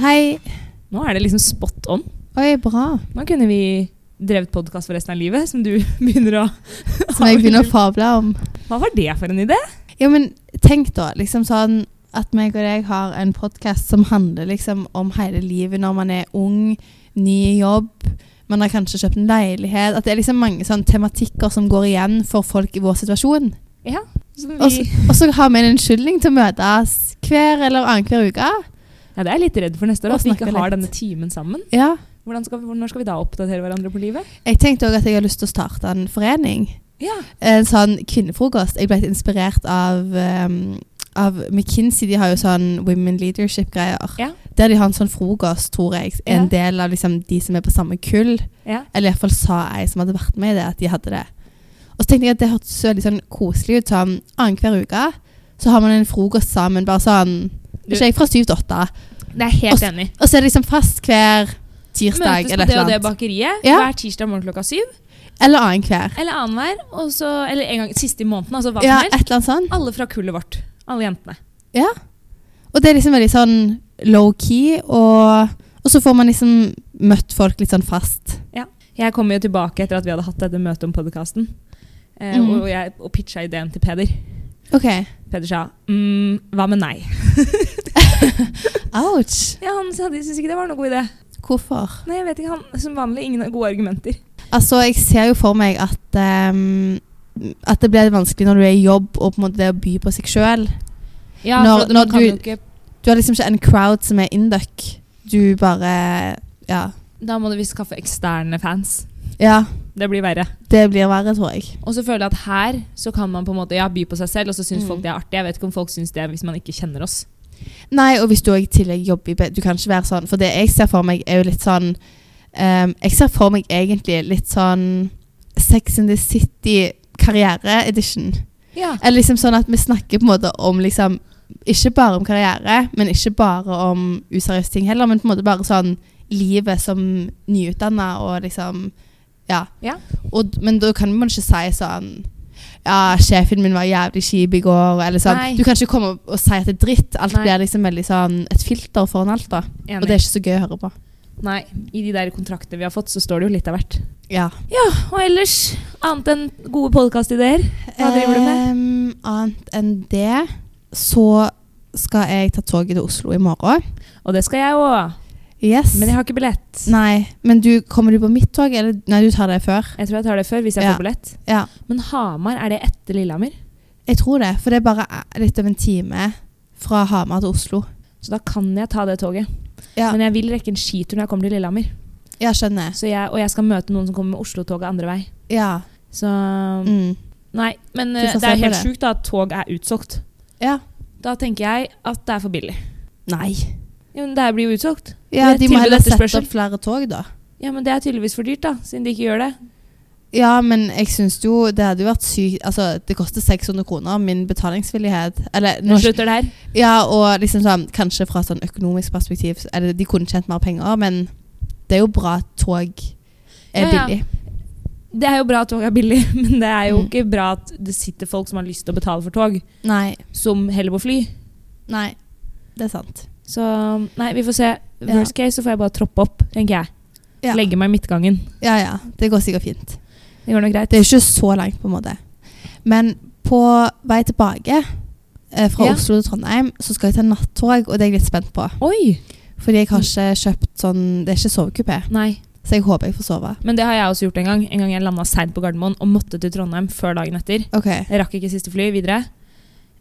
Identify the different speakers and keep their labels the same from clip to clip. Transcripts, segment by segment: Speaker 1: Hei.
Speaker 2: Nå er det liksom spot on.
Speaker 1: Oi, bra.
Speaker 2: Nå kunne vi drevet podkast for resten av livet, som du begynner å
Speaker 1: Som jeg begynner å fable om.
Speaker 2: Hva var det for en idé?
Speaker 1: Ja, men tenk da, liksom sånn at meg og deg har en podkast som handler liksom om hele livet når man er ung, ny i jobb, man har kanskje kjøpt en leilighet At det er liksom mange sånne tematikker som går igjen for folk i vår situasjon.
Speaker 2: Ja, som
Speaker 1: Og så-
Speaker 2: vi,
Speaker 1: og så har vi en unnskyldning til å møtes hver eller annenhver uke.
Speaker 2: ja, det er jeg litt redd for neste år,
Speaker 1: Og
Speaker 2: at vi ikke
Speaker 1: snakke
Speaker 2: har
Speaker 1: litt.
Speaker 2: denne timen sammen.
Speaker 1: Ja.
Speaker 2: Hvordan skal vi, når skal vi da oppdatere hverandre på livet?
Speaker 1: Jeg tenkte òg at jeg har lyst til å starte en forening.
Speaker 2: Ja,
Speaker 1: en sånn kvinnefrokost. Jeg ble litt inspirert av, ehm, av McKinsey. De har jo sånn women leadership-greier.
Speaker 2: Ja.
Speaker 1: Der de har en sånn frokost, tror jeg. En
Speaker 2: Ja.
Speaker 1: del av liksom, de som er på samme kull.
Speaker 2: ja.
Speaker 1: Eller iallfall sa ei som hadde vært med i det, at de hadde det. Og så tenkte jeg at det hørtes så veldig sånn koselig ut. Sånn annenhver uke så har man en frokost sammen. Bare sånn
Speaker 2: Du-
Speaker 1: Ikke jeg fra syv til åtte.
Speaker 2: Det er helt
Speaker 1: Også-
Speaker 2: enig.
Speaker 1: Og så er det liksom fast hver tirsdag eller
Speaker 2: Møtes på det og
Speaker 1: et
Speaker 2: det
Speaker 1: eller annet.
Speaker 2: bakeriet
Speaker 1: Ja.
Speaker 2: hver tirsdag morgen klokka syv.
Speaker 1: Eller annenhver.
Speaker 2: Eller annenhver. og så- Eller en gang siste i måneden. altså hva
Speaker 1: Ja,
Speaker 2: som helst.
Speaker 1: et eller annet sånn.
Speaker 2: Alle fra kullet vårt. Alle jentene.
Speaker 1: Ja. Og det er liksom veldig sånn low-key, og, og så får man liksom møtt folk litt sånn fast.
Speaker 2: Jeg kom jo tilbake etter at vi hadde hatt dette møtet om podkasten, eh,
Speaker 1: Mm.
Speaker 2: og, jeg- og pitcha ideen til Peder.
Speaker 1: Ok.
Speaker 2: Peder sa mm, hva med nei?
Speaker 1: Ouch.
Speaker 2: Ja, Han sa de syntes ikke det var noen god idé.
Speaker 1: Hvorfor?
Speaker 2: Nei, jeg vet ikke, han Som vanlig ingen gode argumenter.
Speaker 1: Altså, jeg ser jo for meg at, ehm, at det blir vanskelig når du er i jobb, og på en måte det å by på seg sjøl.
Speaker 2: Ja,
Speaker 1: Når-
Speaker 2: for
Speaker 1: når
Speaker 2: man kan
Speaker 1: du-
Speaker 2: jo ikke,
Speaker 1: Du har liksom ikke en crowd som er induck. Du bare Ja.
Speaker 2: da må du visst skaffe eksterne fans.
Speaker 1: Ja,
Speaker 2: Det blir verre.
Speaker 1: det blir verre, tror jeg.
Speaker 2: Og så føler jeg at her så kan man på en måte ja, by på seg selv, og så syns
Speaker 1: Mm.
Speaker 2: folk det er artig. Jeg vet ikke om folk syns det hvis man ikke kjenner oss.
Speaker 1: Nei, og hvis du også i tillegg jobber i be- Du kan ikke være sånn. For det jeg ser for meg, er jo litt sånn ehm, Jeg ser for meg egentlig litt sånn Sex in the City karriere-edition.
Speaker 2: Ja.
Speaker 1: Eller liksom sånn at vi snakker på en måte om liksom Ikke bare om karriere, men ikke bare om useriøse ting heller, men på en måte bare sånn livet som nyutdanna og liksom Ja.
Speaker 2: Ja.
Speaker 1: Og, d- men da kan man ikke si sånn ja, sjefen min var jævlig kjip i går. Eller sånn.
Speaker 2: Nei.
Speaker 1: Du kan ikke komme og- og si at det er dritt. Alt
Speaker 2: Nei.
Speaker 1: blir liksom veldig sånn et filter foran alt. da
Speaker 2: Enig.
Speaker 1: Og det er ikke så gøy å høre på.
Speaker 2: Nei, i de der kontraktene vi har fått, så står det jo litt av hvert.
Speaker 1: Ja.
Speaker 2: Ja, og ellers annet enn gode podkastideer. Hva driver du med?
Speaker 1: Ehm, annet enn det så skal jeg ta toget til Oslo i morgen.
Speaker 2: Og det skal jeg òg,
Speaker 1: Yes.
Speaker 2: men jeg har ikke billett.
Speaker 1: Nei, men du, kommer du på mitt tog? Eller? Nei, du tar det før.
Speaker 2: Jeg tror jeg tar det før, hvis jeg
Speaker 1: Ja.
Speaker 2: får billett.
Speaker 1: Ja,
Speaker 2: Men Hamar, er det etter Lillehammer?
Speaker 1: jeg tror det. For det er bare eh, litt over en time fra Hamar til Oslo.
Speaker 2: Så da kan jeg ta det toget.
Speaker 1: Ja,
Speaker 2: Men jeg vil rekke en skitur når jeg kommer til Lillehammer.
Speaker 1: ja skjønner.
Speaker 2: Så jeg, og jeg skal møte noen som kommer med Oslo-toget andre vei.
Speaker 1: Ja.
Speaker 2: Så
Speaker 1: Mm.
Speaker 2: Nei, men
Speaker 1: Vi
Speaker 2: eh,
Speaker 1: får
Speaker 2: det er
Speaker 1: se på
Speaker 2: helt
Speaker 1: det.
Speaker 2: sjukt da at tog er utsolgt.
Speaker 1: ja.
Speaker 2: Da tenker jeg at det er for billig.
Speaker 1: Nei.
Speaker 2: Ja, men det her blir jo utsolgt.
Speaker 1: Ja,
Speaker 2: Det er
Speaker 1: de må
Speaker 2: tilbud
Speaker 1: heller sette
Speaker 2: etterspørsel.
Speaker 1: opp flere tog, da.
Speaker 2: Ja, men det er tydeligvis for dyrt, da, siden de ikke gjør det.
Speaker 1: Ja, men jeg syns jo det hadde jo vært sykt Altså, det koster 600 kroner, min betalingsvillighet. Eller
Speaker 2: Nå
Speaker 1: nå,
Speaker 2: slutter det her.
Speaker 1: Ja, og liksom sånn Kanskje fra sånn økonomisk perspektiv så- Eller de kunne tjent mer penger, men det er jo bra at tog er
Speaker 2: Ja, ja.
Speaker 1: billig.
Speaker 2: Det er jo bra at tog er billig, men det er jo
Speaker 1: Mm.
Speaker 2: ikke bra at det sitter folk som har lyst til å betale for tog,
Speaker 1: Nei.
Speaker 2: som heller må fly.
Speaker 1: Nei. Det er sant.
Speaker 2: Så nei, vi får se. Worst case så får jeg bare troppe opp, tenker jeg.
Speaker 1: Ja.
Speaker 2: Legge meg i midtgangen.
Speaker 1: Ja, ja. Det går sikkert fint.
Speaker 2: Det går nok greit.
Speaker 1: Det er ikke så langt, på en måte. Men på vei tilbake eh, fra
Speaker 2: Ja.
Speaker 1: Oslo til Trondheim, så skal jeg ta nattog, og det er jeg litt spent på.
Speaker 2: Oi!
Speaker 1: Fordi
Speaker 2: Mm.
Speaker 1: jeg har ikke kjøpt sånn Det er ikke sovekupé,
Speaker 2: Nei.
Speaker 1: så jeg håper jeg får sove.
Speaker 2: Men det har jeg også gjort en gang. En gang jeg landa seint på Gardermoen og måtte til Trondheim før dagen etter.
Speaker 1: Ok.
Speaker 2: Jeg rakk ikke siste fly videre.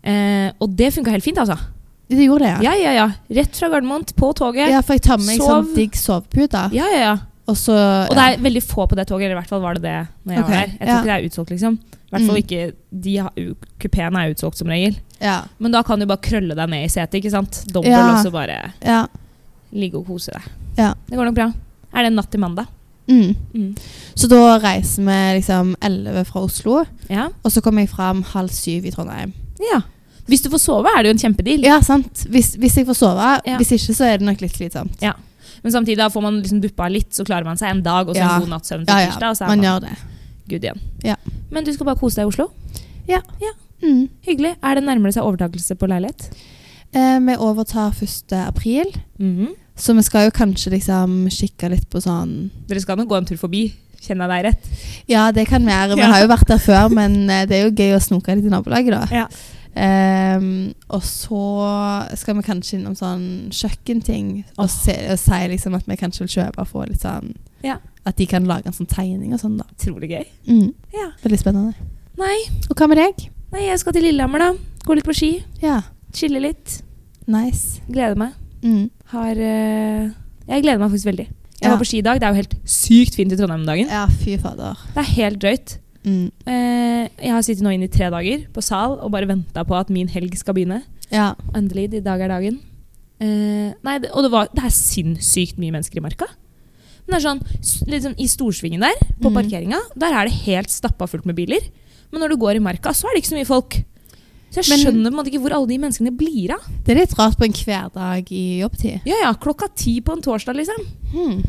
Speaker 2: Eh, og det funka helt fint, altså.
Speaker 1: Du gjorde det, ja?
Speaker 2: Ja, ja, ja. Rett fra Gardermoen på toget.
Speaker 1: Ja, for jeg tar med meg sånn
Speaker 2: Sov.
Speaker 1: digg sovepute.
Speaker 2: Ja, ja, ja.
Speaker 1: Og så
Speaker 2: Og det er veldig få på det toget, eller i hvert fall var det det når jeg
Speaker 1: Ok,
Speaker 2: var der. Jeg tror
Speaker 1: ja.
Speaker 2: ikke det er utsolgt, liksom. I hvert fall
Speaker 1: Mm.
Speaker 2: ikke de har- u- Kupeene er utsolgt som regel.
Speaker 1: ja,
Speaker 2: Men da kan du bare krølle deg ned i setet, ikke sant? Dobbel,
Speaker 1: Ja.
Speaker 2: og så bare
Speaker 1: ja.
Speaker 2: ligge og kose deg.
Speaker 1: Ja.
Speaker 2: Det går nok bra. Er det natt til mandag?
Speaker 1: Mm.
Speaker 2: Mm.
Speaker 1: Så da reiser vi liksom 11 fra Oslo,
Speaker 2: Ja.
Speaker 1: og så kommer jeg fram halv syv i Trondheim.
Speaker 2: ja. Hvis du får sove, er det jo en kjempedeal.
Speaker 1: Ja, sant. Hvis, hvis jeg får sove.
Speaker 2: Ja.
Speaker 1: Hvis ikke, så er det nok litt slitsomt.
Speaker 2: Men samtidig da får man liksom duppa litt, så klarer man seg en dag, og så
Speaker 1: Ja.
Speaker 2: en god natts søvn til
Speaker 1: Ja,
Speaker 2: tirsdag,
Speaker 1: ja.
Speaker 2: og så er
Speaker 1: Man
Speaker 2: man,
Speaker 1: gjør det.
Speaker 2: good igjen.
Speaker 1: Ja.
Speaker 2: Men du skal bare kose deg i Oslo?
Speaker 1: Mm.
Speaker 2: Hyggelig. Er det nærmere seg overtakelse på leilighet? Mhm.
Speaker 1: Eh, vi overtar 1. april, Så vi skal jo kanskje liksom kikke litt på sånn
Speaker 2: Dere skal nå gå en tur forbi. Kjenner jeg deg rett?
Speaker 1: Ja, det kan være. Vi
Speaker 2: Ja.
Speaker 1: har jo vært der før, men eh, det er jo gøy å snoke litt i nabolaget, da.
Speaker 2: Ja.
Speaker 1: Ehm, og så skal vi kanskje innom sånn kjøkkenting og,
Speaker 2: Åh.
Speaker 1: se, og si liksom at vi kanskje vil kjøpe og få litt sånn
Speaker 2: Ja.
Speaker 1: At de kan lage en sånn tegning og sånn, da.
Speaker 2: Utrolig gøy.
Speaker 1: Mm.
Speaker 2: Ja.
Speaker 1: Veldig spennende.
Speaker 2: Nei,
Speaker 1: Og hva med deg?
Speaker 2: nei, jeg skal til Lillehammer, da. Gå litt på ski.
Speaker 1: Ja,
Speaker 2: Chille litt.
Speaker 1: nice.
Speaker 2: Gleder meg.
Speaker 1: Mm.
Speaker 2: Har eh, Jeg gleder meg faktisk veldig. Jeg
Speaker 1: Ja.
Speaker 2: var på ski i dag. Det er jo helt sykt fint i Trondheim om dagen.
Speaker 1: Ja, fy fader.
Speaker 2: Det er helt drøyt.
Speaker 1: Mm.
Speaker 2: Eh, jeg har sittet nå inne i tre dager på sal og bare venta på at min helg skal begynne.
Speaker 1: Ja.
Speaker 2: Endelig. I dag er dagen. Eh, nei, det, og det, var, det er sinnssykt mye mennesker i marka. Men det er sånn, s- liksom, I storsvingen der, på
Speaker 1: Mm.
Speaker 2: parkeringa, der er det helt stappa fullt med biler. Men når du går i marka, så er det ikke så mye folk. Så jeg
Speaker 1: Men-
Speaker 2: skjønner på en måte ikke hvor alle de menneskene blir av.
Speaker 1: Det er litt rart på en hverdag i jobbtid.
Speaker 2: Ja, ja, klokka ti på en torsdag, liksom.
Speaker 1: Hmm.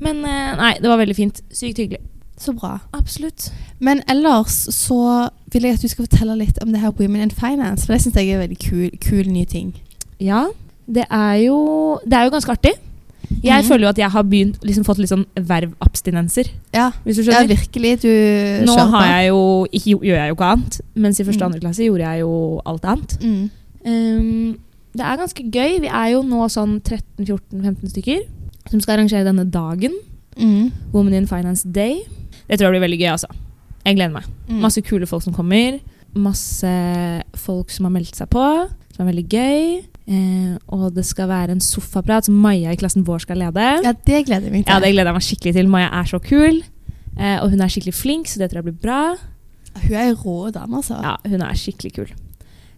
Speaker 2: Men eh, nei, det var veldig fint. Sykt hyggelig.
Speaker 1: Så bra.
Speaker 2: Absolutt.
Speaker 1: Men ellers så vil jeg at du skal fortelle litt om det her Women in Finance, for det syns jeg er veldig kul, kul ny ting.
Speaker 2: Ja, det er jo, det er jo ganske artig. Jeg
Speaker 1: Mhm.
Speaker 2: føler jo at jeg har begynt, liksom, fått litt sånn vervabstinenser,
Speaker 1: Ja,
Speaker 2: hvis du
Speaker 1: ja
Speaker 2: skjønner.
Speaker 1: virkelig. Du
Speaker 2: Nå
Speaker 1: kjører
Speaker 2: har
Speaker 1: på.
Speaker 2: jeg jo, ikke, gjør jeg jo ikke annet, mens i første
Speaker 1: Mm.
Speaker 2: og andre klasse gjorde jeg jo alt annet.
Speaker 1: Mm.
Speaker 2: Ehm, det er ganske gøy. Vi er jo nå sånn 13-14-15 stykker som skal arrangere denne dagen.
Speaker 1: Mm.
Speaker 2: Women in Finance Day. Det tror jeg blir veldig gøy, altså. Jeg gleder meg.
Speaker 1: Mm.
Speaker 2: Masse kule folk som kommer. Masse folk som har meldt seg på, som er veldig gøy. Eh, og det skal være en sofaprat som Maja i klassen vår skal lede.
Speaker 1: Ja, det gleder jeg meg til.
Speaker 2: Ja, det gleder jeg meg skikkelig til. Maja er så kul. Eh, og hun er skikkelig flink, så det tror jeg blir bra.
Speaker 1: Hun er en rå dame, altså.
Speaker 2: Ja, hun er skikkelig kul.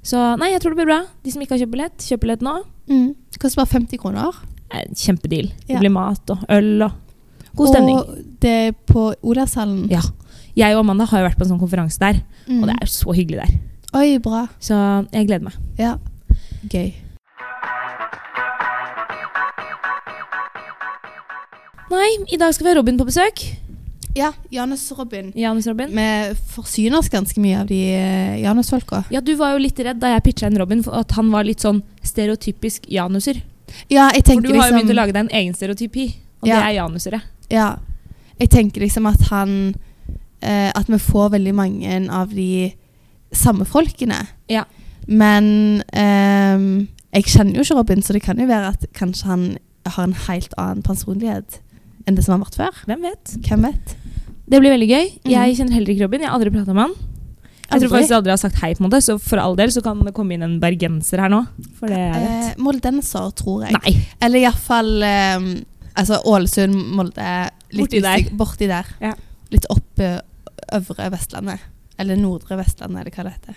Speaker 2: Så nei, jeg tror det blir bra. De som ikke har kjøpt billett, kjøp billett nå.
Speaker 1: Mm. Koster bare 50 kroner.
Speaker 2: Eh, Kjempedeal.
Speaker 1: Ja.
Speaker 2: Det blir mat og øl og god stemning.
Speaker 1: Og det er på Olavshallen.
Speaker 2: Ja. Jeg og Amanda har jo vært på en sånn konferanse der,
Speaker 1: Mm.
Speaker 2: og det er jo så hyggelig der.
Speaker 1: Oi, bra.
Speaker 2: Så jeg gleder meg.
Speaker 1: Ja. Gøy.
Speaker 2: Nei, i dag skal vi ha Robin på besøk.
Speaker 1: Ja, Janus og Robin.
Speaker 2: Janus Robin.
Speaker 1: Vi forsyner oss ganske mye av de eh, Janus-folka.
Speaker 2: Ja, du var jo litt redd da jeg pitcha en Robin for at han var litt sånn stereotypisk januser.
Speaker 1: Ja, jeg
Speaker 2: For
Speaker 1: tenker
Speaker 2: du har jo
Speaker 1: liksom
Speaker 2: begynt å lage deg en egen stereotypi, og det
Speaker 1: Ja.
Speaker 2: er janusere.
Speaker 1: Ja. Jeg tenker liksom at han eh, At vi får veldig mange av de samme folkene.
Speaker 2: Ja.
Speaker 1: Men ehm, jeg kjenner jo ikke Robin, så det kan jo være at kanskje han har en helt annen personlighet enn det som har vært før.
Speaker 2: Hvem vet?
Speaker 1: Hvem vet?
Speaker 2: Det blir veldig gøy.
Speaker 1: Mhm.
Speaker 2: Jeg kjenner heller ikke Robin. Jeg har aldri prata med han. Jeg tror
Speaker 1: Aldri.
Speaker 2: faktisk jeg aldri har sagt hei, på en måte, så for all del så kan det komme inn en bergenser her nå. For det er
Speaker 1: Eh,
Speaker 2: vet.
Speaker 1: Moldenser, tror jeg.
Speaker 2: Nei.
Speaker 1: Eller iallfall um, altså Ålesund, Molde litt
Speaker 2: Borti der.
Speaker 1: usik- Borti der.
Speaker 2: Ja.
Speaker 1: Litt opp eh, øvre Vestlandet. Eller Nordre Vestlandet, eller hva det heter.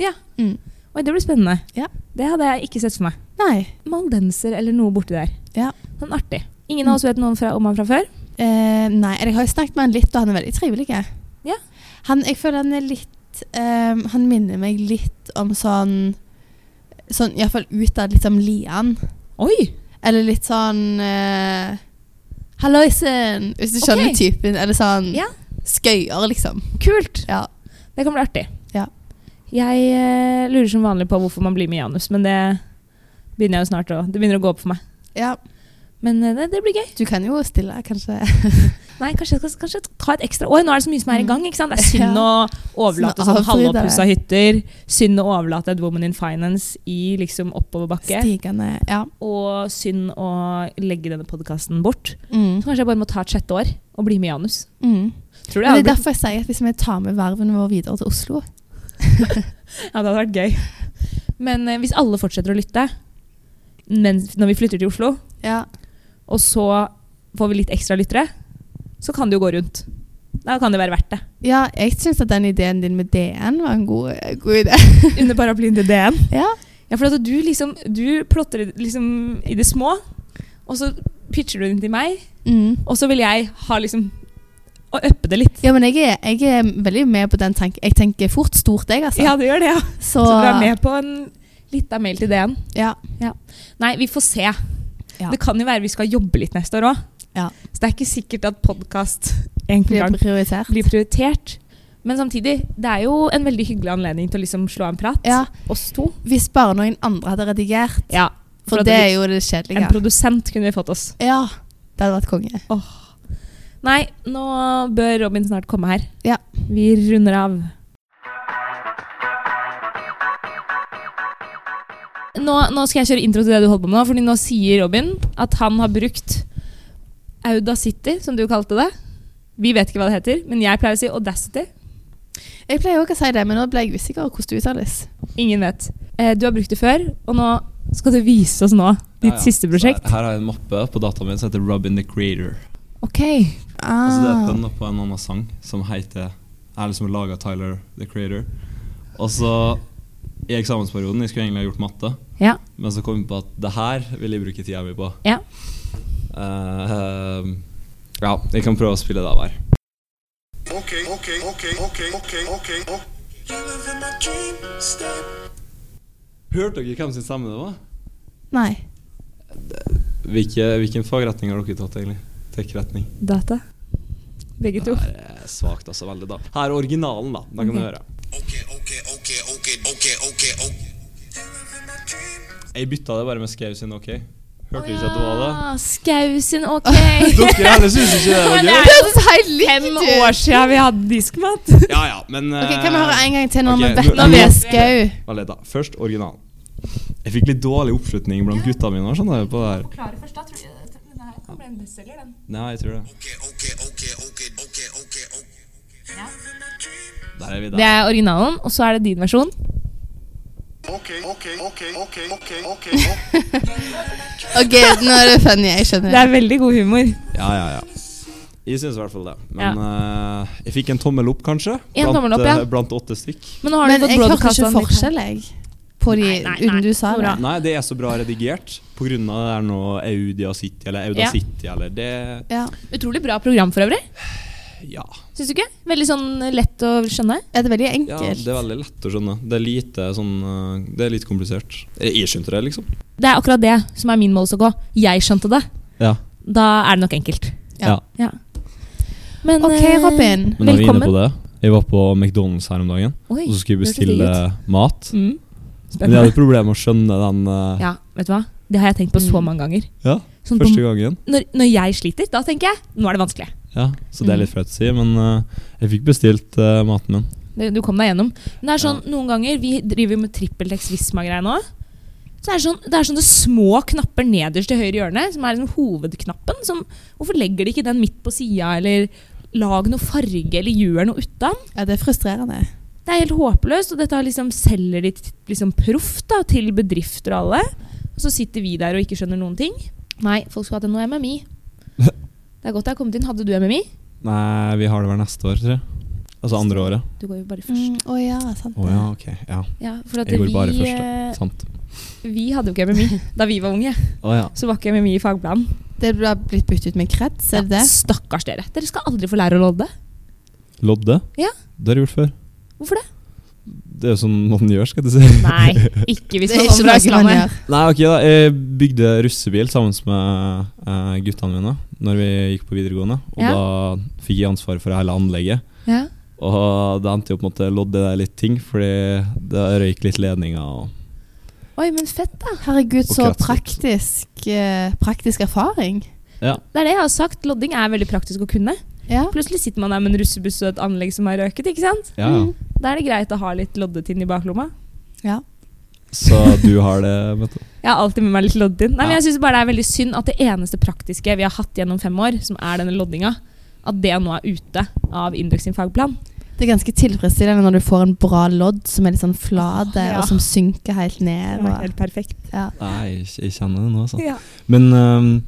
Speaker 2: Ja.
Speaker 1: Mm.
Speaker 2: Oi, det blir spennende.
Speaker 1: Ja.
Speaker 2: Det hadde jeg ikke sett for meg.
Speaker 1: Nei.
Speaker 2: Maldenser eller noe borti der.
Speaker 1: Ja.
Speaker 2: Sånn artig. Ingen av oss vet noen fra, om han fra før.
Speaker 1: Eh, nei, eller jeg har jo snakket med han litt, og han er veldig trivelig. jeg.
Speaker 2: Ja.
Speaker 1: Han, jeg føler han er litt ehm, Han minner meg litt om sånn Sånn iallfall utad, litt som Lian.
Speaker 2: Oi!
Speaker 1: Eller litt sånn eh, Halloisen! Hvis du
Speaker 2: Ok.
Speaker 1: skjønner typen. Eller sånn
Speaker 2: Ja.
Speaker 1: skøyer, liksom.
Speaker 2: Kult!
Speaker 1: Ja.
Speaker 2: Det kan bli artig.
Speaker 1: Ja.
Speaker 2: Jeg eh, lurer som vanlig på hvorfor man blir med Janus, men det begynner jeg jo snart å Det begynner å gå opp for meg.
Speaker 1: ja.
Speaker 2: Men eh, det, det blir gøy.
Speaker 1: Du kan jo stille, kanskje.
Speaker 2: Nei, kanskje jeg skal kanskje ta et ekstra år. Nå er det så mye som er i
Speaker 1: Mm.
Speaker 2: gang. ikke sant? Det er synd å
Speaker 1: Sånn
Speaker 2: overlate sånn
Speaker 1: avbryter.
Speaker 2: halvoppussa hytter. Synd å overlate et Woman in Finance i liksom oppoverbakke.
Speaker 1: Stigende. Ja.
Speaker 2: Og synd å legge denne podkasten bort.
Speaker 1: Mm.
Speaker 2: Så kanskje jeg bare må ta et sjette år og bli med Janus.
Speaker 1: Mm.
Speaker 2: Tror du
Speaker 1: Men det
Speaker 2: jeg hadde
Speaker 1: er
Speaker 2: blitt,
Speaker 1: derfor jeg sier at hvis vi tar med verven vår videre til Oslo
Speaker 2: ja, det hadde vært gøy. Men eh, hvis alle fortsetter å lytte mens, når vi flytter til Oslo,
Speaker 1: Ja.
Speaker 2: og så får vi litt ekstra lyttere, så kan det jo gå rundt. Da kan det være verdt det.
Speaker 1: Ja, jeg syns at den ideen din med DN var en god, god idé.
Speaker 2: Under paraplyen til DM.
Speaker 1: Ja.
Speaker 2: Ja, for at du liksom Du plotter det liksom i det små, og så pitcher du den til meg,
Speaker 1: Mm.
Speaker 2: og så vil jeg ha liksom Å uppe det litt.
Speaker 1: Ja, men jeg er, jeg er veldig med på den tanken. Jeg tenker fort stort, jeg, altså.
Speaker 2: Ja, det gjør det, ja.
Speaker 1: så,
Speaker 2: Så du er med på en lita mail til DN.
Speaker 1: Ja.
Speaker 2: Nei, vi får se.
Speaker 1: Ja.
Speaker 2: Det kan jo være vi skal jobbe litt neste år òg.
Speaker 1: Ja.
Speaker 2: Så det er ikke sikkert at podkast en
Speaker 1: Blir
Speaker 2: gang
Speaker 1: prioritert.
Speaker 2: blir prioritert. Men samtidig, det er jo en veldig hyggelig anledning til å liksom slå en prat.
Speaker 1: Ja.
Speaker 2: Oss to.
Speaker 1: Hvis bare noen andre hadde redigert,
Speaker 2: Ja,
Speaker 1: For
Speaker 2: at
Speaker 1: det er
Speaker 2: vi-
Speaker 1: jo det kjedelige.
Speaker 2: En produsent kunne vi fått oss.
Speaker 1: Ja, det hadde vært konge.
Speaker 2: Nei, nå bør Robin snart komme her.
Speaker 1: Ja.
Speaker 2: Vi runder av. Nå, nå skal jeg kjøre intro til det du holder på med nå, fordi nå sier Robin at han har brukt Audacity, som du kalte det. Vi vet ikke hva det heter, men jeg pleier å si Audacity.
Speaker 1: Jeg pleier også å si det, men nå ble jeg usikker på hvordan det uttales.
Speaker 2: Ingen vet. Eh, du har brukt det før, og nå skal du vise oss nå ditt
Speaker 3: Ja, ja.
Speaker 2: siste
Speaker 3: Så
Speaker 2: prosjekt.
Speaker 3: Her, her har jeg en mappe på dataen min som heter Robin the Creator.
Speaker 2: Ok.
Speaker 1: Ah.
Speaker 3: Altså, det er bønner på en annen sang som heter Er liksom laga Tyler the Creator. Og så i eksamensperioden Jeg skulle egentlig ha gjort matte,
Speaker 2: Ja.
Speaker 3: men så kom jeg på at det her vil jeg bruke tida mi på.
Speaker 2: Ja.
Speaker 3: Eh, ja, jeg kan prøve å spille det av her.
Speaker 4: Okay, okay, okay, okay, okay, okay, okay. You live in my dream state.
Speaker 3: Hørte dere hvem sin stemme det var?
Speaker 1: Nei.
Speaker 3: Hvilke, hvilken fagretning har dere tatt, egentlig? Tech-retning?
Speaker 2: Data. Begge to.
Speaker 3: Det er svakt, altså. Veldig, da. Her er originalen, da. Da kan du
Speaker 2: Ok.
Speaker 3: høre.
Speaker 4: Okay, okay, okay, okay, okay, okay, okay. You live in my dream
Speaker 3: Jeg bytta det bare med Skau sin OK. Hørte dere ikke at det var det?
Speaker 2: Ah, Skau sin OK.
Speaker 3: Dere heller syns ikke det var
Speaker 2: Men det er
Speaker 3: gøy?
Speaker 1: Det høres helt likt
Speaker 2: fem
Speaker 1: ut!
Speaker 2: år siden vi hadde diskmat.
Speaker 3: Ja ja, men eh,
Speaker 1: Ok, Kan vi høre en gang til når
Speaker 3: ok,
Speaker 1: vi
Speaker 3: nå-
Speaker 1: vet når vi
Speaker 3: nå-
Speaker 1: er skau?
Speaker 3: Vent litt, da. Først originalen. Jeg fikk litt dårlig oppslutning blant gutta mine. og sånn der på det her.
Speaker 2: Forklare først, da. Den her kan bli en bestselger, den.
Speaker 3: Nei, jeg tror det.
Speaker 4: Okay, okay, okay, okay, okay, okay, okay. You live in my dream.
Speaker 3: Der er vi
Speaker 2: Det
Speaker 3: der.
Speaker 2: er originalen, og så er det din versjon.
Speaker 4: Okay, okay, okay, okay, okay, okay, okay.
Speaker 1: Ok, nå er det funny. Jeg skjønner.
Speaker 2: Det er veldig god humor.
Speaker 3: Ja, ja, ja. Jeg syns i hvert fall det. Men eh, jeg fikk en tommel opp, kanskje.
Speaker 2: En
Speaker 3: blant,
Speaker 2: tommel opp, ja.
Speaker 3: eh, blant åtte stykk.
Speaker 2: Men nå har
Speaker 1: Men
Speaker 2: du fått
Speaker 1: jeg hørte
Speaker 2: broadcasta
Speaker 1: ikke
Speaker 2: den litt.
Speaker 1: forskjell, jeg. På de
Speaker 2: Nei, nei, nei.
Speaker 1: uten du sa det.
Speaker 2: Bra.
Speaker 3: Nei, det er så bra redigert pga. det er noe Audia City eller Auda
Speaker 2: Ja.
Speaker 3: City eller det
Speaker 1: Ja.
Speaker 2: Utrolig bra program for øvrig.
Speaker 3: Ja.
Speaker 2: Syns du ikke? Veldig sånn lett å skjønne.
Speaker 1: Er det veldig
Speaker 3: ja.
Speaker 1: enkelt?
Speaker 3: Det er veldig lett å skjønne. Det er lite sånn eh, Det er litt komplisert. Jeg jeg skjønte det, liksom.
Speaker 2: Det er akkurat det som er min målestokk òg. Jeg skjønte det.
Speaker 3: Ja.
Speaker 2: Da er det nok enkelt.
Speaker 1: Ja.
Speaker 2: Ja. Men
Speaker 1: Ok,
Speaker 2: eh,
Speaker 1: Robin.
Speaker 3: Men da er vi inne på
Speaker 2: velkommen.
Speaker 3: det. Jeg var på McDonald's her om dagen,
Speaker 2: Oi,
Speaker 3: og så skulle jeg
Speaker 2: hørtes digg
Speaker 3: bestille
Speaker 2: ut.
Speaker 3: mat.
Speaker 2: Mm.
Speaker 3: Men jeg
Speaker 2: Spennende.
Speaker 3: hadde problemer med å skjønne den eh,
Speaker 2: Ja, vet du hva? Det har jeg tenkt på så
Speaker 1: Mm.
Speaker 2: mange ganger.
Speaker 3: ja,
Speaker 2: Sånn på,
Speaker 3: første gangen.
Speaker 2: når, når jeg sliter, da tenker jeg nå er det vanskelig.
Speaker 3: Ja, så
Speaker 2: Mm.
Speaker 3: det er litt flaut å si, men eh, jeg fikk bestilt eh, maten min.
Speaker 2: Du du kom deg gjennom. Men det er sånn, noen ganger, vi driver jo med trippeltekst Visma-greier nå. Så det er, sånn, det er sånne små knapper nederst til høyre hjørne, som er liksom hovedknappen. Som, hvorfor legger de ikke den midt på sida, eller lag noe farge, eller gjør noe utan?
Speaker 1: Ja, det er frustrerende.
Speaker 2: Det er helt håpløst, og dette har liksom, selger de t- liksom proft da, til bedrifter og alle. Og så sitter vi der og ikke skjønner noen ting. Nei, folk skulle hatt en noe MMI. Det er godt jeg har kommet inn. Hadde du MMI?
Speaker 3: Nei, vi har det vel neste år, tror jeg. Altså andre året.
Speaker 2: Du går jo bare
Speaker 1: Mm, Å
Speaker 2: først.
Speaker 1: ja, sant
Speaker 3: Å
Speaker 1: det.
Speaker 3: ja, ok. Ja,
Speaker 2: Mm. Ja, for at
Speaker 3: Jeg går bare
Speaker 2: vi,
Speaker 3: først, da.
Speaker 2: eh,
Speaker 3: sant.
Speaker 2: vi hadde jo ikke MMI da vi var unge.
Speaker 3: Å ja.
Speaker 2: så var ikke MMI i fagplanen.
Speaker 1: Det ble blitt byttet ut med krets, er det
Speaker 2: Ja,
Speaker 1: det?
Speaker 2: Stakkars dere. Dere skal aldri få lære å lodde.
Speaker 3: Lodde?
Speaker 2: Ja.
Speaker 3: Det har jeg gjort før.
Speaker 2: Hvorfor det?
Speaker 3: Det er jo sånn man gjør, skal jeg si.
Speaker 2: Nei, ikke hvis
Speaker 1: Det er ikke
Speaker 2: man kommer fra
Speaker 1: noe man
Speaker 2: Østlandet.
Speaker 1: gjør.
Speaker 3: Nei, ok da. Jeg bygde russebil sammen med eh, guttene mine når vi gikk på videregående. Og
Speaker 2: Ja.
Speaker 3: da fikk jeg ansvar for hele anlegget.
Speaker 2: Ja.
Speaker 3: Og det endte jo på en måte lodde der litt ting, fordi det røyk litt ledninger. Og
Speaker 2: Oi, men fett, da.
Speaker 1: Herregud,
Speaker 3: Og
Speaker 1: så
Speaker 3: kretser.
Speaker 1: praktisk, eh, praktisk erfaring.
Speaker 2: Det er det jeg har sagt. Lodding er veldig praktisk å kunne.
Speaker 1: Ja.
Speaker 2: Plutselig sitter man der med en russebuss og et anlegg som har røket. ikke sant?
Speaker 3: ja, ja.
Speaker 1: Mm.
Speaker 2: Da er det greit å ha litt loddetinn i baklomma.
Speaker 1: ja.
Speaker 3: Så du har det, vet du.
Speaker 2: Jeg har alltid med meg litt loddetinn. Nei, men
Speaker 3: Ja.
Speaker 2: jeg synes bare det er veldig synd at det eneste praktiske vi har hatt gjennom fem år, som er denne loddinga, at det nå er ute av Indux sin fagplan.
Speaker 1: Det er ganske tilfredsstillende når du får en bra lodd som er litt sånn flate,
Speaker 2: Åh, ja.
Speaker 1: og som synker helt
Speaker 2: Det
Speaker 1: ned.
Speaker 2: var
Speaker 1: Og,
Speaker 2: helt perfekt.
Speaker 1: ja.
Speaker 3: Nei, jeg, jeg kjenner det nå, altså.
Speaker 2: Ja.
Speaker 3: Men ehm,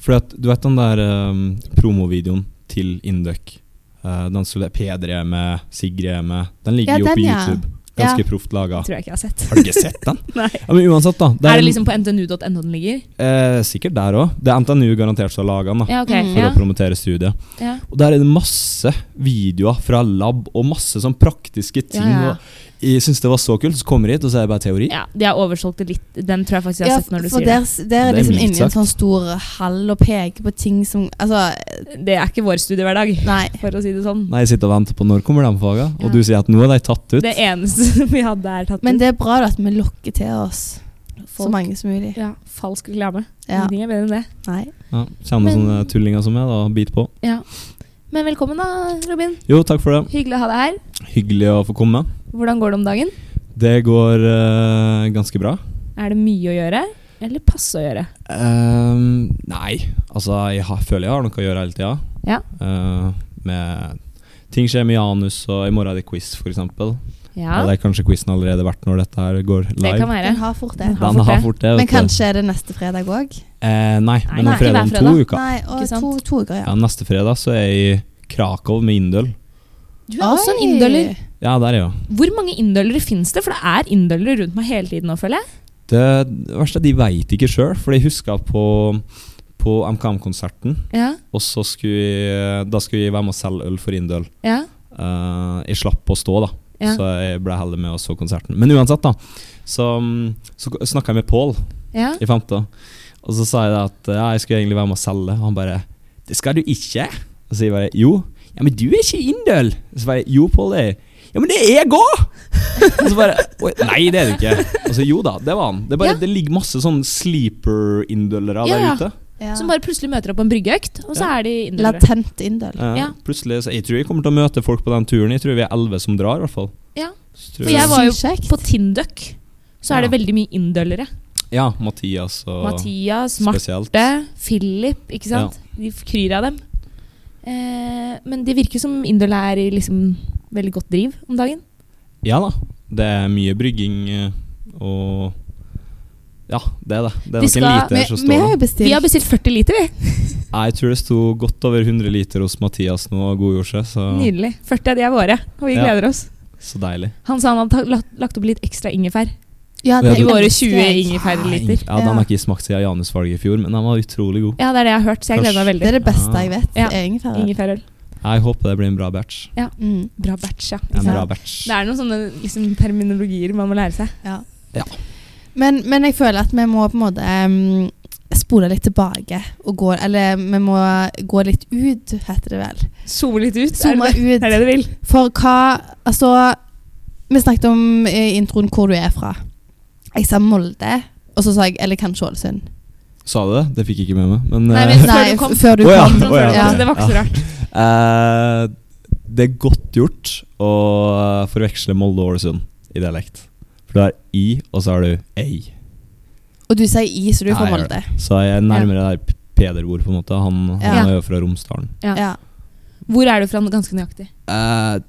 Speaker 3: fordi at du vet den der ehm, promovideoen til Induc? eh, den som Peder er med, Sigrid er med. Den ligger
Speaker 1: Ja,
Speaker 3: jo
Speaker 1: den,
Speaker 3: på
Speaker 1: ja.
Speaker 3: YouTube. Ganske
Speaker 1: Ja.
Speaker 3: proft laga.
Speaker 2: Tror jeg ikke jeg har sett.
Speaker 3: Har du ikke sett den?
Speaker 2: Nei.
Speaker 3: Ja, men uansett, da.
Speaker 2: Er det
Speaker 3: en-
Speaker 2: liksom på ntnu.no den ligger?
Speaker 3: Eh, sikkert der òg. Det er NTNU garantert som har laga den. da,
Speaker 2: Ja, ok.
Speaker 1: Mm.
Speaker 3: For
Speaker 2: Ja.
Speaker 3: å promotere studiet.
Speaker 2: Ja.
Speaker 3: Og der er det masse videoer fra lab og masse sånn praktiske ting.
Speaker 2: Ja, ja.
Speaker 3: Og jeg syns det var så kult, så kommer jeg hit, og så er det bare teori.
Speaker 2: Ja, de har oversolgt det litt. Den tror jeg faktisk jeg
Speaker 1: Ja,
Speaker 2: har sett når du
Speaker 1: for
Speaker 2: sier
Speaker 1: der, der
Speaker 2: det.
Speaker 3: Det er
Speaker 1: er liksom
Speaker 3: mildt
Speaker 1: inni en
Speaker 3: sagt.
Speaker 1: sånn stor hall og peker på ting som Altså,
Speaker 2: Det er ikke vår studiehverdag,
Speaker 1: nei.
Speaker 2: for å si det sånn.
Speaker 3: Nei, jeg sitter og venter på når kommer de faga, og
Speaker 2: Ja.
Speaker 3: du sier at nå er de tatt ut.
Speaker 2: Det eneste vi hadde, er tatt
Speaker 1: Men
Speaker 2: ut.
Speaker 1: det er bra da, at vi lokker til oss. så mange som mulig.
Speaker 2: Ja, falsk reklame.
Speaker 1: Ja.
Speaker 2: Ingenting er bedre enn det.
Speaker 1: Nei.
Speaker 3: Ja, Kjenner
Speaker 2: Men-
Speaker 3: sånne tullinger som meg, da. Bit på.
Speaker 2: Ja. Men velkommen da, Robin.
Speaker 3: Jo, takk for det.
Speaker 2: Hyggelig å ha deg her.
Speaker 3: Hyggelig å få komme.
Speaker 2: Hvordan går det om dagen?
Speaker 3: Det går eh, ganske bra.
Speaker 2: Er det mye å gjøre? Eller passe å gjøre?
Speaker 3: Ehm, nei, altså jeg har, føler jeg har noe å gjøre hele tida.
Speaker 2: Ja.
Speaker 3: Eh, med ting skjer med Janus, og i morgen er det quiz, f.eks. eksempel
Speaker 2: Ja,
Speaker 3: Eller kanskje quizen allerede vært når dette her går live.
Speaker 2: det kan være.
Speaker 1: Den har fort det.
Speaker 2: Den
Speaker 3: Den har fort det,
Speaker 1: Men
Speaker 3: vet du.
Speaker 1: kanskje er det neste fredag òg?
Speaker 3: Eh, nei,
Speaker 2: Nei, nei,
Speaker 3: men det er fredag om
Speaker 2: ikke hver
Speaker 3: to
Speaker 2: fredag.
Speaker 3: uker.
Speaker 1: Nei, og
Speaker 2: Ikke sant?
Speaker 1: to, to uker,
Speaker 3: Ja,
Speaker 1: ja.
Speaker 3: neste fredag så er jeg i Krakow med Indøl.
Speaker 2: Du er også en indøler.
Speaker 3: Ja, der er jeg jo.
Speaker 2: Hvor mange indølere finnes det? For det er indølere rundt meg hele tiden nå, føler jeg.
Speaker 3: Det verste er at de veit ikke sjøl, for de huska på, på MKM-konserten.
Speaker 2: Ja,
Speaker 3: Og så skulle jeg, da skulle jeg være med og selge øl for Indøl.
Speaker 2: ja,
Speaker 3: Eh, jeg slapp å stå, da.
Speaker 2: ja.
Speaker 3: Så jeg ble heller med og så konserten. Men uansett, da. Så, mm, så snakka jeg med Pål
Speaker 2: ja.
Speaker 3: i femte. Og så sa jeg da at ja, jeg skulle egentlig være med å selge. Og han bare 'Det skal du ikke'. Og så sier jeg bare 'Jo'. 'Ja, men du er ikke Indøl'. Og så bare 'Jo, Pål, det er jeg.» 'Ja, men det er jeg òg'! Og så bare «Oi, Nei, det er du ikke. Og så jo da, det var han. Det, er
Speaker 2: Ja.
Speaker 3: bare, det ligger masse sånn sleeper-indølere
Speaker 2: Ja, ja.
Speaker 3: der ute.
Speaker 1: Ja.
Speaker 2: Som bare plutselig møter opp på en bryggeøkt, og så
Speaker 3: Ja.
Speaker 2: er de indølere.
Speaker 1: Latent indøl.
Speaker 3: Eh,
Speaker 2: Ja.
Speaker 3: Plutselig, så Jeg tror jeg kommer til å møte folk på den turen. Jeg tror vi er elleve som drar, i hvert fall.
Speaker 2: Ja.
Speaker 3: Så
Speaker 2: For
Speaker 3: tror
Speaker 2: jeg
Speaker 3: jeg,
Speaker 2: var jo
Speaker 1: Sykt kjekt.
Speaker 2: På Tindøk så er det
Speaker 3: Ja.
Speaker 2: veldig mye indølere.
Speaker 3: ja, Mathias og
Speaker 2: Mathias, Marte,
Speaker 3: spesielt.
Speaker 2: Philip, ikke sant? De kryr av dem. Eh, men det virker som indølere er i liksom veldig godt driv om dagen.
Speaker 3: Ja da. Det er mye brygging eh, og Ja, det er det. Det er
Speaker 2: Vi
Speaker 3: nok en
Speaker 2: skal-
Speaker 1: Vi,
Speaker 3: liter som
Speaker 1: vi
Speaker 3: står
Speaker 1: har
Speaker 3: nå.
Speaker 1: jo bestilt.
Speaker 2: Vi har bestilt 40 liter, vi.
Speaker 3: Nei, Jeg tror det sto godt over 100 liter hos Mathias nå og godgjorde seg, så,
Speaker 2: Nydelig. 40 av de er våre, og vi
Speaker 3: Ja.
Speaker 2: gleder oss.
Speaker 3: så deilig.
Speaker 2: Han sa han hadde ta- lagt, lagt opp litt ekstra ingefær.
Speaker 1: ja,
Speaker 3: Vi
Speaker 1: det
Speaker 3: har
Speaker 2: I
Speaker 1: er
Speaker 2: våre
Speaker 1: litt
Speaker 2: 20
Speaker 1: strek.
Speaker 2: ingefærliter.
Speaker 3: Ja, Den
Speaker 1: Ja.
Speaker 3: har ikke jeg smakt siden Janusvalget i fjor, men den var utrolig god.
Speaker 2: Ja, det er det jeg har hørt, så jeg gleder meg
Speaker 1: Det
Speaker 2: veldig.
Speaker 1: er det beste jeg vet.
Speaker 2: Ja.
Speaker 1: er Ingefær.
Speaker 2: Ingefærøl.
Speaker 3: Jeg håper det blir en bra batch.
Speaker 1: Mm.
Speaker 2: Bra batch, ja.
Speaker 3: En
Speaker 1: Ja.
Speaker 3: bra batch.
Speaker 2: Det er noen sånne liksom, terminologier man må lære seg.
Speaker 1: Ja.
Speaker 3: Ja.
Speaker 1: Men, men jeg føler at vi må på en måte em, spole litt tilbake. Og gå, eller vi må gå litt ut, heter det vel.
Speaker 2: Zoome litt ut.
Speaker 1: Zoome
Speaker 2: er det,
Speaker 1: ut.
Speaker 2: det er det du vil?
Speaker 1: For hva Altså, vi snakket om i introen hvor du er fra. Jeg sa Molde, og så sa jeg eller kanskje Ålesund.
Speaker 3: Sa du det? Det fikk jeg ikke med meg. Men,
Speaker 2: Nei,
Speaker 3: eh,
Speaker 2: men- Før
Speaker 1: Nei,
Speaker 2: du kom.
Speaker 1: f- før du
Speaker 3: Å ja,
Speaker 1: kom.
Speaker 3: å ja,
Speaker 1: Ja.
Speaker 2: Så det var ikke så
Speaker 3: Ja.
Speaker 2: rart.
Speaker 3: eh, det er godt gjort å eh, forveksle Molde og Ålesund i dialekt. For du har I, og så har du ei.
Speaker 1: Og du sier I, så du er fra
Speaker 3: Nei, jeg gjør
Speaker 1: Molde.
Speaker 3: Så jeg er nærmere der P- Peder-bord, på en måte. Han,
Speaker 1: Ja.
Speaker 3: han er jo fra Romsdalen.
Speaker 2: Ja.
Speaker 1: Ja.
Speaker 2: Hvor er du fra ganske nøyaktig?
Speaker 3: Eh,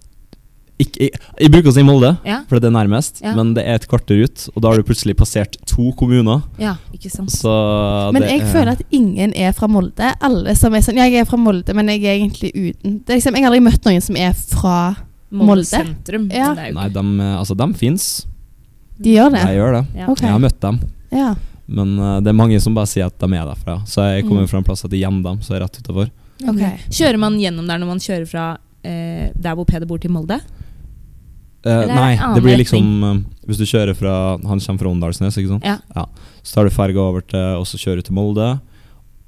Speaker 3: ikke, jeg, jeg bruker å si Molde,
Speaker 2: Ja,
Speaker 3: for det er nærmest,
Speaker 2: Ja.
Speaker 3: men det er et kvarter ut, og da har du plutselig passert to kommuner.
Speaker 2: ja ikke sant.
Speaker 3: Så
Speaker 1: Men
Speaker 3: det
Speaker 1: jeg
Speaker 3: er-
Speaker 1: føler at ingen er fra Molde. Alle som er sånn Ja, jeg er fra Molde, men jeg er egentlig uten det er liksom, Jeg har aldri møtt noen som er fra Molde?
Speaker 2: Molde sentrum.
Speaker 1: Ja.
Speaker 2: men det er jo
Speaker 3: Nei, dem, eh, altså, dem fins.
Speaker 1: De gjør det.
Speaker 3: Jeg gjør det.
Speaker 2: ikke- Ja.
Speaker 1: Sånn, Ok.
Speaker 3: Jeg har møtt dem.
Speaker 1: Ja.
Speaker 3: Men eh, det er mange som bare sier at de er derfra. Så jeg kommer
Speaker 1: Mm.
Speaker 3: fra en plass som heter Gjendam, så jeg er rett utafor.
Speaker 1: Ok.
Speaker 2: Kjører man gjennom der når man kjører fra eh, der hvor Peder bor, til Molde?
Speaker 3: Eh,
Speaker 2: Eller er det
Speaker 3: nei,
Speaker 2: annen
Speaker 3: det blir liksom eh, Hvis du kjører fra Han kommer fra Åndalsnes, ikke sant?
Speaker 2: Ja.
Speaker 3: Så tar du ferga over til Og så kjører du til Molde,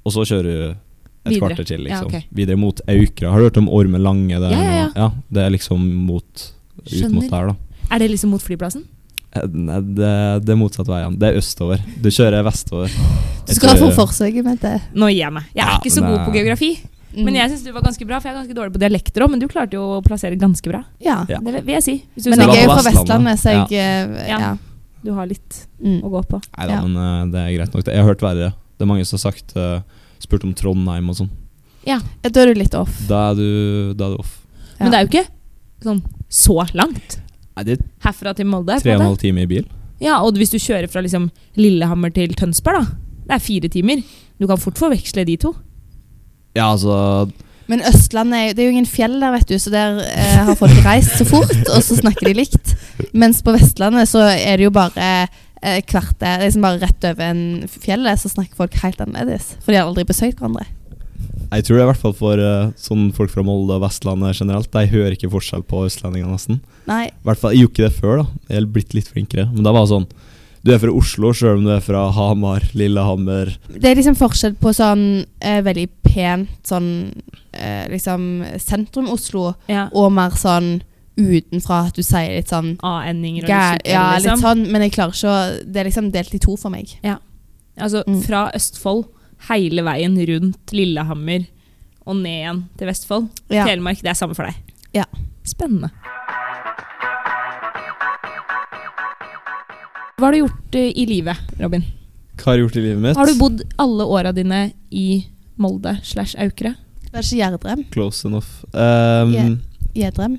Speaker 3: og så kjører du et
Speaker 2: Videre.
Speaker 3: kvarter til,
Speaker 2: Ja,
Speaker 3: liksom.
Speaker 2: ok.
Speaker 3: Videre mot Aukra. Har du hørt om Ormen Lange? Det er,
Speaker 2: Ja, ja, ja.
Speaker 3: noe- det er liksom mot ut mot
Speaker 2: Skjønner.
Speaker 3: der, da.
Speaker 2: Er det liksom mot flyplassen?
Speaker 3: Eh, Nei, det, det er motsatt veien. Det er østover. Du kjører vestover.
Speaker 1: Du
Speaker 3: Jeg
Speaker 1: skal
Speaker 3: tror-
Speaker 1: få forsøket med det. Mm.
Speaker 2: Nå gir jeg meg. Mm. Jeg er
Speaker 3: Ja,
Speaker 2: ikke så
Speaker 3: men eh,
Speaker 2: god
Speaker 3: det-
Speaker 2: på geografi, men jeg syns du var ganske bra, for jeg er ganske dårlig på dialekter òg, men du klarte jo å plassere ganske bra.
Speaker 1: Ja.
Speaker 3: Ja.
Speaker 2: Det vil- vil jeg si. Hvis du,
Speaker 1: Men
Speaker 3: Så
Speaker 2: sa
Speaker 1: jeg er jo
Speaker 3: på
Speaker 1: fra Vestlandet,
Speaker 3: Vestlandet,
Speaker 1: så jeg eh,
Speaker 2: Ja.
Speaker 1: Ja.
Speaker 2: du har litt
Speaker 1: Mm.
Speaker 2: å gå på.
Speaker 3: Nei da,
Speaker 1: Ja.
Speaker 3: men eh, det er greit nok. det. Jeg har hørt verre. Det er mange som har sagt eh, Spurt om Trondheim og sånn.
Speaker 1: Da er du litt off.
Speaker 3: Da er du, da er du off.
Speaker 1: Ja.
Speaker 2: Men det er jo ikke sånn så langt
Speaker 3: Nei, det er
Speaker 2: herfra til Molde. på
Speaker 3: tre
Speaker 2: en
Speaker 3: og en
Speaker 2: måte.
Speaker 3: halv time i bil.
Speaker 2: Ja, og hvis du kjører fra liksom Lillehammer til Tønsberg, da. Det er fire timer. Du kan fort forveksle de to.
Speaker 3: Ja, altså
Speaker 1: Men Østlandet er jo, det er jo ingen fjell der, vet du, så der eh, har folk reist så fort, og så snakker de likt. Mens på Vestlandet så er det jo bare eh, kvarter, liksom bare rett over en fjellet, så snakker folk helt annerledes. For de har aldri besøkt hverandre.
Speaker 3: Jeg tror det er i hvert fall for eh, sånn folk fra Molde og Vestlandet generelt. De hører ikke forskjell på østlendingene, nesten.
Speaker 1: Nei.
Speaker 3: I hvert fall, Jeg gjorde ikke det før, da. Jeg er blitt litt flinkere. Men da var det sånn Du er fra Oslo, sjøl om du er fra Hamar, Lillehammer
Speaker 1: Det er liksom forskjell på sånn eh, veldig pent sånn eh, liksom sentrum Oslo,
Speaker 2: Ja.
Speaker 1: og mer sånn utenfra at du sier litt sånn
Speaker 2: A-endinger og
Speaker 1: gæ-
Speaker 2: litt sykere,
Speaker 1: Ja,
Speaker 2: liksom.
Speaker 1: litt sånn, men jeg klarer ikke å Det er liksom delt i to for meg.
Speaker 2: Altså
Speaker 1: Mm.
Speaker 2: fra Østfold hele veien rundt Lillehammer og ned igjen til Vestfold.
Speaker 1: Ja.
Speaker 2: Telemark, det er samme for deg.
Speaker 1: Ja.
Speaker 2: Spennende. Hva har du gjort eh, i livet, Robin?
Speaker 3: Hva har jeg gjort i livet mitt?
Speaker 2: Har du bodd alle åra dine i Molde slash Aukra?
Speaker 1: Det er ikke Gjerdrem.
Speaker 3: Close enough. Um,
Speaker 1: Yeah. Gjedrem.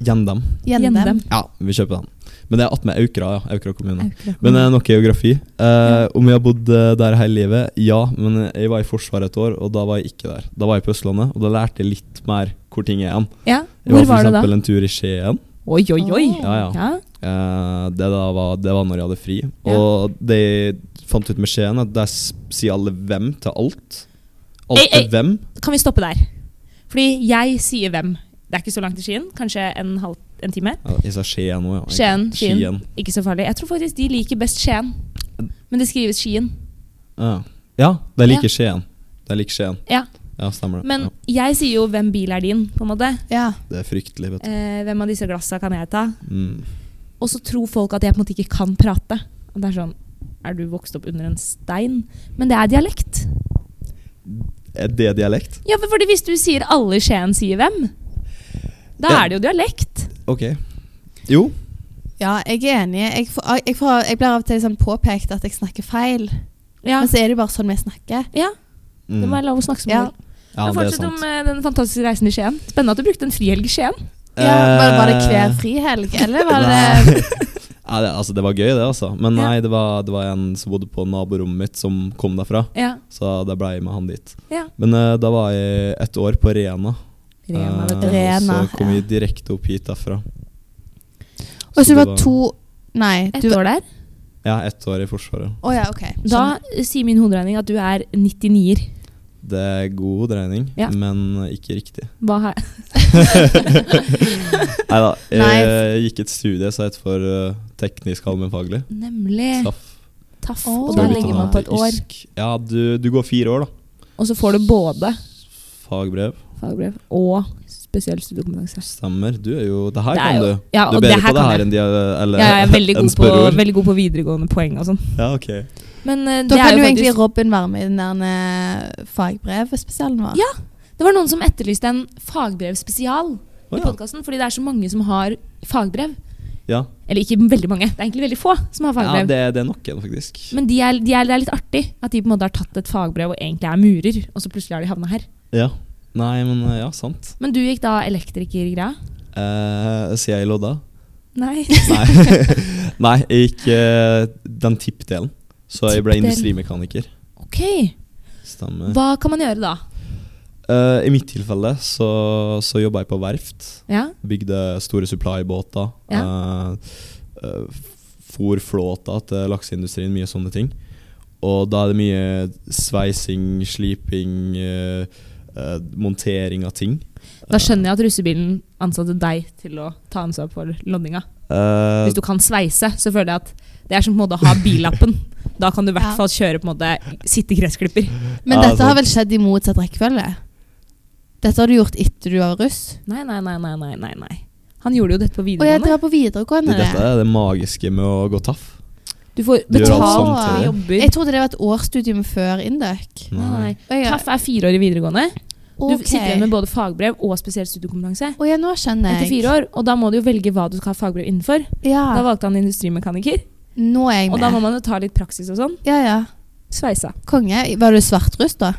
Speaker 3: Gjendam.
Speaker 1: Gjendem.
Speaker 3: Ja, vi kjøper den. Men det er attmed Aukra, ja. Aukra kommune.
Speaker 2: Aukra.
Speaker 3: Men eh, nok geografi. Eh, Om jeg har bodd eh, der hele livet? Ja, men eh, jeg var i Forsvaret et år, og da var jeg ikke der. Da var jeg på Østlandet, og da lærte jeg litt mer hvor ting er igjen.
Speaker 2: Ja,
Speaker 3: Jeg
Speaker 2: hvor var
Speaker 3: var for
Speaker 2: du da?
Speaker 3: eksempel en tur i Skien.
Speaker 2: Oi, oi, oi.
Speaker 1: Åh.
Speaker 3: Ja, ja.
Speaker 2: Ja.
Speaker 3: Eh, det, da var, det var når jeg hadde fri. Og det jeg fant ut med Skien, at der s- sier alle hvem til alt. Alt
Speaker 2: Ei, ei.
Speaker 3: til hvem.
Speaker 2: Kan vi stoppe der? Fordi jeg sier hvem. Det er ikke så langt til Skien. Kanskje en, halv, en time.
Speaker 3: Ja, jeg sa Skien òg, ja. egentlig.
Speaker 2: Skien, Skien.
Speaker 3: Skien.
Speaker 2: Ikke så farlig. Jeg tror faktisk de liker best Skien. Men det skrives Skien.
Speaker 3: Ja. ja, de
Speaker 2: Ja.
Speaker 3: liker Skien. De liker Skien.
Speaker 2: Ja.
Speaker 3: Ja, stemmer det.
Speaker 2: Men
Speaker 3: ja.
Speaker 2: jeg sier jo 'hvem bil er din'? på en måte.
Speaker 1: Ja.
Speaker 3: Det er fryktelig, vet du.
Speaker 2: Eh, hvem av disse glassa kan jeg ta?
Speaker 3: Mm.
Speaker 2: Og så tror folk at jeg på en måte ikke kan prate. Og det er sånn Er du vokst opp under en stein? Men det er dialekt.
Speaker 3: Er det dialekt?
Speaker 2: Ja, for fordi hvis du sier 'alle i Skien sier hvem', da
Speaker 3: Ja.
Speaker 2: er det jo dialekt.
Speaker 3: Ok. Jo.
Speaker 1: Ja, jeg er enig. Jeg, får, jeg, får, jeg blir av og til sånn påpekt at jeg snakker feil.
Speaker 2: Ja.
Speaker 1: Men så er det jo bare sånn vi snakker.
Speaker 2: ja
Speaker 3: Mm.
Speaker 2: det må være lov å snakke som
Speaker 1: Ja.
Speaker 2: man vil.
Speaker 3: Ja,
Speaker 2: Men
Speaker 3: det er
Speaker 2: Fortsett
Speaker 3: sant.
Speaker 2: om eh, den fantastiske reisen i Skien. Spennende at du brukte en frihelg i Skien.
Speaker 1: Ja, var, var det hver
Speaker 3: Eh,
Speaker 1: frihelg, eller var
Speaker 3: Nei.
Speaker 1: det
Speaker 3: Ja, det, altså, det var gøy, det, altså. Men
Speaker 2: Ja.
Speaker 3: nei, det var, det var en som bodde på naborommet mitt, som kom derfra.
Speaker 2: Ja.
Speaker 3: Så da ble jeg med han dit.
Speaker 2: Ja.
Speaker 3: Men eh, da var jeg et år på Rena.
Speaker 2: Rena, vet
Speaker 1: du.
Speaker 3: Eh, og
Speaker 1: Rena,
Speaker 3: så kom
Speaker 1: ja.
Speaker 3: vi direkte opp hit derfra.
Speaker 1: Og så du
Speaker 3: det
Speaker 1: var to Nei.
Speaker 2: du.
Speaker 1: Du,
Speaker 2: Et år der.
Speaker 3: Ja, ett år i Forsvaret.
Speaker 1: Å ja, OK. Sånn.
Speaker 2: Da eh, sier min hoderegning at du er 99-er.
Speaker 3: Det er god dreining,
Speaker 2: Ja.
Speaker 3: men ikke riktig.
Speaker 2: Hva har
Speaker 3: Nei da. eh,
Speaker 1: Nei.
Speaker 3: Jeg gikk et studie som het for eh, teknisk allmennfaglig.
Speaker 2: Nemlig
Speaker 3: Taff.
Speaker 2: taff.
Speaker 1: Åh.
Speaker 2: Og
Speaker 1: Så
Speaker 2: da
Speaker 1: er det
Speaker 2: legger
Speaker 1: litt
Speaker 2: man på et år.
Speaker 3: Isk. Ja, du, du går fire år, da.
Speaker 2: Og så får du både
Speaker 3: Fagbrev.
Speaker 2: fagbrev og spesiell studiekompetanse.
Speaker 3: Stemmer. Du er jo Det her
Speaker 2: Det er
Speaker 3: kan
Speaker 2: jo-
Speaker 3: du.
Speaker 2: ja, og
Speaker 3: du er
Speaker 2: det
Speaker 3: bedre
Speaker 2: her
Speaker 3: på det
Speaker 2: kan
Speaker 3: her
Speaker 2: jeg.
Speaker 3: enn de, eller,
Speaker 2: Ja, jeg er veldig
Speaker 3: enn
Speaker 2: god, på,
Speaker 3: spørreord.
Speaker 2: veldig god på videregående poeng og sånn.
Speaker 3: Ja, ok.
Speaker 2: Men eh,
Speaker 1: Da
Speaker 2: det
Speaker 1: kan
Speaker 2: er
Speaker 1: jo
Speaker 2: jo
Speaker 1: egentlig
Speaker 2: faktisk
Speaker 1: Robin være med i den der eh, fagbrevspesialen vår.
Speaker 2: Ja. Det var noen som etterlyste en fagbrevspesial
Speaker 3: Å,
Speaker 2: i podkasten, fordi det er så mange som har fagbrev.
Speaker 3: ja.
Speaker 2: Eller ikke veldig mange, det er egentlig veldig få som har
Speaker 3: ja. ja
Speaker 2: fagbrev.
Speaker 3: det, det er nok en, faktisk.
Speaker 2: Men de er, de er, det er litt artig at de på en måte har tatt et fagbrev og egentlig er murer, og så plutselig har de havna her.
Speaker 3: Ja. Nei, men eh, ja, sant.
Speaker 2: Men du gikk da elektrikergreia?
Speaker 3: Eh, sier jeg i lodda?
Speaker 2: Nei.
Speaker 3: Nei. Nei, jeg gikk eh, den tippdelen. Så jeg ble
Speaker 2: Tippdelen.
Speaker 3: industrimekaniker.
Speaker 2: Ok.
Speaker 3: Stemmer.
Speaker 2: Hva kan man gjøre da?
Speaker 3: Eh, I mitt tilfelle så, så jobba jeg på verft.
Speaker 2: Ja.
Speaker 3: Bygde store supply-båter. eh, eh, for flåta til lakseindustrien, mye sånne ting. Og da er det mye sveising, sliping, eh, eh, montering av ting.
Speaker 2: Da skjønner jeg at russebilen ansatte deg til å ta ansvar for loddinga.
Speaker 3: Eh,
Speaker 2: Hvis du kan sveise, så føler jeg at det er som på en måte å ha billappen. Da kan du i hvert
Speaker 1: Ja.
Speaker 2: fall kjøre på en måte sitte i gressklipper.
Speaker 1: Men
Speaker 3: Ja,
Speaker 1: dette har
Speaker 3: sant.
Speaker 1: vel skjedd i motsatt rekkefølge? Dette har du gjort etter du var russ?
Speaker 2: Nei, nei, nei, nei, nei, nei, nei. Han gjorde jo dette på
Speaker 1: Å ja,
Speaker 2: videregående.
Speaker 1: dere var på videregående.
Speaker 3: det, dette er det magiske med å gå taff.
Speaker 2: Du får
Speaker 3: Du gjør alt
Speaker 2: betalt
Speaker 1: samtidig.
Speaker 2: for jobber.
Speaker 1: Jeg trodde det var et årsstudium før Induc.
Speaker 2: Nei, nei.
Speaker 1: Å ja,
Speaker 2: TAF er fire år i videregående. Du
Speaker 1: ok.
Speaker 2: sitter igjen med både fagbrev og spesiell studiekompetanse.
Speaker 1: Å ja, nå skjønner jeg.
Speaker 2: Etter fire år, og da må du jo velge hva du skal ha fagbrev innenfor. Da
Speaker 1: Ja,
Speaker 2: valgte han industrimekaniker,
Speaker 1: nå er jeg
Speaker 2: og da må
Speaker 1: med.
Speaker 2: man jo ta litt praksis og sånn.
Speaker 1: Ja, ja.
Speaker 2: Sveisa.
Speaker 1: Konge. Var du svartruss, da?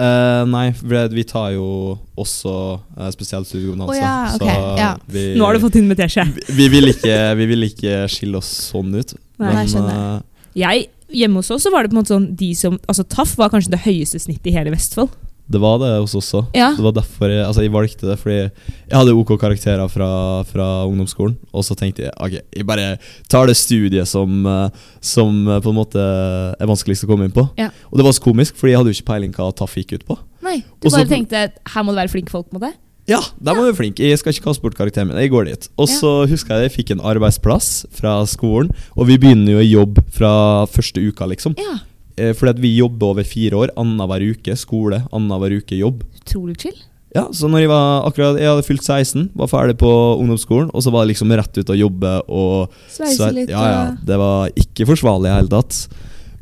Speaker 3: Eh, nei, for det- vi tar jo også eh, spesiell studiekompetanse.
Speaker 1: Å ja, ok,
Speaker 3: Så
Speaker 1: ja.
Speaker 3: vi,
Speaker 2: Nå har du fått inn med teskje.
Speaker 3: vi, vi, vil ikke, vi vil ikke skille oss sånn ut.
Speaker 2: Nei,
Speaker 1: jeg skjønner.
Speaker 3: eh,
Speaker 2: Jeg, hjemme hos oss så var det på en måte sånn de som Altså TAF var kanskje det høyeste snittet i hele Vestfold.
Speaker 3: det var det hos oss også.
Speaker 2: Ja.
Speaker 3: Det var derfor jeg, altså jeg valgte det, fordi jeg hadde OK karakterer fra, fra ungdomsskolen. Og så tenkte jeg ok, jeg bare tar det studiet som, eh, som eh, på en måte er vanskeligst å komme inn på.
Speaker 2: Ja.
Speaker 3: Og det var så komisk, fordi jeg hadde jo ikke peiling hva TAF gikk ut på.
Speaker 2: Nei, du
Speaker 3: Og så-
Speaker 2: bare tenkte her må det være flinke folk, på en måte.
Speaker 3: Ja, der var du flink. Jeg skal ikke kaste bort karakteren min. Jeg går dit. Og så husker jeg jeg fikk en arbeidsplass fra skolen, og vi begynner jo i jobb fra første uka, liksom.
Speaker 2: Ja,
Speaker 3: Eh, Fordi at vi jobber over fire år, annenhver uke skole, annenhver uke jobb.
Speaker 2: utrolig chill.
Speaker 3: Ja, så når jeg var akkurat Jeg hadde fylt 16, var ferdig på ungdomsskolen, og så var det liksom rett ut og jobbe og
Speaker 2: Sveise
Speaker 3: Så-
Speaker 2: litt. eh,
Speaker 3: Ja, ja,
Speaker 2: og-
Speaker 3: det var ikke forsvarlig i hele tatt.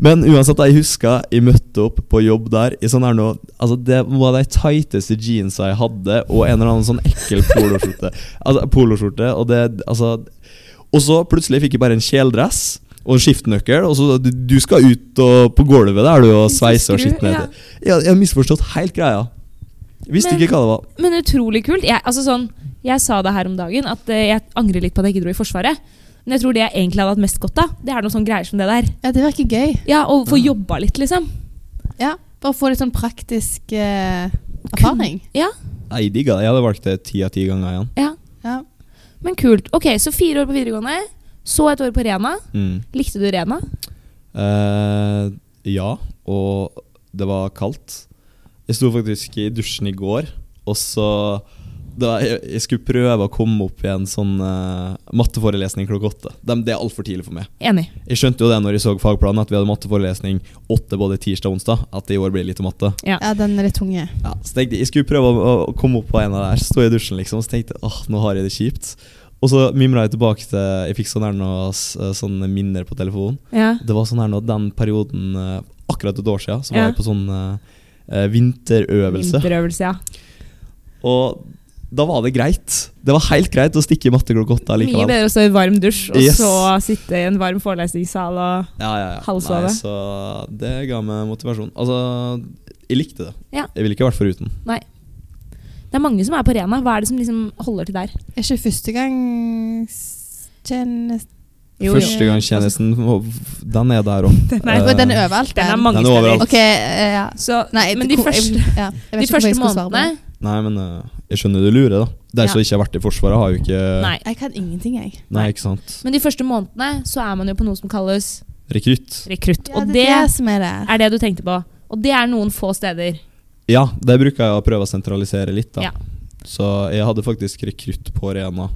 Speaker 3: Men uansett, jeg husker jeg møtte opp på jobb der i sånn her nå Altså, det var de tighteste jeansa jeg hadde, og en eller annen sånn ekkel poloskjorte. Altså, poloskjorte, og det Altså Og så plutselig fikk jeg bare en kjeledress og en skiftenøkkel, og så Du, du skal ut og på gulvet der, du, og sveise og
Speaker 2: Skru,
Speaker 3: skitne
Speaker 2: ja.
Speaker 3: etter. Jeg, jeg har misforstått helt greia. Visste
Speaker 2: Men-
Speaker 3: ikke hva det var.
Speaker 2: Men utrolig kult. Jeg, altså sånn, jeg sa det her om dagen, at eh, jeg angrer litt på at jeg ikke dro i Forsvaret. Men jeg tror det jeg egentlig hadde hatt mest godt av, det er noen sånne greier som det der.
Speaker 1: Ja, det virker gøy.
Speaker 2: Ja, Å få jobba litt, liksom.
Speaker 1: Ja, Bare få litt sånn praktisk eh, erfaring.
Speaker 2: Ja,
Speaker 3: Nei, Jeg digga det. Jeg hadde valgt det ti av ti ganger igjen.
Speaker 2: ja.
Speaker 1: Ja.
Speaker 2: Men kult. Ok, Så fire år på videregående, så et år på Rena.
Speaker 3: Mm.
Speaker 2: Likte du Rena?
Speaker 3: Eh, ja, og det var kaldt. Jeg sto faktisk i dusjen i går, og så da jeg, jeg skulle prøve å komme opp i en sånn eh, matteforelesning klokka åtte. Dem- det er altfor tidlig for meg.
Speaker 2: Enig.
Speaker 3: Jeg skjønte jo det når jeg så fagplanen, at vi hadde matteforelesning åtte både tirsdag og onsdag. At det i år blir lite matte.
Speaker 1: ja, den er litt tunge.
Speaker 3: Ja, så tenkte jeg, jeg skulle prøve å, å komme opp på en av der Stå i dusjen liksom Så tenkte jeg, åh, nå har jeg det kjipt Og så mimret jeg tilbake til Jeg fikk sånn her noe, s- sånne minner på telefonen
Speaker 2: Ja.
Speaker 3: det var sånn her nå, den perioden eh, Akkurat et år siden Så var
Speaker 2: Ja.
Speaker 3: jeg på sånn eh, eh, vinterøvelse
Speaker 2: Vinterøvelse, ja.
Speaker 3: Og da var det greit Det var helt greit å stikke i matte klokka åtte
Speaker 2: Mye
Speaker 3: likevel
Speaker 2: bedre å stå i varm dusj og
Speaker 3: Yes.
Speaker 2: så sitte i en varm forelesningssal og
Speaker 3: ja, ja, ja.
Speaker 2: Halvsove.
Speaker 3: Nei, så det ga meg motivasjon Altså, jeg likte det
Speaker 2: Ja.
Speaker 3: Jeg ville ikke vært foruten
Speaker 2: Det er mange som er på Rena. Hva er det som liksom holder til der?
Speaker 1: Er ikke førstegangstjeneste Jo, jo.
Speaker 3: Førstegangstjenesten, den er der også
Speaker 2: Den
Speaker 3: Eh,
Speaker 1: Nei, den er overalt.
Speaker 2: Den er
Speaker 1: den.
Speaker 2: mange
Speaker 3: Den er
Speaker 2: steder.
Speaker 3: overalt.
Speaker 1: Ok, eh, ja.
Speaker 2: Så,
Speaker 1: Nei,
Speaker 2: men
Speaker 1: det-
Speaker 2: de
Speaker 1: hvor- jeg-
Speaker 2: første,
Speaker 1: ja, jeg vet
Speaker 2: de
Speaker 1: ikke hvorfor jeg
Speaker 2: første
Speaker 1: skulle svare på
Speaker 2: månedene
Speaker 1: det.
Speaker 3: Nei, men eh, jeg skjønner du lurer, da. De som
Speaker 1: Ja.
Speaker 3: ikke har vært i Forsvaret, har jo ikke
Speaker 2: Nei.
Speaker 1: Jeg kan ingenting, jeg.
Speaker 3: Nei, ikke sant?
Speaker 2: Men de første månedene så er man jo på noe som kalles
Speaker 3: Rekrutt.
Speaker 2: rekrutt.
Speaker 1: Ja,
Speaker 2: og
Speaker 1: det
Speaker 2: det
Speaker 1: er det som er det.
Speaker 2: er det du tenkte på. Og det er noen få steder.
Speaker 3: Ja, det bruker jeg å prøve å sentralisere litt, da.
Speaker 2: Ja.
Speaker 3: Så jeg hadde faktisk rekrutt på Rena.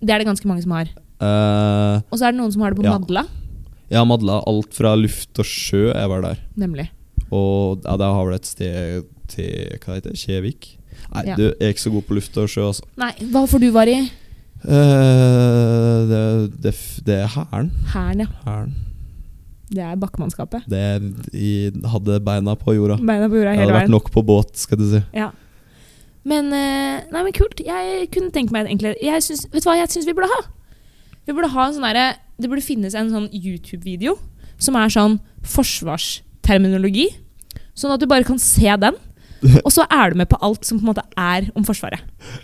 Speaker 2: Det er det ganske mange som har.
Speaker 3: Eh,
Speaker 2: Og så er det noen som har det på
Speaker 3: Ja.
Speaker 2: Madla.
Speaker 3: jeg har madla alt fra luft og sjø jeg var der.
Speaker 2: Nemlig.
Speaker 3: Og ja, det har vel et sted til Hva heter det? Kjevik? Nei,
Speaker 2: Ja.
Speaker 3: du jeg er ikke så god på luft og sjø, altså.
Speaker 2: Nei, hva for du var i?
Speaker 3: Eh, det, det, det er Hæren.
Speaker 2: Hæren, ja.
Speaker 3: Hæren.
Speaker 2: Det er bakkemannskapet.
Speaker 3: Det jeg hadde beina på jorda.
Speaker 2: Beina på jorda
Speaker 3: Jeg
Speaker 2: hele
Speaker 3: hadde vært
Speaker 2: veien.
Speaker 3: nok på båt, skal du si.
Speaker 2: Ja. Men eh, Nei, men kult. Jeg kunne tenke meg en enklere jeg syns, Vet du hva jeg syns vi burde ha? Vi burde ha en sånn derre Det burde finnes en sånn YouTube-video som er sånn forsvarsterminologi. Sånn at du bare kan se den, og så er du med på alt som på en måte er om Forsvaret.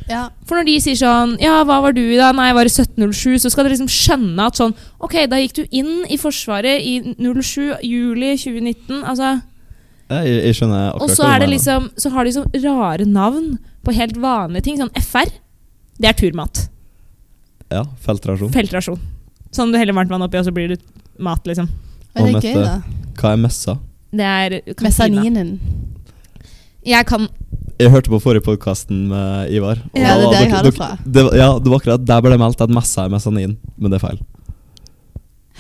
Speaker 1: Ja.
Speaker 2: For når de sier sånn Ja, hva var du i da? Nei, jeg var i 1707. Så skal dere liksom skjønne at sånn Ok, da gikk du inn i Forsvaret i 07. juli 2019. Altså
Speaker 3: Jeg, jeg skjønner akkurat
Speaker 2: og så,
Speaker 3: hva du
Speaker 2: er det
Speaker 3: mener.
Speaker 2: liksom, så har de sånn rare navn på helt vanlige ting. Sånn FR, det er turmat.
Speaker 3: Ja, feltrasjon.
Speaker 2: Feltrasjon. Sånn du heller varmt vann oppi, og så blir det mat, liksom.
Speaker 1: Men det
Speaker 3: Og
Speaker 1: er gøy,
Speaker 3: Mette.
Speaker 1: da.
Speaker 3: Hva er messa?
Speaker 2: Det er kantina.
Speaker 1: Mesaninen.
Speaker 2: Jeg kan
Speaker 3: Jeg hørte på forrige podkasten med Ivar. og
Speaker 1: Ja,
Speaker 3: da
Speaker 1: det er
Speaker 3: var
Speaker 1: der jeg
Speaker 3: dere-
Speaker 1: har det
Speaker 3: dere-
Speaker 1: fra.
Speaker 3: det var- ja, det var akkurat der ble det meldt at messa er messanin, men det er feil.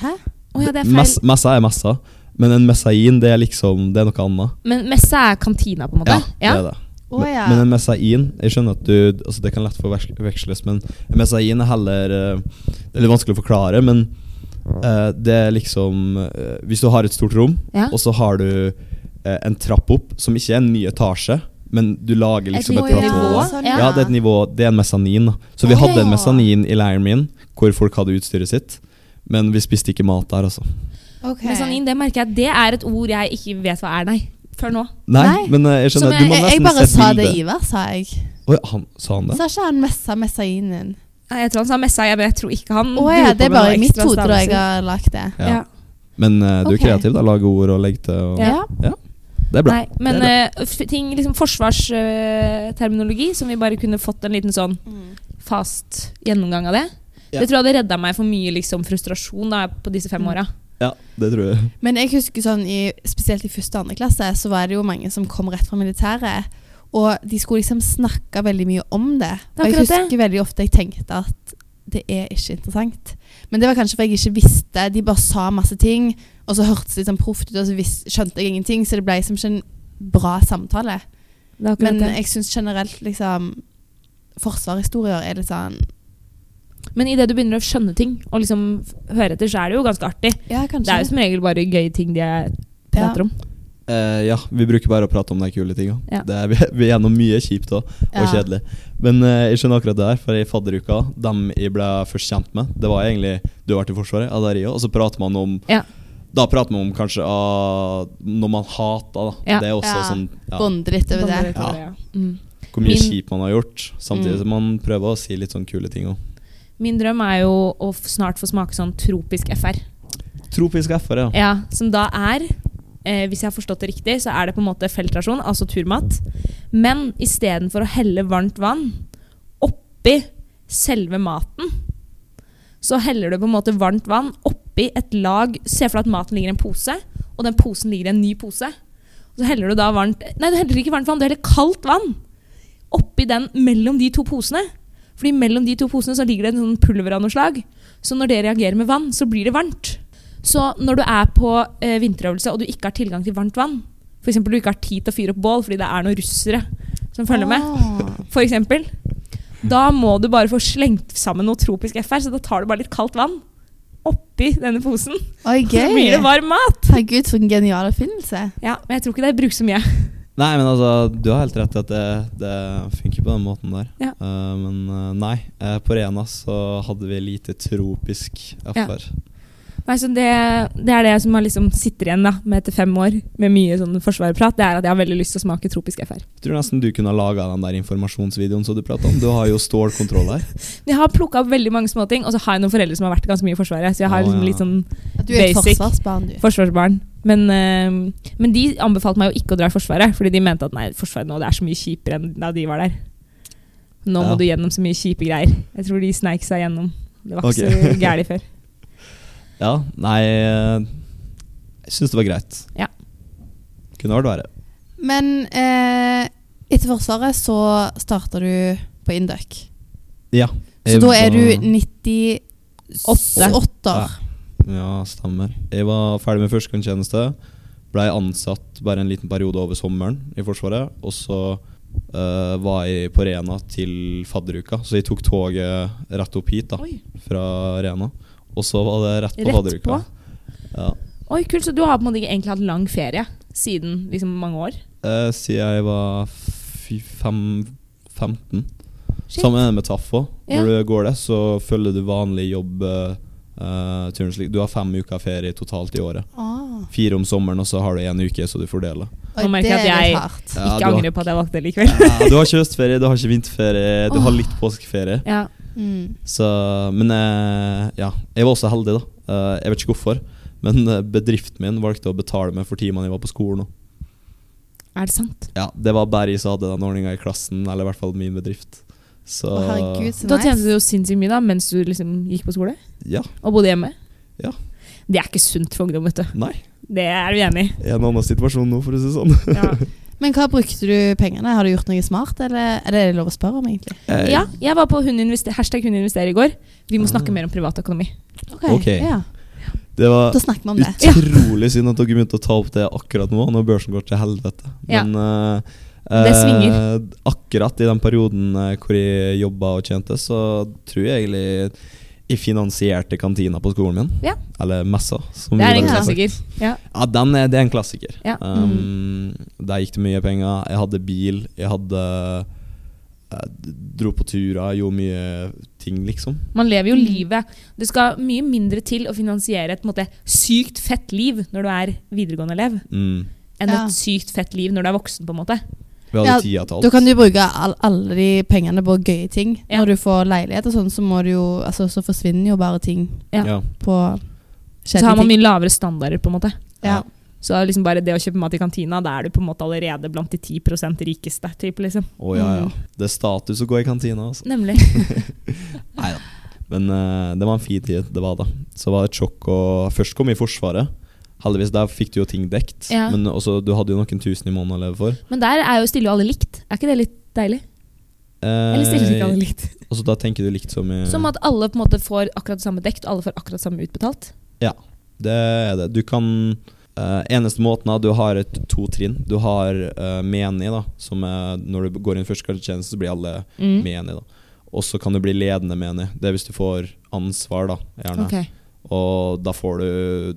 Speaker 1: Hæ?
Speaker 2: Å ja, det er feil.
Speaker 3: Mess, messa er messa, men en messain det er liksom Det er noe annet.
Speaker 2: Men messe er kantina, på en måte. Ja,
Speaker 3: det er det.
Speaker 1: Å
Speaker 3: Men-
Speaker 1: ja.
Speaker 3: Men en messain Jeg skjønner at du altså Det kan lett forveksles, men en messain er heller eh, Det er litt vanskelig å forklare, men eh, det er liksom eh, Hvis du har et stort rom,
Speaker 2: Ja.
Speaker 3: og så har du eh, en trapp opp, som ikke er en ny etasje, men du lager liksom
Speaker 2: nivå,
Speaker 3: et
Speaker 2: ja.
Speaker 3: platå. Ja,
Speaker 2: Ja.
Speaker 3: det er et nivå, det er en mezzanin. da. Så vi
Speaker 1: Ok.
Speaker 3: hadde en mezzanin i leiren min, hvor folk hadde utstyret sitt. Men vi spiste ikke mat der, altså.
Speaker 1: Ok.
Speaker 2: Mesanin, sånn det merker jeg. Det er et ord jeg ikke vet hva er, nei. Før nå.
Speaker 3: Nei,
Speaker 1: Nei.
Speaker 3: men eh, jeg
Speaker 1: Som
Speaker 3: skjønner,
Speaker 1: jeg,
Speaker 3: du må
Speaker 1: jeg, jeg
Speaker 3: nesten
Speaker 1: bare
Speaker 3: se
Speaker 1: sa
Speaker 3: et
Speaker 1: det
Speaker 3: bilde.
Speaker 1: Ivar, sa jeg.
Speaker 3: Oi, han, sa han det?
Speaker 1: Sa ikke han messa messainen?
Speaker 2: Nei, Jeg tror han sa messa, jeg, men jeg tror ikke han
Speaker 1: Å ja,
Speaker 2: dro Mm. på
Speaker 1: det er
Speaker 2: med noen
Speaker 1: bare i mitt
Speaker 2: ekstra
Speaker 1: hode da jeg
Speaker 2: stavelser.
Speaker 1: har lagt det.
Speaker 3: Ja.
Speaker 2: Ja.
Speaker 3: Men eh, du er
Speaker 1: Ok.
Speaker 3: kreativ, da. Lage ord og legge til. Og,
Speaker 2: Ja.
Speaker 3: Det er bra.
Speaker 2: Nei, men
Speaker 3: Det er
Speaker 2: eh, f- ting, liksom forsvarsterminologi som vi bare kunne fått en liten sånn fast gjennomgang av det.
Speaker 3: Ja.
Speaker 2: Det tror jeg hadde redda meg for mye liksom, frustrasjon da, på disse fem
Speaker 1: Mm.
Speaker 2: åra.
Speaker 3: Ja, det tror jeg.
Speaker 1: Men jeg husker sånn, i, spesielt i første og andre klasse, så var det jo mange som kom rett fra militæret. Og de skulle liksom snakke veldig mye om det.
Speaker 2: Det er
Speaker 1: Og jeg
Speaker 2: akkurat det.
Speaker 1: husker veldig ofte jeg tenkte at det er ikke interessant. Men det var kanskje fordi jeg ikke visste. De bare sa masse ting, og så hørtes det litt sånn proft ut, og så vis, skjønte jeg ingenting. Så det ble liksom ikke en bra samtale.
Speaker 2: Det er akkurat
Speaker 1: Men
Speaker 2: det.
Speaker 1: jeg syns generelt liksom Forsvarshistorier er litt sånn
Speaker 2: Men idet du begynner å skjønne ting og liksom f- høre etter, så er det jo ganske artig.
Speaker 1: Ja, kanskje.
Speaker 2: Det er jo som regel bare gøye ting de prater om.
Speaker 3: Eh, ja, vi bruker bare å prate om de kule tinga.
Speaker 2: Ja.
Speaker 3: Det er, vi, vi er gjennom mye kjipt òg, og
Speaker 1: Ja.
Speaker 3: kjedelig. Men eh, jeg skjønner akkurat det der, for i fadderuka, dem jeg ble først kjent med, det var egentlig du har vært i Forsvaret, ja, det er jeg òg, og så prater man om
Speaker 2: Ja.
Speaker 3: Da prater man om kanskje ah, når man hater, da.
Speaker 2: Ja.
Speaker 3: Det er
Speaker 1: Ja.
Speaker 3: også sånn ja,
Speaker 1: Bonde litt over det.
Speaker 2: Ja. Mm.
Speaker 3: Hvor mye
Speaker 2: Min-
Speaker 3: kjipt man har gjort, samtidig
Speaker 1: Mm.
Speaker 3: som man prøver å si litt sånn kule ting òg.
Speaker 2: Min drøm er jo å f- snart få smake sånn tropisk FR.
Speaker 3: Tropisk FR, ja.
Speaker 2: Ja, Som da er, eh, hvis jeg har forstått det riktig, så er det på en måte feltrasjon, altså turmat. Men istedenfor å helle varmt vann oppi selve maten, så heller du på en måte varmt vann oppi et lag Se for deg at maten ligger i en pose, og den posen ligger i en ny pose. Og så heller du da varmt Nei, du heller ikke varmt vann, du heller kaldt vann oppi den mellom de to posene. Fordi mellom de to posene så ligger det en sånn pulver av noe slag. Så når det reagerer med vann, så blir det varmt. Så når du er på eh, vinterøvelse og du ikke har tilgang til varmt vann, f.eks. du ikke har tid til å fyre opp bål fordi det er noen russere som følger med,
Speaker 1: Åh.
Speaker 2: for eksempel, da må du bare få slengt sammen noe tropisk FR, så da tar du bare litt kaldt vann oppi denne posen.
Speaker 1: Oi,
Speaker 2: Så blir det
Speaker 1: gøy.
Speaker 2: varm mat.
Speaker 1: Herregud, for en genial oppfinnelse.
Speaker 2: Ja, men jeg tror ikke det brukes så mye.
Speaker 3: Nei, men altså, du har helt rett i at det, det funker på den måten der.
Speaker 2: Ja.
Speaker 3: Eh, men eh, nei, eh, på Rena så hadde vi lite tropisk FR.
Speaker 2: Nei, så det, det er det som har liksom sitter igjen da, med etter fem år med mye sånn forsvarsprat. Det er at jeg har veldig lyst til å smake tropisk FR.
Speaker 3: Jeg tror nesten du kunne ha laga den der informasjonsvideoen som du prata om. Du har jo stålkontroll her.
Speaker 2: Men Jeg har plukka opp veldig mange småting, og så har jeg noen foreldre som har vært ganske mye i Forsvaret. Så jeg har
Speaker 3: Å,
Speaker 2: liksom
Speaker 3: ja.
Speaker 2: litt sånn
Speaker 1: At du er et
Speaker 2: Basic.
Speaker 1: forsvarsbarn, du.
Speaker 2: forsvarsbarn. Men, eh, men de anbefalte meg jo ikke å dra i Forsvaret, fordi de mente at nei, Forsvaret nå det er så mye kjipere enn da de var der. Nå
Speaker 3: Ja.
Speaker 2: må du gjennom så mye kjipe greier. Jeg tror de sneik seg gjennom. Det var ikke
Speaker 3: Ok.
Speaker 2: så gærent før.
Speaker 3: Ja, nei eh, Jeg syns det var greit.
Speaker 2: Ja.
Speaker 3: Kunne vært verre.
Speaker 1: Men eh, etter Forsvaret så starter du på Induc.
Speaker 3: Ja.
Speaker 1: Så da er du
Speaker 3: Jeg
Speaker 1: 98 år.
Speaker 3: var- Ja, stemmer. Jeg var ferdig med førstegangstjeneste. Blei ansatt bare en liten periode over sommeren i Forsvaret. Og så eh, var jeg på Rena til fadderuka, så jeg tok toget rett opp hit da,
Speaker 2: Oi.
Speaker 3: fra Rena. Og så var det rett på
Speaker 2: Rett
Speaker 3: fadderuka.
Speaker 2: på?
Speaker 3: Ja.
Speaker 2: Oi, kult. Så du har på en måte ikke egentlig hatt lang ferie siden liksom mange år?
Speaker 3: Eh, siden jeg var fy- fem, 15.
Speaker 2: Shit.
Speaker 3: Sammen med det med TAF òg.
Speaker 2: Ja.
Speaker 3: Når du går det, så følger du vanlig jobb. eh, eh, turnus- du har fem uker ferie totalt i året.
Speaker 1: Ah.
Speaker 3: Fire om sommeren, og så har du én uke, så du fordeler.
Speaker 1: Oi,
Speaker 2: Nå merker
Speaker 1: det
Speaker 2: jeg
Speaker 1: er
Speaker 2: at
Speaker 1: litt
Speaker 2: Oh jeg-
Speaker 1: hardt.
Speaker 3: Ja,
Speaker 2: ikke
Speaker 3: du har-
Speaker 2: angre på at jeg valgte det likevel.
Speaker 3: Ja, du har ikke høstferie, du har ikke vinterferie, du har
Speaker 2: Åh.
Speaker 3: litt påskeferie.
Speaker 2: Ja.
Speaker 1: Mm.
Speaker 3: Så, men eh, ja, jeg var også heldig, da. Eh, jeg vet ikke hvorfor. Men eh, bedriften min valgte å betale meg for timene jeg var på skolen. også.
Speaker 2: Er det sant?
Speaker 3: Ja, det var bare jeg som hadde den ordninga i klassen, eller i hvert fall min bedrift. Så
Speaker 1: Å, herregud, så
Speaker 2: Da tjente du
Speaker 1: nice.
Speaker 2: jo sinnssykt mye da, mens du liksom gikk på skole
Speaker 3: ja.
Speaker 2: og bodde hjemme.
Speaker 3: Ja.
Speaker 2: Det er ikke sunt for ungdom, vet du.
Speaker 3: Nei.
Speaker 2: Det er du enig i.
Speaker 3: En annen situasjon nå, for å si det sånn.
Speaker 2: Ja.
Speaker 1: Men hva brukte du pengene? Har du gjort noe smart, eller eller er det lov å spørre om, egentlig?
Speaker 3: Eh,
Speaker 2: jeg var på hun investe- hashtag hun investerer i går. Vi må snakke mer om privatøkonomi.
Speaker 3: Ok.
Speaker 1: Ja.
Speaker 3: Det var
Speaker 1: Da snakker vi om det.
Speaker 3: utrolig synd at dere begynte å ta opp det akkurat nå, når børsen går til helvete.
Speaker 2: Ja.
Speaker 3: Men eh,
Speaker 2: Det
Speaker 3: eh,
Speaker 2: svinger.
Speaker 3: akkurat i den perioden eh, hvor jeg jobba og tjente, så tror jeg egentlig jeg finansierte kantina på skolen min.
Speaker 2: Ja.
Speaker 3: Eller messa. som
Speaker 2: Det
Speaker 3: vi
Speaker 2: er en
Speaker 3: bare-
Speaker 2: klassiker. Ja.
Speaker 3: Ja, den er, det er en klassiker.
Speaker 2: Ja. Mm.
Speaker 3: Um, der gikk det mye penger. Jeg hadde bil, jeg hadde jeg Dro på turer, gjorde mye ting, liksom.
Speaker 2: Man lever jo livet. Det skal mye mindre til å finansiere et på en måte, sykt fett liv når du er videregående elev,
Speaker 3: Mm.
Speaker 2: enn
Speaker 1: Ja.
Speaker 2: et sykt fett liv når du er voksen. på en måte.
Speaker 3: Vi hadde
Speaker 1: Ja,
Speaker 3: tida til alt.
Speaker 1: Da kan du bruke all, alle de pengene på gøye ting.
Speaker 2: Ja.
Speaker 1: Når du får leilighet og sånn, så, må du jo, altså, så forsvinner jo bare ting
Speaker 2: ja.
Speaker 3: Ja.
Speaker 1: på
Speaker 2: Så har man
Speaker 1: kjedelige ting.
Speaker 2: mye lavere standarder. på en måte.
Speaker 1: Ja.
Speaker 2: Så liksom bare det å kjøpe mat i kantina, da er du på en måte allerede blant de 10 rikeste. Typ, liksom.
Speaker 3: Å ja, ja.
Speaker 1: Mm.
Speaker 3: Det er status å gå i kantina, altså.
Speaker 2: Nemlig.
Speaker 3: Nei da. Men eh, det var en fin tid det var da. Så var det et sjokk å først komme i Forsvaret. Heldigvis, der fikk du jo ting dekt.
Speaker 2: Ja.
Speaker 3: Men også, du hadde jo noen tusen i måneden å leve for.
Speaker 2: Men der er jo stille jo alle likt. Er ikke det litt deilig?
Speaker 3: Eh,
Speaker 2: Eller stiller ikke alle likt?
Speaker 3: Og så da tenker du likt som i
Speaker 2: Som at alle på en måte får akkurat det samme dekt, og alle får akkurat samme utbetalt.
Speaker 3: Det er det. Du kan Eh, eneste måten er at du har et to trinn. Du har eh, menig, da, som er når du går inn førstegangstjeneste, så blir alle
Speaker 2: Mm.
Speaker 3: menig. da. Og så kan du bli ledende menig. Det er hvis du får ansvar, da, gjerne.
Speaker 2: Ok.
Speaker 3: Og da får du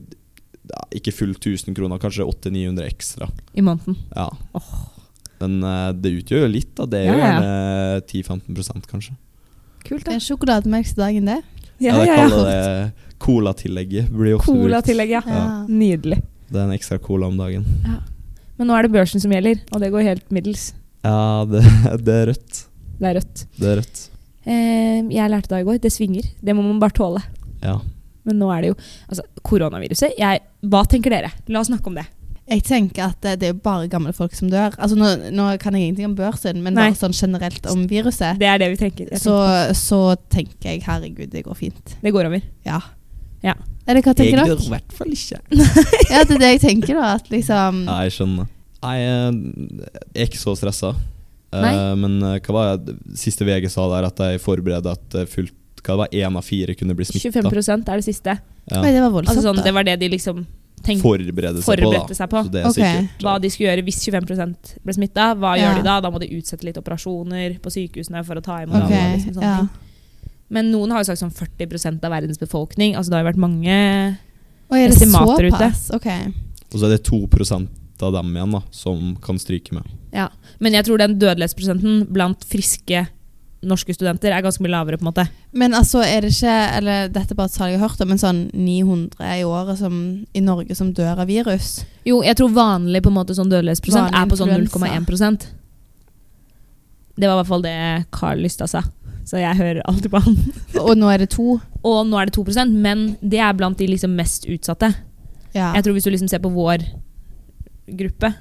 Speaker 3: ja, ikke fullt 1000 kroner, kanskje 800-900 ekstra.
Speaker 2: I måneden.
Speaker 3: Ja.
Speaker 2: Åh.
Speaker 3: Men eh, det utgjør jo litt, da. Det er jo
Speaker 2: Ja, ja.
Speaker 3: gjerne 10-15 kanskje.
Speaker 2: Kult,
Speaker 1: Det er sjokolademelk til dagen, det.
Speaker 3: Eller kaller det colatillegget. blir ofte brukt.
Speaker 2: Colatillegg, ja.
Speaker 1: Ja.
Speaker 2: Nydelig.
Speaker 3: Det er en ekstra cola om dagen.
Speaker 2: Men nå er det børsen som gjelder, og det går helt middels.
Speaker 3: Ja, det, det er rødt.
Speaker 2: Det er rødt.
Speaker 3: Det er rødt.
Speaker 2: Eh, jeg lærte da i går, det svinger. Det må man bare tåle.
Speaker 3: Ja.
Speaker 2: Men nå er det jo altså, koronaviruset. Jeg, hva tenker dere? La oss snakke om det.
Speaker 1: Jeg tenker at eh, det er jo bare gamle folk som dør. Altså, nå, nå kan jeg ingenting om børsen, men
Speaker 2: Nei.
Speaker 1: bare sånn generelt om viruset.
Speaker 2: Det er det vi tenker. Jeg
Speaker 1: Så, så tenker jeg herregud, det går fint.
Speaker 2: tenker- Det går over.
Speaker 1: Ja.
Speaker 2: Ja.
Speaker 1: Eller hva tenker dere?
Speaker 3: i hvert fall ikke.
Speaker 1: Ja, det er det jeg tenker, da. At liksom
Speaker 3: Nei, jeg skjønner. Mm. Nei, eh, jeg er ikke så stressa. Eh,
Speaker 2: Nei.
Speaker 3: men eh, hva var det siste VG sa der, at de forberedte at eh, fullt Hva det var én av fire kunne bli smitta?
Speaker 2: 25 er det siste.
Speaker 1: Oi, det var voldsomt.
Speaker 2: Altså, sånn, det
Speaker 1: da.
Speaker 2: var det de liksom tenkte
Speaker 3: Forberede seg på,
Speaker 2: forberedte
Speaker 3: da.
Speaker 2: seg på.
Speaker 3: Så det er
Speaker 1: Ok.
Speaker 3: sikkert.
Speaker 2: Hva de skulle gjøre hvis 25 ble smitta. Hva
Speaker 1: Ja.
Speaker 2: gjør de da? Da må de utsette litt operasjoner på sykehusene for å ta imot
Speaker 1: Ok,
Speaker 2: alle.
Speaker 3: sånn.
Speaker 2: Liksom, sånne
Speaker 1: ja.
Speaker 2: ting. Men noen har jo sagt sånn 40 av verdens befolkning. Altså, det har jo vært mange
Speaker 1: Oi, er det
Speaker 2: Estimater ute.
Speaker 1: såpass? Ok.
Speaker 3: Og så er det 2 av dem igjen da som kan stryke med.
Speaker 2: ja. Men jeg tror den dødelighetsprosenten blant friske norske studenter er ganske mye lavere. på en måte
Speaker 1: Men altså, er det ikke Eller dette er bare et tall jeg har hørt om, men sånn 900 i året som, i Norge som dør av virus.
Speaker 2: Jo, jeg tror vanlig på en måte sånn dødelighetsprosent
Speaker 1: Vanlig
Speaker 2: er på sånn
Speaker 1: influensa.
Speaker 2: 0,1 Det var i hvert fall det Carl Lystad sa, så jeg hører alltid på han.
Speaker 1: Og nå er det to.
Speaker 2: Og nå er det 2 men det er blant de liksom mest utsatte.
Speaker 1: Ja.
Speaker 2: Jeg tror Hvis du liksom ser på vår gruppe,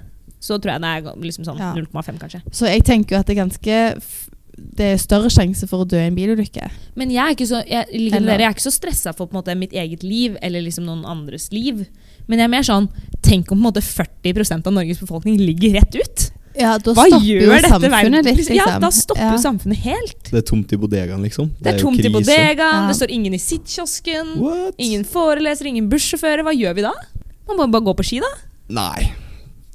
Speaker 2: så tror jeg det er liksom sånn
Speaker 1: Ja.
Speaker 2: 0,5 kanskje.
Speaker 1: Så jeg tenker jo at det er ganske f- Det er større sjanse for å dø i en bilulykke.
Speaker 2: Men jeg er ikke så, jeg, liker
Speaker 1: Eller-
Speaker 2: dere, jeg er ikke så stressa for på en måte, mitt eget liv eller liksom noen andres liv. Men jeg er mer sånn Tenk om på en måte 40 av Norges befolkning ligger rett ut!
Speaker 1: Ja, da
Speaker 2: Hva
Speaker 1: stopper jo
Speaker 2: gjør dette verden?
Speaker 1: samfunnet litt, liksom.
Speaker 2: Ja, da stopper
Speaker 1: Ja.
Speaker 2: jo samfunnet helt.
Speaker 3: Det er tomt i bodegaen, liksom.
Speaker 2: Det er
Speaker 3: jo
Speaker 2: tomt i
Speaker 3: krise.
Speaker 2: bodegaen,
Speaker 1: Ja.
Speaker 2: det står ingen i sittkiosken,
Speaker 3: What?
Speaker 2: ingen foreleser, ingen bussjåfører. Hva gjør vi da? Man må jo bare gå på ski, da.
Speaker 3: Nei.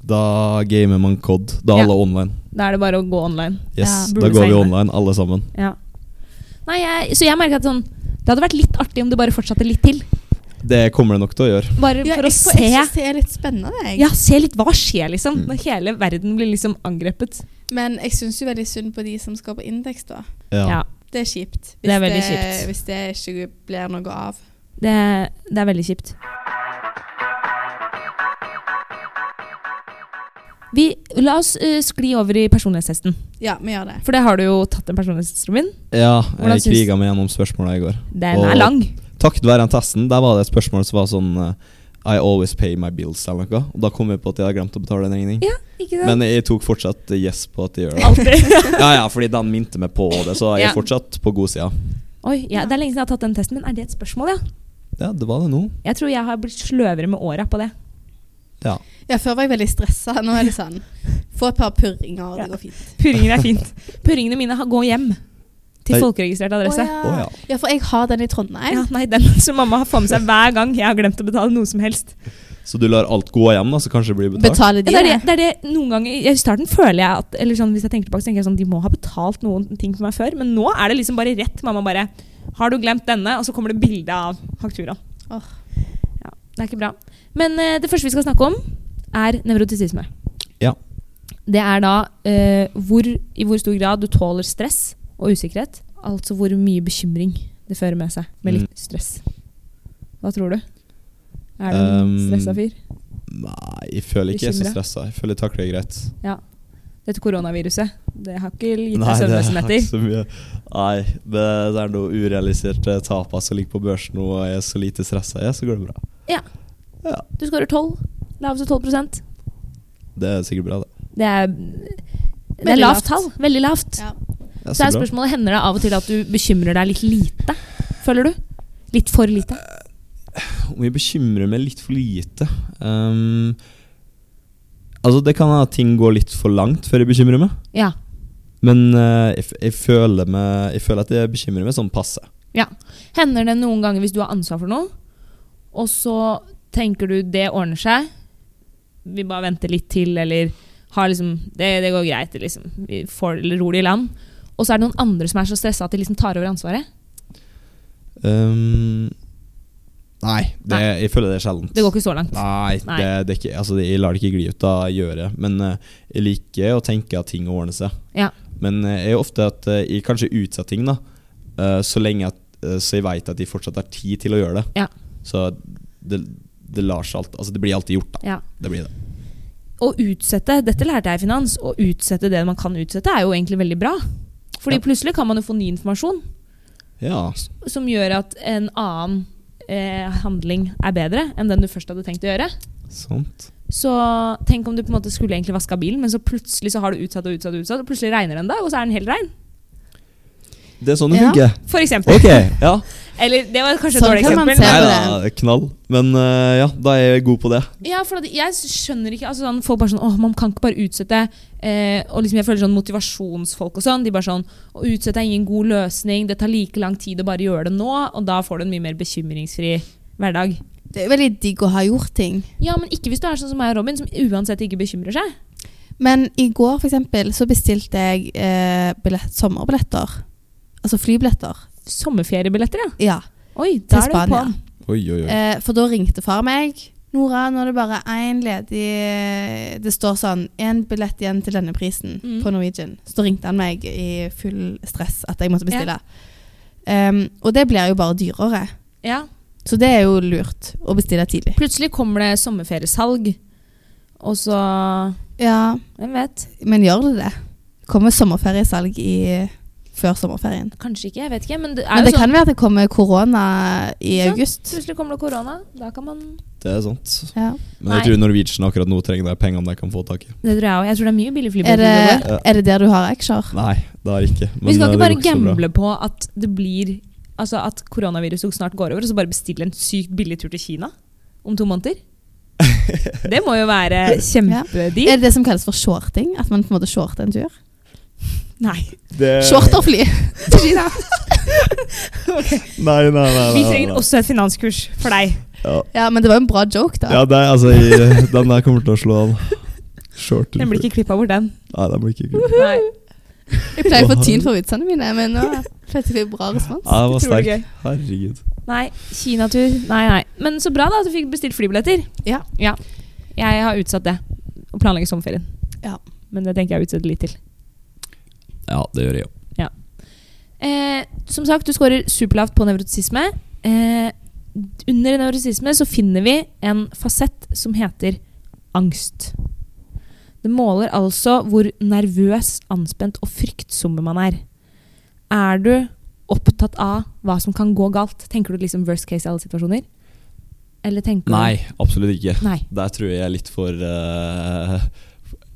Speaker 3: Da gamer man COD. Da er
Speaker 2: Ja.
Speaker 3: alle online.
Speaker 2: Da er det bare å gå online.
Speaker 3: Yes,
Speaker 1: Ja.
Speaker 3: Da
Speaker 2: Burde
Speaker 3: går vi
Speaker 2: seile.
Speaker 3: online, alle sammen.
Speaker 2: Ja. Nei, jeg, så jeg merker at sånn Det hadde vært litt artig om det bare fortsatte litt til.
Speaker 3: Det kommer det nok til å gjøre.
Speaker 2: Bare
Speaker 1: Ja,
Speaker 2: for å
Speaker 1: jeg-
Speaker 2: se.
Speaker 1: Jeg synes det er litt spennende, jeg.
Speaker 2: Ja, se litt hva skjer, liksom.
Speaker 3: Mm.
Speaker 2: Når hele verden blir liksom angrepet.
Speaker 1: Men jeg syns jo veldig synd på de som skal på Indeks, da.
Speaker 3: Ja.
Speaker 2: Ja.
Speaker 1: Det er kjipt.
Speaker 2: Det er veldig kjipt.
Speaker 1: Hvis det ikke blir noe av.
Speaker 2: Det, det er veldig kjipt. Vi, la oss eh, skli over i personlighetstesten.
Speaker 1: Ja, vi gjør det.
Speaker 2: For det har du jo tatt en personlighetstest, Robin.
Speaker 3: ja
Speaker 2: Hvordan
Speaker 3: jeg
Speaker 2: syns-
Speaker 3: kriga meg gjennom spørsmåla i går.
Speaker 2: Den
Speaker 3: Og-
Speaker 2: er lang.
Speaker 3: Takket være den testen, der var det et spørsmål som var sånn eh, I always pay my bills eller noe. Og da kom jeg på at jeg hadde glemt å betale en regning.
Speaker 2: Ikke sant?
Speaker 3: Men jeg tok fortsatt eh, yes på at jeg gjør det.
Speaker 2: Alltid.
Speaker 3: Ja, ja, fordi den minte meg på det, så jeg
Speaker 2: Ja.
Speaker 3: er fortsatt på god sida.
Speaker 2: Oi, ja, det er lenge siden jeg har tatt den testen, men er det et spørsmål, ja?
Speaker 3: Ja, det var det nå.
Speaker 2: Jeg tror jeg har blitt sløvere med åra på det.
Speaker 3: Ja.
Speaker 1: Ja, før var jeg veldig stressa. Nå er det sånn Få et par purringer, og det går fint.
Speaker 2: Purringer er fint. Purringene mine har- går hjem til
Speaker 3: Oi.
Speaker 2: folkeregistrert adresse.
Speaker 1: ja.
Speaker 3: Å, ja.
Speaker 1: ja, for jeg har den i Trondheim.
Speaker 2: Ja, nei, den som mamma har fått med seg hver gang jeg har glemt å betale noe som helst.
Speaker 3: Så du lar alt gå hjem, da, så kanskje det blir betalt?
Speaker 1: Betaler de
Speaker 2: Ja, det, er det, det er det noen ganger I starten føler jeg at eller sånn, Hvis jeg tenker tilbake, så tenker jeg sånn de må ha betalt noen ting for meg før. Men nå er det liksom bare rett. Mamma bare Har du glemt denne? Og så kommer det bilde av fakturaen.
Speaker 1: Åh.
Speaker 2: Ja, det er ikke bra. Men eh, det første vi skal snakke om, er nevrotisisme.
Speaker 3: Ja.
Speaker 2: Det er da eh, hvor, i hvor stor grad du tåler stress og usikkerhet. Altså hvor mye bekymring det fører med seg med
Speaker 3: Mm.
Speaker 2: litt stress. Hva tror du? Er du en
Speaker 3: Um,
Speaker 2: stressa fyr?
Speaker 3: Nei, jeg føler ikke jeg er så
Speaker 2: Bekymret.
Speaker 3: stressa. Jeg føler jeg takler det greit.
Speaker 2: Dette koronaviruset, det har ikke gitt
Speaker 3: Nei,
Speaker 2: deg
Speaker 3: det er
Speaker 2: søvnløse
Speaker 3: ikke
Speaker 2: netter.
Speaker 3: så mye. Nei, det, det er noe urealiserte tap som ligger på børsen nå, og jeg er så lite stressa jeg er, så går det bra.
Speaker 2: Du skårer 12. Laveste 12
Speaker 3: Det er sikkert bra, det.
Speaker 2: Det er, det er
Speaker 1: Veldig
Speaker 2: lavt
Speaker 1: lavt.
Speaker 2: tall. Veldig lavt.
Speaker 1: Ja.
Speaker 3: det er
Speaker 2: Så
Speaker 3: så
Speaker 2: er
Speaker 3: bra.
Speaker 2: spørsmålet hender det av og til at du bekymrer deg litt lite. Føler du? Litt for lite.
Speaker 3: Om jeg bekymrer meg litt for lite Ehm, Altså, det kan hende at ting går litt for langt før jeg bekymrer meg.
Speaker 2: Ja.
Speaker 3: Men eh, jeg, f- jeg, føler meg, jeg føler at jeg bekymrer meg sånn passe.
Speaker 2: Hender det noen ganger hvis du har ansvar for noe, og så tenker du det ordner seg, vi bare venter litt til, eller har liksom Det, det går greit, liksom. Vi får det rolig i land. Og så er det noen andre som er så stressa at de liksom tar over ansvaret.
Speaker 3: Um, nei, det,
Speaker 2: Nei.
Speaker 3: jeg føler det er sjeldent.
Speaker 2: Det går ikke så langt.
Speaker 3: Nei,
Speaker 2: Nei.
Speaker 3: Det, det er ikke, altså, det, jeg lar det ikke gli ut av gjøret. Men eh, jeg liker å tenke at ting ordner seg.
Speaker 2: Ja.
Speaker 3: Men eh, jeg er ofte at eh, jeg kanskje utsetter ting, da. eh, så lenge at eh, Så jeg veit at jeg fortsatt har tid til å gjøre det.
Speaker 2: Ja.
Speaker 3: Så det, det lar seg alt Altså, det blir alltid gjort, da.
Speaker 2: Ja.
Speaker 3: Det blir det.
Speaker 2: Å utsette, dette lærte jeg i finans, å utsette det man kan utsette, er jo egentlig veldig bra. Fordi
Speaker 3: Ja.
Speaker 2: plutselig kan man jo få ny informasjon
Speaker 3: Ja.
Speaker 2: som gjør at en annen eh, handling er bedre enn den du først hadde tenkt å gjøre.
Speaker 3: Sant.
Speaker 2: Så tenk om du på en måte skulle egentlig vaska bilen, men så plutselig så har du utsatt og utsatt, og utsatt, og plutselig regner det en dag, og så er den helt rein.
Speaker 3: Det er sånn det
Speaker 1: Ja.
Speaker 3: funker.
Speaker 2: For eksempel.
Speaker 3: Ok, ja.
Speaker 2: Eller det var kanskje et
Speaker 1: Sånn
Speaker 2: dårlig
Speaker 1: kan man
Speaker 2: eksempel.
Speaker 1: se
Speaker 2: men-
Speaker 3: Nei
Speaker 1: på
Speaker 3: da, knall. Men eh, ja, da er jeg god på det.
Speaker 2: Ja, for at jeg skjønner ikke altså, sånn, Folk bare sånn Åh, man kan ikke bare utsette eh, Og liksom jeg føler sånn motivasjonsfolk og sånn De bare sånn Å utsette er ingen god løsning Det tar like lang tid å bare gjøre det nå Og da får du en mye mer bekymringsfri hverdag
Speaker 1: Det er veldig digg å ha gjort ting.
Speaker 2: Ja, men ikke hvis du er sånn som meg og Robin Som uansett ikke bekymrer seg
Speaker 1: Men i går for eksempel, så bestilte jeg eh, billett, sommerbilletter. Altså flybilletter.
Speaker 2: Sommerferiebilletter, ja
Speaker 1: Ja,
Speaker 2: Oi,
Speaker 1: til
Speaker 2: da er du på
Speaker 1: Spania.
Speaker 3: Oi, oi, oi.
Speaker 1: Eh, for da ringte far meg. Nora, nå er det bare én ledig Det står sånn én billett igjen til denne prisen
Speaker 2: Mm.
Speaker 1: på Norwegian. Så da ringte han meg i full stress at jeg måtte bestille. Um, og det blir jo bare dyrere.
Speaker 2: Ja
Speaker 1: Så det er jo lurt å bestille tidlig.
Speaker 2: Plutselig kommer det sommerferiesalg Og så
Speaker 1: Ja,
Speaker 2: Hvem vet?
Speaker 1: Men gjør det det? Kommer sommerferiesalg i, før sommerferien?
Speaker 2: Kanskje ikke, jeg vet ikke Men det er
Speaker 1: Men det
Speaker 2: jo sånn
Speaker 1: kan være at det kommer korona i
Speaker 2: Ikke sant?
Speaker 1: august.
Speaker 2: Plutselig kommer det korona Da kan man
Speaker 3: Det er sant.
Speaker 1: Ja.
Speaker 3: Men
Speaker 2: Nei.
Speaker 3: jeg tror Norwegian akkurat nå trenger de pengene de kan få tak i.
Speaker 2: Det tror jeg også Jeg tror det er mye billig
Speaker 1: Er,
Speaker 2: flybillett
Speaker 1: det,
Speaker 2: enn det var.
Speaker 3: Ja.
Speaker 1: er det der du har aksjer?
Speaker 3: Nei, det har jeg ikke.
Speaker 2: Vi skal
Speaker 3: eh,
Speaker 2: ikke
Speaker 3: det
Speaker 2: bare
Speaker 3: går så bra.
Speaker 2: gamble på at det blir Altså at koronaviruset snart går over, og så bare bestille en sykt billig tur til Kina om to måneder. Det må jo være
Speaker 1: Er
Speaker 2: kjempedeal.
Speaker 1: det det som kalles for shorting? At man på en måte shorter en tur?
Speaker 2: Nei.
Speaker 3: Det-
Speaker 1: Shorterfly!
Speaker 3: Nei, nei, nei. nei,
Speaker 2: Vi
Speaker 3: nei,
Speaker 2: trenger
Speaker 3: nei.
Speaker 2: også et finanskurs for deg.
Speaker 3: Ja,
Speaker 1: Ja, men det var jo en bra joke, da.
Speaker 3: ja det er, altså, jeg, den der kommer til å slå an. Short
Speaker 2: Den blir ikke klippa bort, den.
Speaker 3: Nei, den blir ikke kul.
Speaker 2: Nei,
Speaker 1: Jeg pleier å få tyn for vitsene mine, men nå fikk jeg bra respons.
Speaker 3: Ja, den var
Speaker 2: Utrolig
Speaker 3: sterk.
Speaker 2: gøy.
Speaker 3: Herregud.
Speaker 2: Nei, Kinatur. Nei, nei. Men så bra da at du fikk bestilt flybilletter.
Speaker 1: Ja.
Speaker 2: Jeg har utsatt det. Å planlegge sommerferien.
Speaker 1: Ja.
Speaker 2: Men det tenker jeg å utsette litt til.
Speaker 3: Ja, det gjør jeg òg.
Speaker 2: Eh, som sagt, du scorer superlavt på nevrotisisme. Eh, under nevrotisisme så finner vi en fasett som heter angst. Det måler altså hvor nervøs, anspent og fryktsomme man er. Er du opptatt av hva som kan gå galt? Tenker du liksom worst case i alle situasjoner? Eller tenker
Speaker 3: Nei, absolutt ikke.
Speaker 2: du Nei.
Speaker 3: Der tror jeg jeg er litt for eh,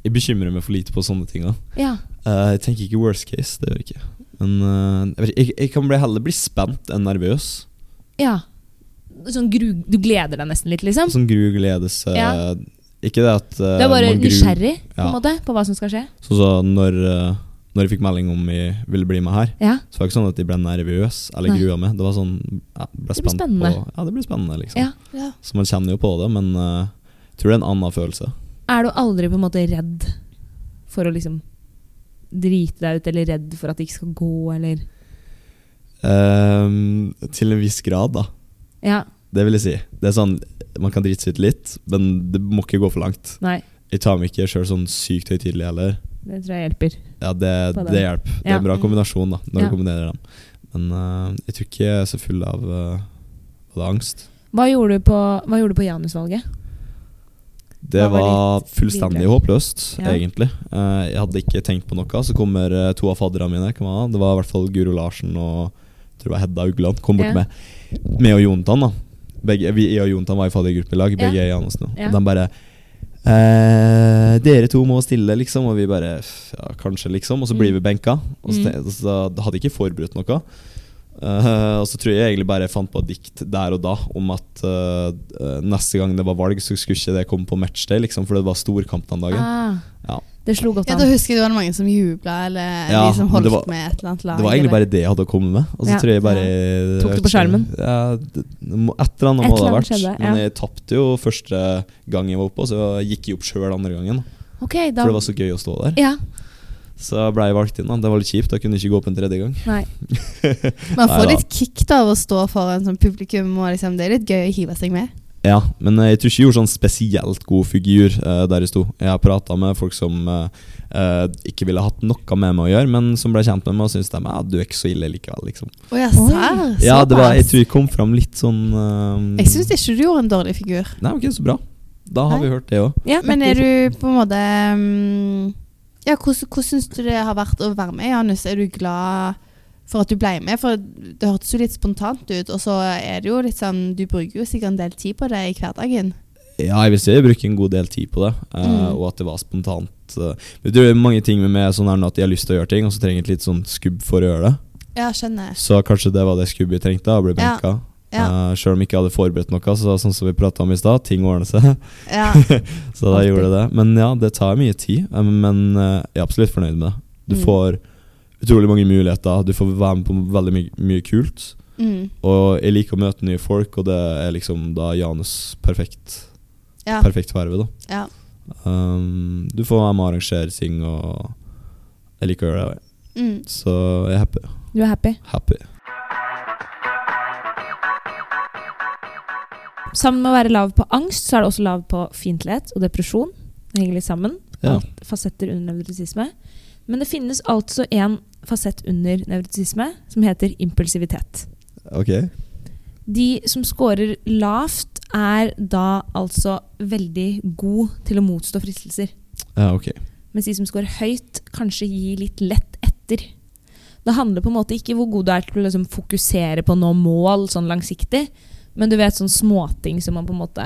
Speaker 3: Jeg bekymrer meg for lite på sånne ting. Da.
Speaker 2: Ja.
Speaker 3: Eh, jeg tenker ikke worst case, det gjør jeg ikke. Men eh, jeg, vet ikke, jeg, jeg kan bli heller bli spent enn nervøs.
Speaker 2: ja. Sånn gru, du gleder deg nesten litt, liksom?
Speaker 3: Sånn gru gledes eh,
Speaker 2: Ja.
Speaker 3: Ikke det at eh,
Speaker 2: Du er bare
Speaker 3: man gruer-
Speaker 2: nysgjerrig på en
Speaker 3: Ja.
Speaker 2: måte på hva som skal skje?
Speaker 3: Sånn som når, eh, når jeg fikk melding om jeg ville bli med her,
Speaker 2: Ja.
Speaker 3: så var det ikke sånn at jeg ble nervøs eller
Speaker 2: Nei.
Speaker 3: grua meg. Det var sånn ja, ble
Speaker 2: Det blir
Speaker 3: spent
Speaker 2: spennende.
Speaker 3: På, ja, det blir spennende, liksom.
Speaker 2: Ja.
Speaker 1: Ja.
Speaker 3: Så man kjenner jo på det, men eh, jeg tror det er en annen følelse.
Speaker 2: Er du aldri på en måte redd for å liksom drite deg ut, eller redd for at det ikke skal gå, eller
Speaker 3: Ehm, til en viss grad, da.
Speaker 2: Ja,
Speaker 3: Det vil jeg si. Det er sånn, Man kan drite seg ut litt, men det må ikke gå for langt.
Speaker 2: nei.
Speaker 3: Jeg tar meg ikke sjøl sånn sykt høytidelig heller.
Speaker 2: Det tror jeg hjelper.
Speaker 3: Ja, det,
Speaker 2: På den.
Speaker 3: det hjelper. Det er
Speaker 2: Ja.
Speaker 3: en bra kombinasjon da når
Speaker 2: Ja.
Speaker 3: du kombinerer dem. Men eh, jeg tror ikke jeg er så full av eh, både angst.
Speaker 2: Hva gjorde du på, hva gjorde du på Janus-valget?
Speaker 3: Det
Speaker 2: Hva var
Speaker 3: var
Speaker 2: ditt
Speaker 3: fullstendig
Speaker 2: bilde?
Speaker 3: håpløst,
Speaker 2: Ja.
Speaker 3: egentlig. Eh, jeg hadde ikke tenkt på noe. Så kommer eh, to av fadderne mine. Hvem var det? det var i hvert fall Guro Larsen og jeg tror det var Hedda Ugland. Kom bort
Speaker 2: Ja.
Speaker 3: med meg og Jontan. da begge, vi, Jeg og Jontan var i faddergruppe i lag, begge
Speaker 2: Ja.
Speaker 3: er i Janus nå.
Speaker 2: Ja.
Speaker 3: Og de bare eh, Dere to må stille, liksom. Og vi bare «F- ja, Kanskje, liksom. Og så
Speaker 2: Mm.
Speaker 3: blir vi benka. Og så,
Speaker 2: Mm.
Speaker 3: te- så da hadde jeg ikke forberedt noe. Eh, og så tror jeg egentlig bare jeg fant på et dikt der og da om at eh, eh, neste gang det var valg, så skulle ikke det komme på matchday, liksom, for det var storkamp den dagen.
Speaker 2: Ah,
Speaker 3: Ja.
Speaker 2: Det slo godt
Speaker 1: Ja,
Speaker 2: an.
Speaker 1: Da husker jeg det var mange som jubla, eller
Speaker 3: Ja,
Speaker 1: de som
Speaker 3: men
Speaker 1: holdt
Speaker 3: det var-
Speaker 1: med et eller annet lag.
Speaker 3: Det var egentlig
Speaker 1: eller-
Speaker 3: bare det jeg hadde å komme med. Og så
Speaker 2: Ja.
Speaker 3: tror jeg bare
Speaker 2: Tok det på skjermen?
Speaker 3: Ja, det- det må- et eller annet
Speaker 2: Et
Speaker 3: må det ha
Speaker 2: eller
Speaker 3: vært.
Speaker 2: annet skjedde, ja.
Speaker 3: Men jeg tapte jo første gang jeg var oppe, og så gikk jeg opp sjøl andre gangen.
Speaker 2: Ok, da
Speaker 3: For det var så gøy å stå der.
Speaker 2: Ja.
Speaker 3: Så ble jeg valgt inn. da Det var litt kjipt, da kunne jeg ikke gå opp en tredje gang.
Speaker 2: Nei.
Speaker 1: Man får
Speaker 3: Neida.
Speaker 1: litt kick da av å stå foran sånn publikum, og liksom, det er litt gøy å hive seg med.
Speaker 3: Ja, men jeg tror ikke jeg gjorde sånn spesielt god figur eh, der jeg sto. Jeg har prata med folk som eh, eh, ikke ville hatt noe med meg å gjøre, men som ble kjent med meg og syntes de, ja, du er ikke så ille likevel. liksom
Speaker 1: Å ja,
Speaker 2: Oi.
Speaker 1: serr?
Speaker 3: Ja, det var, Jeg
Speaker 1: Såpass.
Speaker 3: tror jeg kom fram litt sånn eh,
Speaker 1: Jeg syns ikke du gjorde en dårlig figur.
Speaker 3: Nei, ok, så bra. Da har
Speaker 1: Nei.
Speaker 3: vi hørt det òg.
Speaker 2: Ja,
Speaker 1: Men er du på en måte mm, Ja, hvordan, hvordan syns du det har vært å være med, Janus? Er du glad for at du ble med? For det hørtes jo litt spontant ut, og så er det jo litt sånn Du bruker jo sikkert en del tid på det i hverdagen.
Speaker 3: Ja, jeg vil si jeg bruker en god del tid på det, eh,
Speaker 1: Mm.
Speaker 3: og at det var spontant. eh. Men det er mange ting med meg sånn er nå at jeg har lyst til å gjøre ting, og så trenger jeg et litt sånn skubb for å gjøre det.
Speaker 1: Ja, skjønner.
Speaker 3: Så kanskje det var det skubbet jeg trengte, å bli
Speaker 1: Ja,
Speaker 3: benka.
Speaker 1: Ja.
Speaker 3: Eh, Selv om jeg ikke hadde forberedt noe, så sånn som vi prata om i stad, ting ordner seg.
Speaker 1: ja.
Speaker 3: Så da
Speaker 1: Alltid.
Speaker 3: gjorde jeg det. Men ja, det tar mye tid. eh, Men eh, jeg er absolutt fornøyd med det. Du
Speaker 1: Mm.
Speaker 3: får utrolig mange muligheter. Du får være med på veldig my mye kult.
Speaker 1: Mm,
Speaker 3: Og jeg liker å møte nye folk, og det er liksom da Janus perfekt,
Speaker 1: ja.
Speaker 3: perfekt verve, da.
Speaker 1: ja.
Speaker 3: Um, du får være med å arrangere ting, og jeg liker å gjøre det.
Speaker 1: Mm.
Speaker 3: Så jeg er happy.
Speaker 2: Du er happy?
Speaker 3: happy.
Speaker 2: Sammen med å være lav på angst, så er det også lav på fiendtlighet og depresjon. Det henger litt sammen.
Speaker 3: Ja.
Speaker 2: Alt fasetter under nevrotisisme. Men det finnes altså en fasett under nevrotisisme som heter impulsivitet.
Speaker 3: Ok.
Speaker 2: De som scorer lavt, er da altså veldig god til å motstå fristelser.
Speaker 3: Ja, ok.
Speaker 2: Mens de som scorer høyt, kanskje gir litt lett etter. Det handler på en måte ikke hvor god du er til å liksom fokusere på å nå mål sånn langsiktig, men du vet sånn småting som man på en måte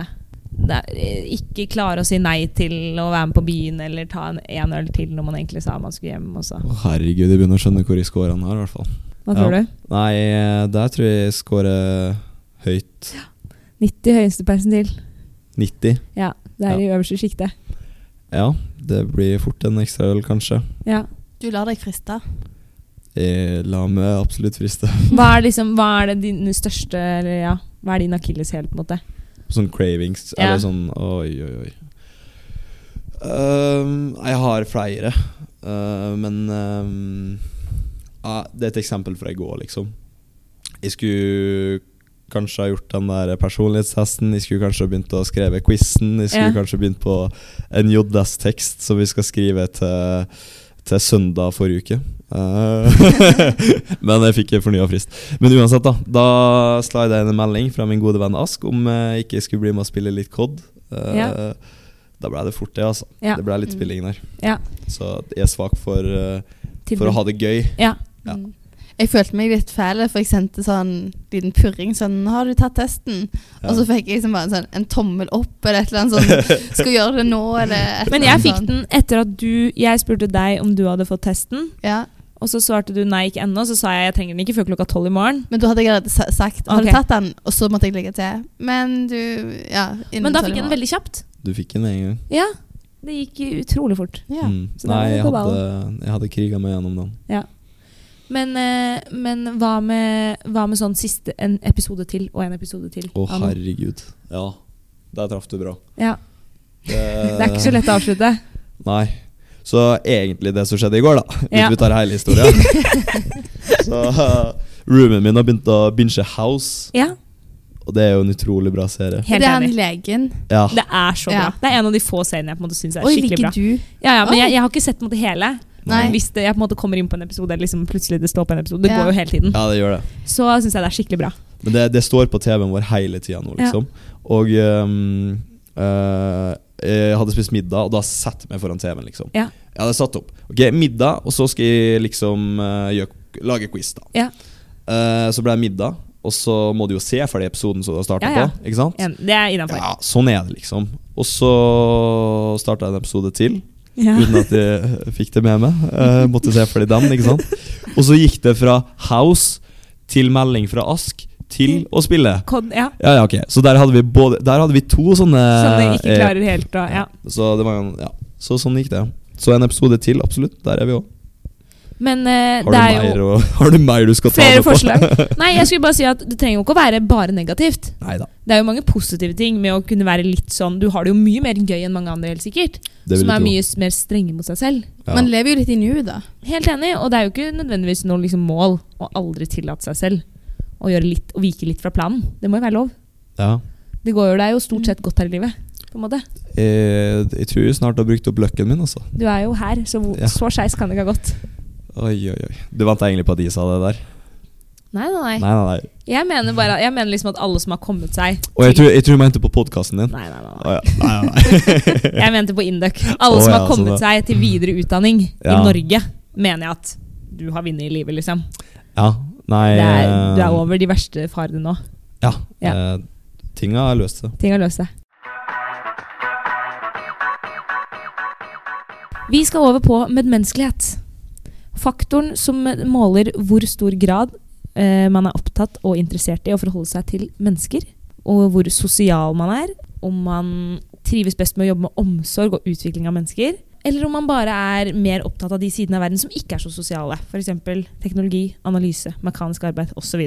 Speaker 2: det er, eh, ikke klarer å si nei til å være med på byen eller ta en, en øl til når man egentlig sa man skulle hjem. Også.
Speaker 3: Å, herregud, jeg begynner å skjønne hvor jeg scorer her, i hvert fall.
Speaker 2: Hva tror
Speaker 3: Ja.
Speaker 2: du?
Speaker 3: Nei, eh, der tror jeg jeg scorer høyt.
Speaker 2: 90 høyeste persentil.
Speaker 3: 90.
Speaker 2: Ja, det er i øverste sjiktet.
Speaker 3: Ja, det blir fort en ekstra øl, kanskje.
Speaker 2: Ja.
Speaker 1: Du lar deg friste.
Speaker 3: Jeg la meg absolutt friste.
Speaker 2: Hva er, liksom, hva er det din største eller, ja, Hva er din akilleshæl, på en måte?
Speaker 3: Sånn cravings,
Speaker 2: Ja.
Speaker 3: eller sånn Oi, oi, oi. Ehm, jeg har flere, eh, men ehm, ja, Det er et eksempel fra i går, liksom. Jeg skulle kanskje ha gjort den der personlighetstesten. Jeg skulle kanskje ha begynt å skrive quizen. Jeg skulle
Speaker 2: Ja.
Speaker 3: kanskje begynt på en JS-tekst som vi skal skrive til, til søndag forrige uke. Eh, men jeg fikk fornya frist. Men uansett, da. Da slida jeg inn en melding fra min gode venn Ask om jeg ikke skulle bli med og spille litt COD. Eh,
Speaker 2: Ja.
Speaker 3: Da ble det fort, det, altså.
Speaker 2: Ja.
Speaker 3: Det ble litt
Speaker 1: Mm.
Speaker 3: spilling der.
Speaker 2: Ja.
Speaker 3: Så jeg er svak for, eh, for å ha det gøy.
Speaker 2: Ja.
Speaker 3: Ja.
Speaker 1: Mm. Jeg følte meg litt fæl, for jeg sendte sånn liten purring sånn 'Har du tatt testen?' Og så fikk jeg liksom bare en, sånn, en tommel opp eller et eller annet sånn 'Skal gjøre det nå', eller et
Speaker 2: Men
Speaker 1: eller
Speaker 2: jeg
Speaker 1: annet
Speaker 2: fikk
Speaker 1: sånn.
Speaker 2: den etter at du Jeg spurte deg om du hadde fått testen,
Speaker 1: Ja.
Speaker 2: og så svarte du nei, ikke ennå. Så sa jeg jeg trenger den ikke før klokka tolv i morgen.
Speaker 1: Men da hadde jeg allerede sa- sagt 'Har
Speaker 2: Ok.
Speaker 1: du tatt den?' Og så måtte jeg legge til. Men du Ja. innen
Speaker 2: Men da
Speaker 1: tolv
Speaker 2: fikk jeg den
Speaker 1: måneder.
Speaker 2: veldig kjapt.
Speaker 3: Du fikk den med en gang.
Speaker 2: Ja. Det gikk utrolig fort.
Speaker 1: ja.
Speaker 3: Mm.
Speaker 2: Så da
Speaker 3: Nei,
Speaker 2: var det
Speaker 3: jeg
Speaker 2: på
Speaker 3: hadde, jeg hadde kriga meg gjennom den.
Speaker 2: Men, eh, men hva, med, hva med sånn siste En episode til og en episode til?
Speaker 3: Å,
Speaker 2: av noe?
Speaker 3: herregud. Ja, der traff du bra.
Speaker 2: Ja.
Speaker 3: Det,
Speaker 2: Det er ikke så lett å avslutte.
Speaker 3: Nei. Så egentlig det som skjedde i går, da. Hvis
Speaker 2: Ja.
Speaker 3: vi tar hele historien. så eh, roomien min har begynt å binge House,
Speaker 2: Ja,
Speaker 3: og det er jo en utrolig bra serie.
Speaker 1: Det
Speaker 2: helt
Speaker 1: er han
Speaker 2: enig.
Speaker 1: legen.
Speaker 3: Ja.
Speaker 2: Det er så bra.
Speaker 1: Ja.
Speaker 2: Det er en av de få seriene jeg på en måte syns er
Speaker 1: Oi,
Speaker 2: skikkelig bra.
Speaker 1: ligger du?
Speaker 2: Ja, ja, men
Speaker 1: Oi.
Speaker 2: jeg, jeg har ikke sett på en måte hele.
Speaker 1: Nei.
Speaker 2: Men Hvis det, jeg på en måte kommer inn på en episode, eller liksom plutselig det står på en episode, det
Speaker 1: Ja.
Speaker 2: går jo hele tiden,
Speaker 3: Ja, det gjør det.
Speaker 2: så syns jeg det er skikkelig bra.
Speaker 3: Men det, det står på TV-en vår hele tida nå,
Speaker 2: Ja.
Speaker 3: liksom. Og ehm, eh, jeg hadde spist middag, og da setter jeg meg foran TV-en, liksom.
Speaker 2: Ja.
Speaker 3: Jeg hadde satt opp. Ok, middag, og så skal jeg liksom eh, gjø- lage quiz, da.
Speaker 2: Ja.
Speaker 3: Eh, så ble det middag, og så må du jo se ferdig episoden som du har starta
Speaker 2: Ja, ja.
Speaker 3: på. Ikke sant?
Speaker 2: En- Det er innafor.
Speaker 3: Ja, sånn er det, liksom. Og så starta jeg en episode til.
Speaker 2: Ja.
Speaker 3: Uten at jeg fikk det med meg. Eh, måtte se for dem, ikke sant. Og så gikk det fra House til melding fra Ask til
Speaker 2: Mm.
Speaker 3: å spille.
Speaker 2: Kod, ja.
Speaker 3: Ja, ja, ok. Så der hadde vi, både, der hadde vi to sånne
Speaker 2: Som de ikke
Speaker 3: eh,
Speaker 2: klarer helt å ja.
Speaker 3: Så det var jo en- ja. Så sånn gikk det. Så en episode til, absolutt. Der er vi òg.
Speaker 2: Men eh,
Speaker 3: Har,
Speaker 2: det
Speaker 3: du
Speaker 2: er
Speaker 3: mer
Speaker 2: jo
Speaker 3: å- har du mer du skal ta
Speaker 2: flere
Speaker 3: med på?
Speaker 2: forslag. Nei, jeg skulle bare si at det trenger jo ikke å være bare negativt.
Speaker 3: Neida,
Speaker 2: Det er jo mange positive ting med å kunne være litt sånn Du har det jo mye mer gøy enn mange andre, helt sikkert.
Speaker 3: det vil
Speaker 2: Som er
Speaker 3: jeg
Speaker 2: mye s- mer strenge mot seg selv.
Speaker 3: tro. Ja.
Speaker 1: Man lever jo litt i nuet, da.
Speaker 2: Helt enig, og det er jo ikke nødvendigvis noe liksom mål å aldri tillate seg selv å gjøre litt, å vike litt fra planen. Det må jo være lov.
Speaker 3: Ja.
Speaker 2: Det går jo deg jo stort sett godt her i livet. På en måte.
Speaker 3: Eh, jeg tror jeg snart har brukt opp løkken min, altså.
Speaker 2: Du er jo her, så hvor-
Speaker 3: Ja.
Speaker 2: så skeis kan det ikke ha gått.
Speaker 3: Oi, oi, oi. Du venta egentlig på at jeg sa det der?
Speaker 2: Nei, nei, nei.
Speaker 3: Nei, nei, nei.
Speaker 2: Jeg mener, bare, jeg mener liksom at alle som har kommet seg
Speaker 3: Og jeg tror, jeg tror jeg mente på podkasten din.
Speaker 2: Nei, nei, nei. nei.
Speaker 3: Å, ja. nei, nei, nei.
Speaker 2: Jeg mente på Induc. Alle
Speaker 3: Å,
Speaker 2: som
Speaker 3: ja,
Speaker 2: har kommet
Speaker 3: sånn,
Speaker 2: seg til videre utdanning i
Speaker 3: Ja.
Speaker 2: Norge, mener jeg at du har vunnet i livet, liksom.
Speaker 3: ja. Nei
Speaker 2: Det er, du er
Speaker 3: eh,
Speaker 2: over de verste farene nå.
Speaker 3: Ja.
Speaker 2: Ja.
Speaker 3: Eh, tinga har løst seg.
Speaker 2: Ting har løst seg. Vi skal over på medmenneskelighet. Faktoren som måler hvor stor grad eh, man er opptatt og interessert i å forholde seg til mennesker, og hvor sosial man er, om man trives best med å jobbe med omsorg og utvikling av mennesker, eller om man bare er mer opptatt av de sidene av verden som ikke er så sosiale, f.eks. teknologi, analyse, mekanisk arbeid osv.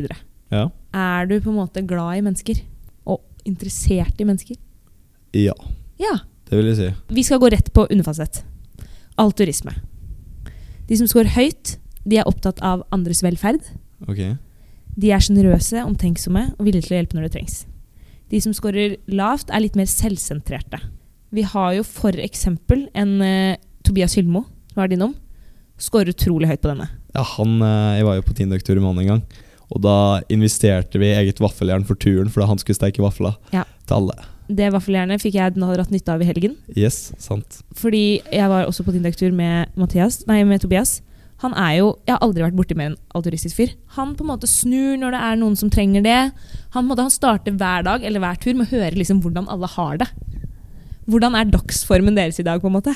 Speaker 3: Ja.
Speaker 2: Er du på en måte glad i mennesker? Og interessert i mennesker?
Speaker 3: ja.
Speaker 2: Ja.
Speaker 3: Det vil jeg si.
Speaker 2: Vi skal gå rett på underfasett. Alturisme. De som scorer høyt, de er opptatt av andres velferd.
Speaker 3: Ok.
Speaker 2: De er sjenerøse, omtenksomme og villige til å hjelpe når det trengs. De som scorer lavt, er litt mer selvsentrerte. Vi har jo for eksempel en eh, Tobias Hylmo, som er din om, scorer utrolig høyt på denne.
Speaker 3: Ja, han, eh, jeg var jo på Tindøktur med han en gang. Og da investerte vi i eget vaffeljern for turen, fordi han skulle steke vafler
Speaker 2: Ja.
Speaker 3: til alle.
Speaker 2: Det vaffeljernet fikk jeg nå hatt nytte av i helgen.
Speaker 3: Yes, sant.
Speaker 2: Fordi jeg var også på Tindektur med, Mathias, nei, med Tobias. Han er jo, Jeg har aldri vært borti mer en alturistisk fyr. Han på en måte snur når det er noen som trenger det. Han, på en måte, han starter hver dag eller hver tur med å høre liksom hvordan alle har det. Hvordan er dagsformen deres i dag? på en måte?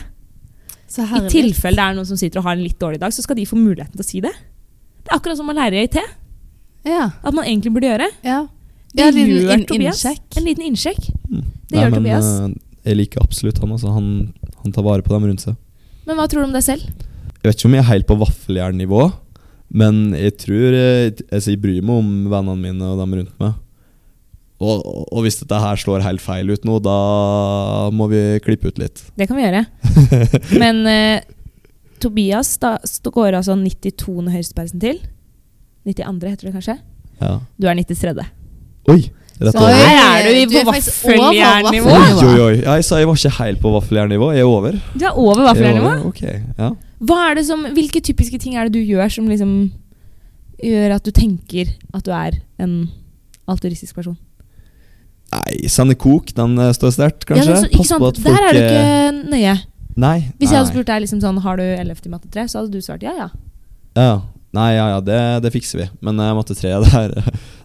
Speaker 1: Så
Speaker 2: I
Speaker 1: herlig.
Speaker 2: tilfelle det er noen som sitter og har en litt dårlig dag, så skal de få muligheten til å si det. Det er akkurat som å lære i IT.
Speaker 1: Ja.
Speaker 2: At man egentlig burde gjøre.
Speaker 1: ja.
Speaker 2: Det
Speaker 1: Ja, en liten
Speaker 2: gjør
Speaker 1: inn-
Speaker 2: Tobias.
Speaker 1: innsjekk.
Speaker 2: En liten innsjekk.
Speaker 3: Mm.
Speaker 2: Det gjør Tobias.
Speaker 3: eh, jeg liker absolutt han. Altså. Han, han tar vare på dem rundt seg.
Speaker 2: Men hva tror du om deg selv?
Speaker 3: Jeg vet ikke om jeg er helt på vaffeljernnivå, men jeg tror eh, altså, Jeg bryr meg om vennene mine og dem rundt meg. Og, og hvis dette her slår helt feil ut nå, da må vi klippe ut litt.
Speaker 2: Det kan vi gjøre. Men eh, Tobias da, st- går altså 92. høyestepersentil. 92. heter det kanskje.
Speaker 3: Ja.
Speaker 2: Du er 93.
Speaker 3: Oi! Rett
Speaker 1: Så-
Speaker 3: over.
Speaker 1: Oi,
Speaker 2: Her er du i
Speaker 1: du er
Speaker 2: på
Speaker 1: faktisk over
Speaker 2: vaffeljernnivå.
Speaker 3: Oi,
Speaker 1: vaffeljernnivå.
Speaker 3: oi, oi. Ja, jeg sa jeg var ikke helt på vaffeljernnivå. Jeg er over.
Speaker 2: Du er over
Speaker 3: Jeg er
Speaker 2: vaffeljernivå.
Speaker 3: over, Ok, ja.
Speaker 2: Hva er det som, hvilke typiske ting er det du gjør som liksom gjør at du tenker at du er en alturistisk person?
Speaker 3: Nei, Sanne Kok, den eh, står sterkt,
Speaker 2: Ja,
Speaker 3: kanskje?
Speaker 2: det er så- ikke
Speaker 3: Pass på
Speaker 2: sant?
Speaker 3: at folk
Speaker 2: Der er du
Speaker 3: eh,
Speaker 2: ikke nøye.
Speaker 3: Nei.
Speaker 2: Hvis jeg
Speaker 3: nei,
Speaker 2: hadde spurt deg liksom sånn, har du 11 i matte 3, så hadde du svart ja, ja.
Speaker 3: nei. Ja, nei, ja, ja, det, det fikser vi. Men eh, matte tre, der,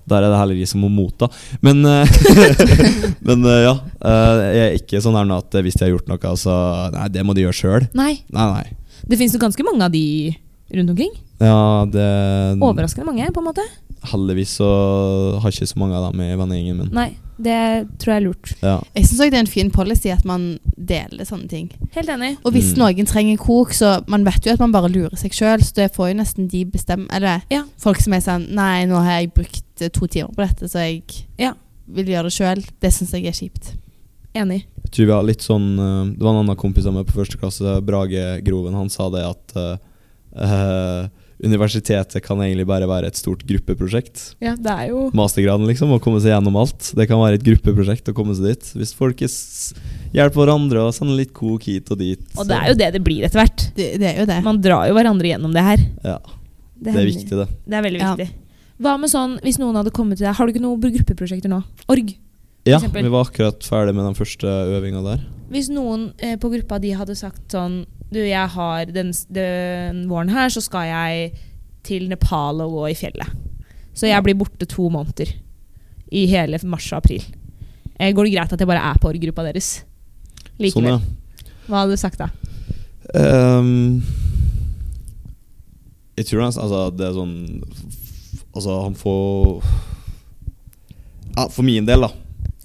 Speaker 3: der er det heller de som må motta. Men, eh, men eh, ja. eh, jeg er ikke sånn her nå at eh, hvis de har gjort noe, så Nei, det må de gjøre sjøl.
Speaker 2: Nei.
Speaker 3: Nei, nei.
Speaker 2: Det fins jo ganske mange av de rundt omkring.
Speaker 3: Ja, det
Speaker 2: Overraskende mange, på en måte.
Speaker 3: Heldigvis så har ikke så mange av dem i vennegjengen min.
Speaker 2: Nei, det tror jeg er lurt.
Speaker 3: Ja.
Speaker 1: Jeg syns det er en fin policy at man deler sånne ting.
Speaker 2: Helt enig.
Speaker 1: Og hvis
Speaker 3: Mm.
Speaker 1: noen trenger kok, så man vet jo at man bare lurer seg sjøl, så det får jo nesten de bestemme Eller
Speaker 2: Ja.
Speaker 1: folk som er sånn Nei, nå har jeg brukt eh, to timer på dette, så jeg
Speaker 2: Ja.
Speaker 1: vil gjøre det sjøl. Det syns jeg er kjipt.
Speaker 2: Enig.
Speaker 3: Jeg tror vi har litt sånn eh, Det var en annen kompis av meg på første klasse, Brage Groven, han sa det at eh, eh, universitetet kan egentlig bare være et stort gruppeprosjekt.
Speaker 2: Ja, det er jo
Speaker 3: Mastergraden, liksom, å komme seg gjennom alt. Det kan være et gruppeprosjekt å komme seg dit. Hvis folk er s- hjelper hverandre og sender litt kok hit og dit.
Speaker 2: Og det er jo det det blir etter hvert.
Speaker 1: Det, det er jo det.
Speaker 2: Man drar jo hverandre gjennom det her.
Speaker 3: Ja, det er
Speaker 2: hender.
Speaker 3: viktig, det.
Speaker 2: Det er veldig
Speaker 1: Ja.
Speaker 2: viktig. Hva med sånn, hvis noen hadde kommet til deg Har du ikke noen gruppeprosjekter nå? Org.
Speaker 3: Ja,
Speaker 2: eksempel.
Speaker 3: vi var akkurat ferdig med den første øvinga der.
Speaker 2: Hvis noen eh, på gruppa di hadde sagt sånn Du, jeg har den, s- den våren her, så skal jeg til Nepal og gå i fjellet. Så jeg blir borte to måneder. I hele mars og april. Eh, går det greit at jeg bare er på org-gruppa deres? Likevel.
Speaker 3: Sånn, ja.
Speaker 2: Hva hadde du sagt da?
Speaker 3: Ehm, jeg tror nesten Altså, det er sånn Altså, han får ja, For min del, da,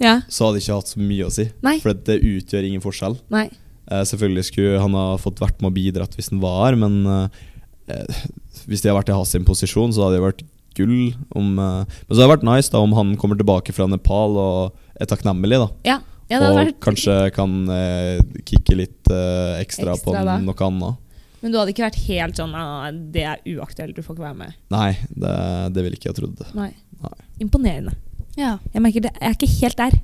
Speaker 2: Ja.
Speaker 3: så hadde jeg ikke hatt så mye å si.
Speaker 2: Nei.
Speaker 3: For det utgjør ingen forskjell.
Speaker 2: Nei.
Speaker 3: Eh, selvfølgelig skulle han ha fått vært med og bidratt hvis han var, men eh, hvis de har vært i hans sin posisjon, så hadde det vært gull. Om, eh, men så hadde det vært nice da om han kommer tilbake fra Nepal og er takknemlig, da.
Speaker 2: Ja, ja det hadde
Speaker 3: og
Speaker 2: vært
Speaker 3: kanskje kan eh, kicke litt eh, ekstra,
Speaker 2: Ekstra,
Speaker 3: på
Speaker 2: da.
Speaker 3: noe annet.
Speaker 2: Men du hadde ikke vært helt sånn «Ah, Det er uaktuelt, du får ikke være med.
Speaker 3: Nei, det, det ville ikke jeg trodd.
Speaker 2: Nei.
Speaker 3: Nei.
Speaker 2: Imponerende.
Speaker 1: Ja.
Speaker 2: Jeg merker det, jeg er ikke helt der.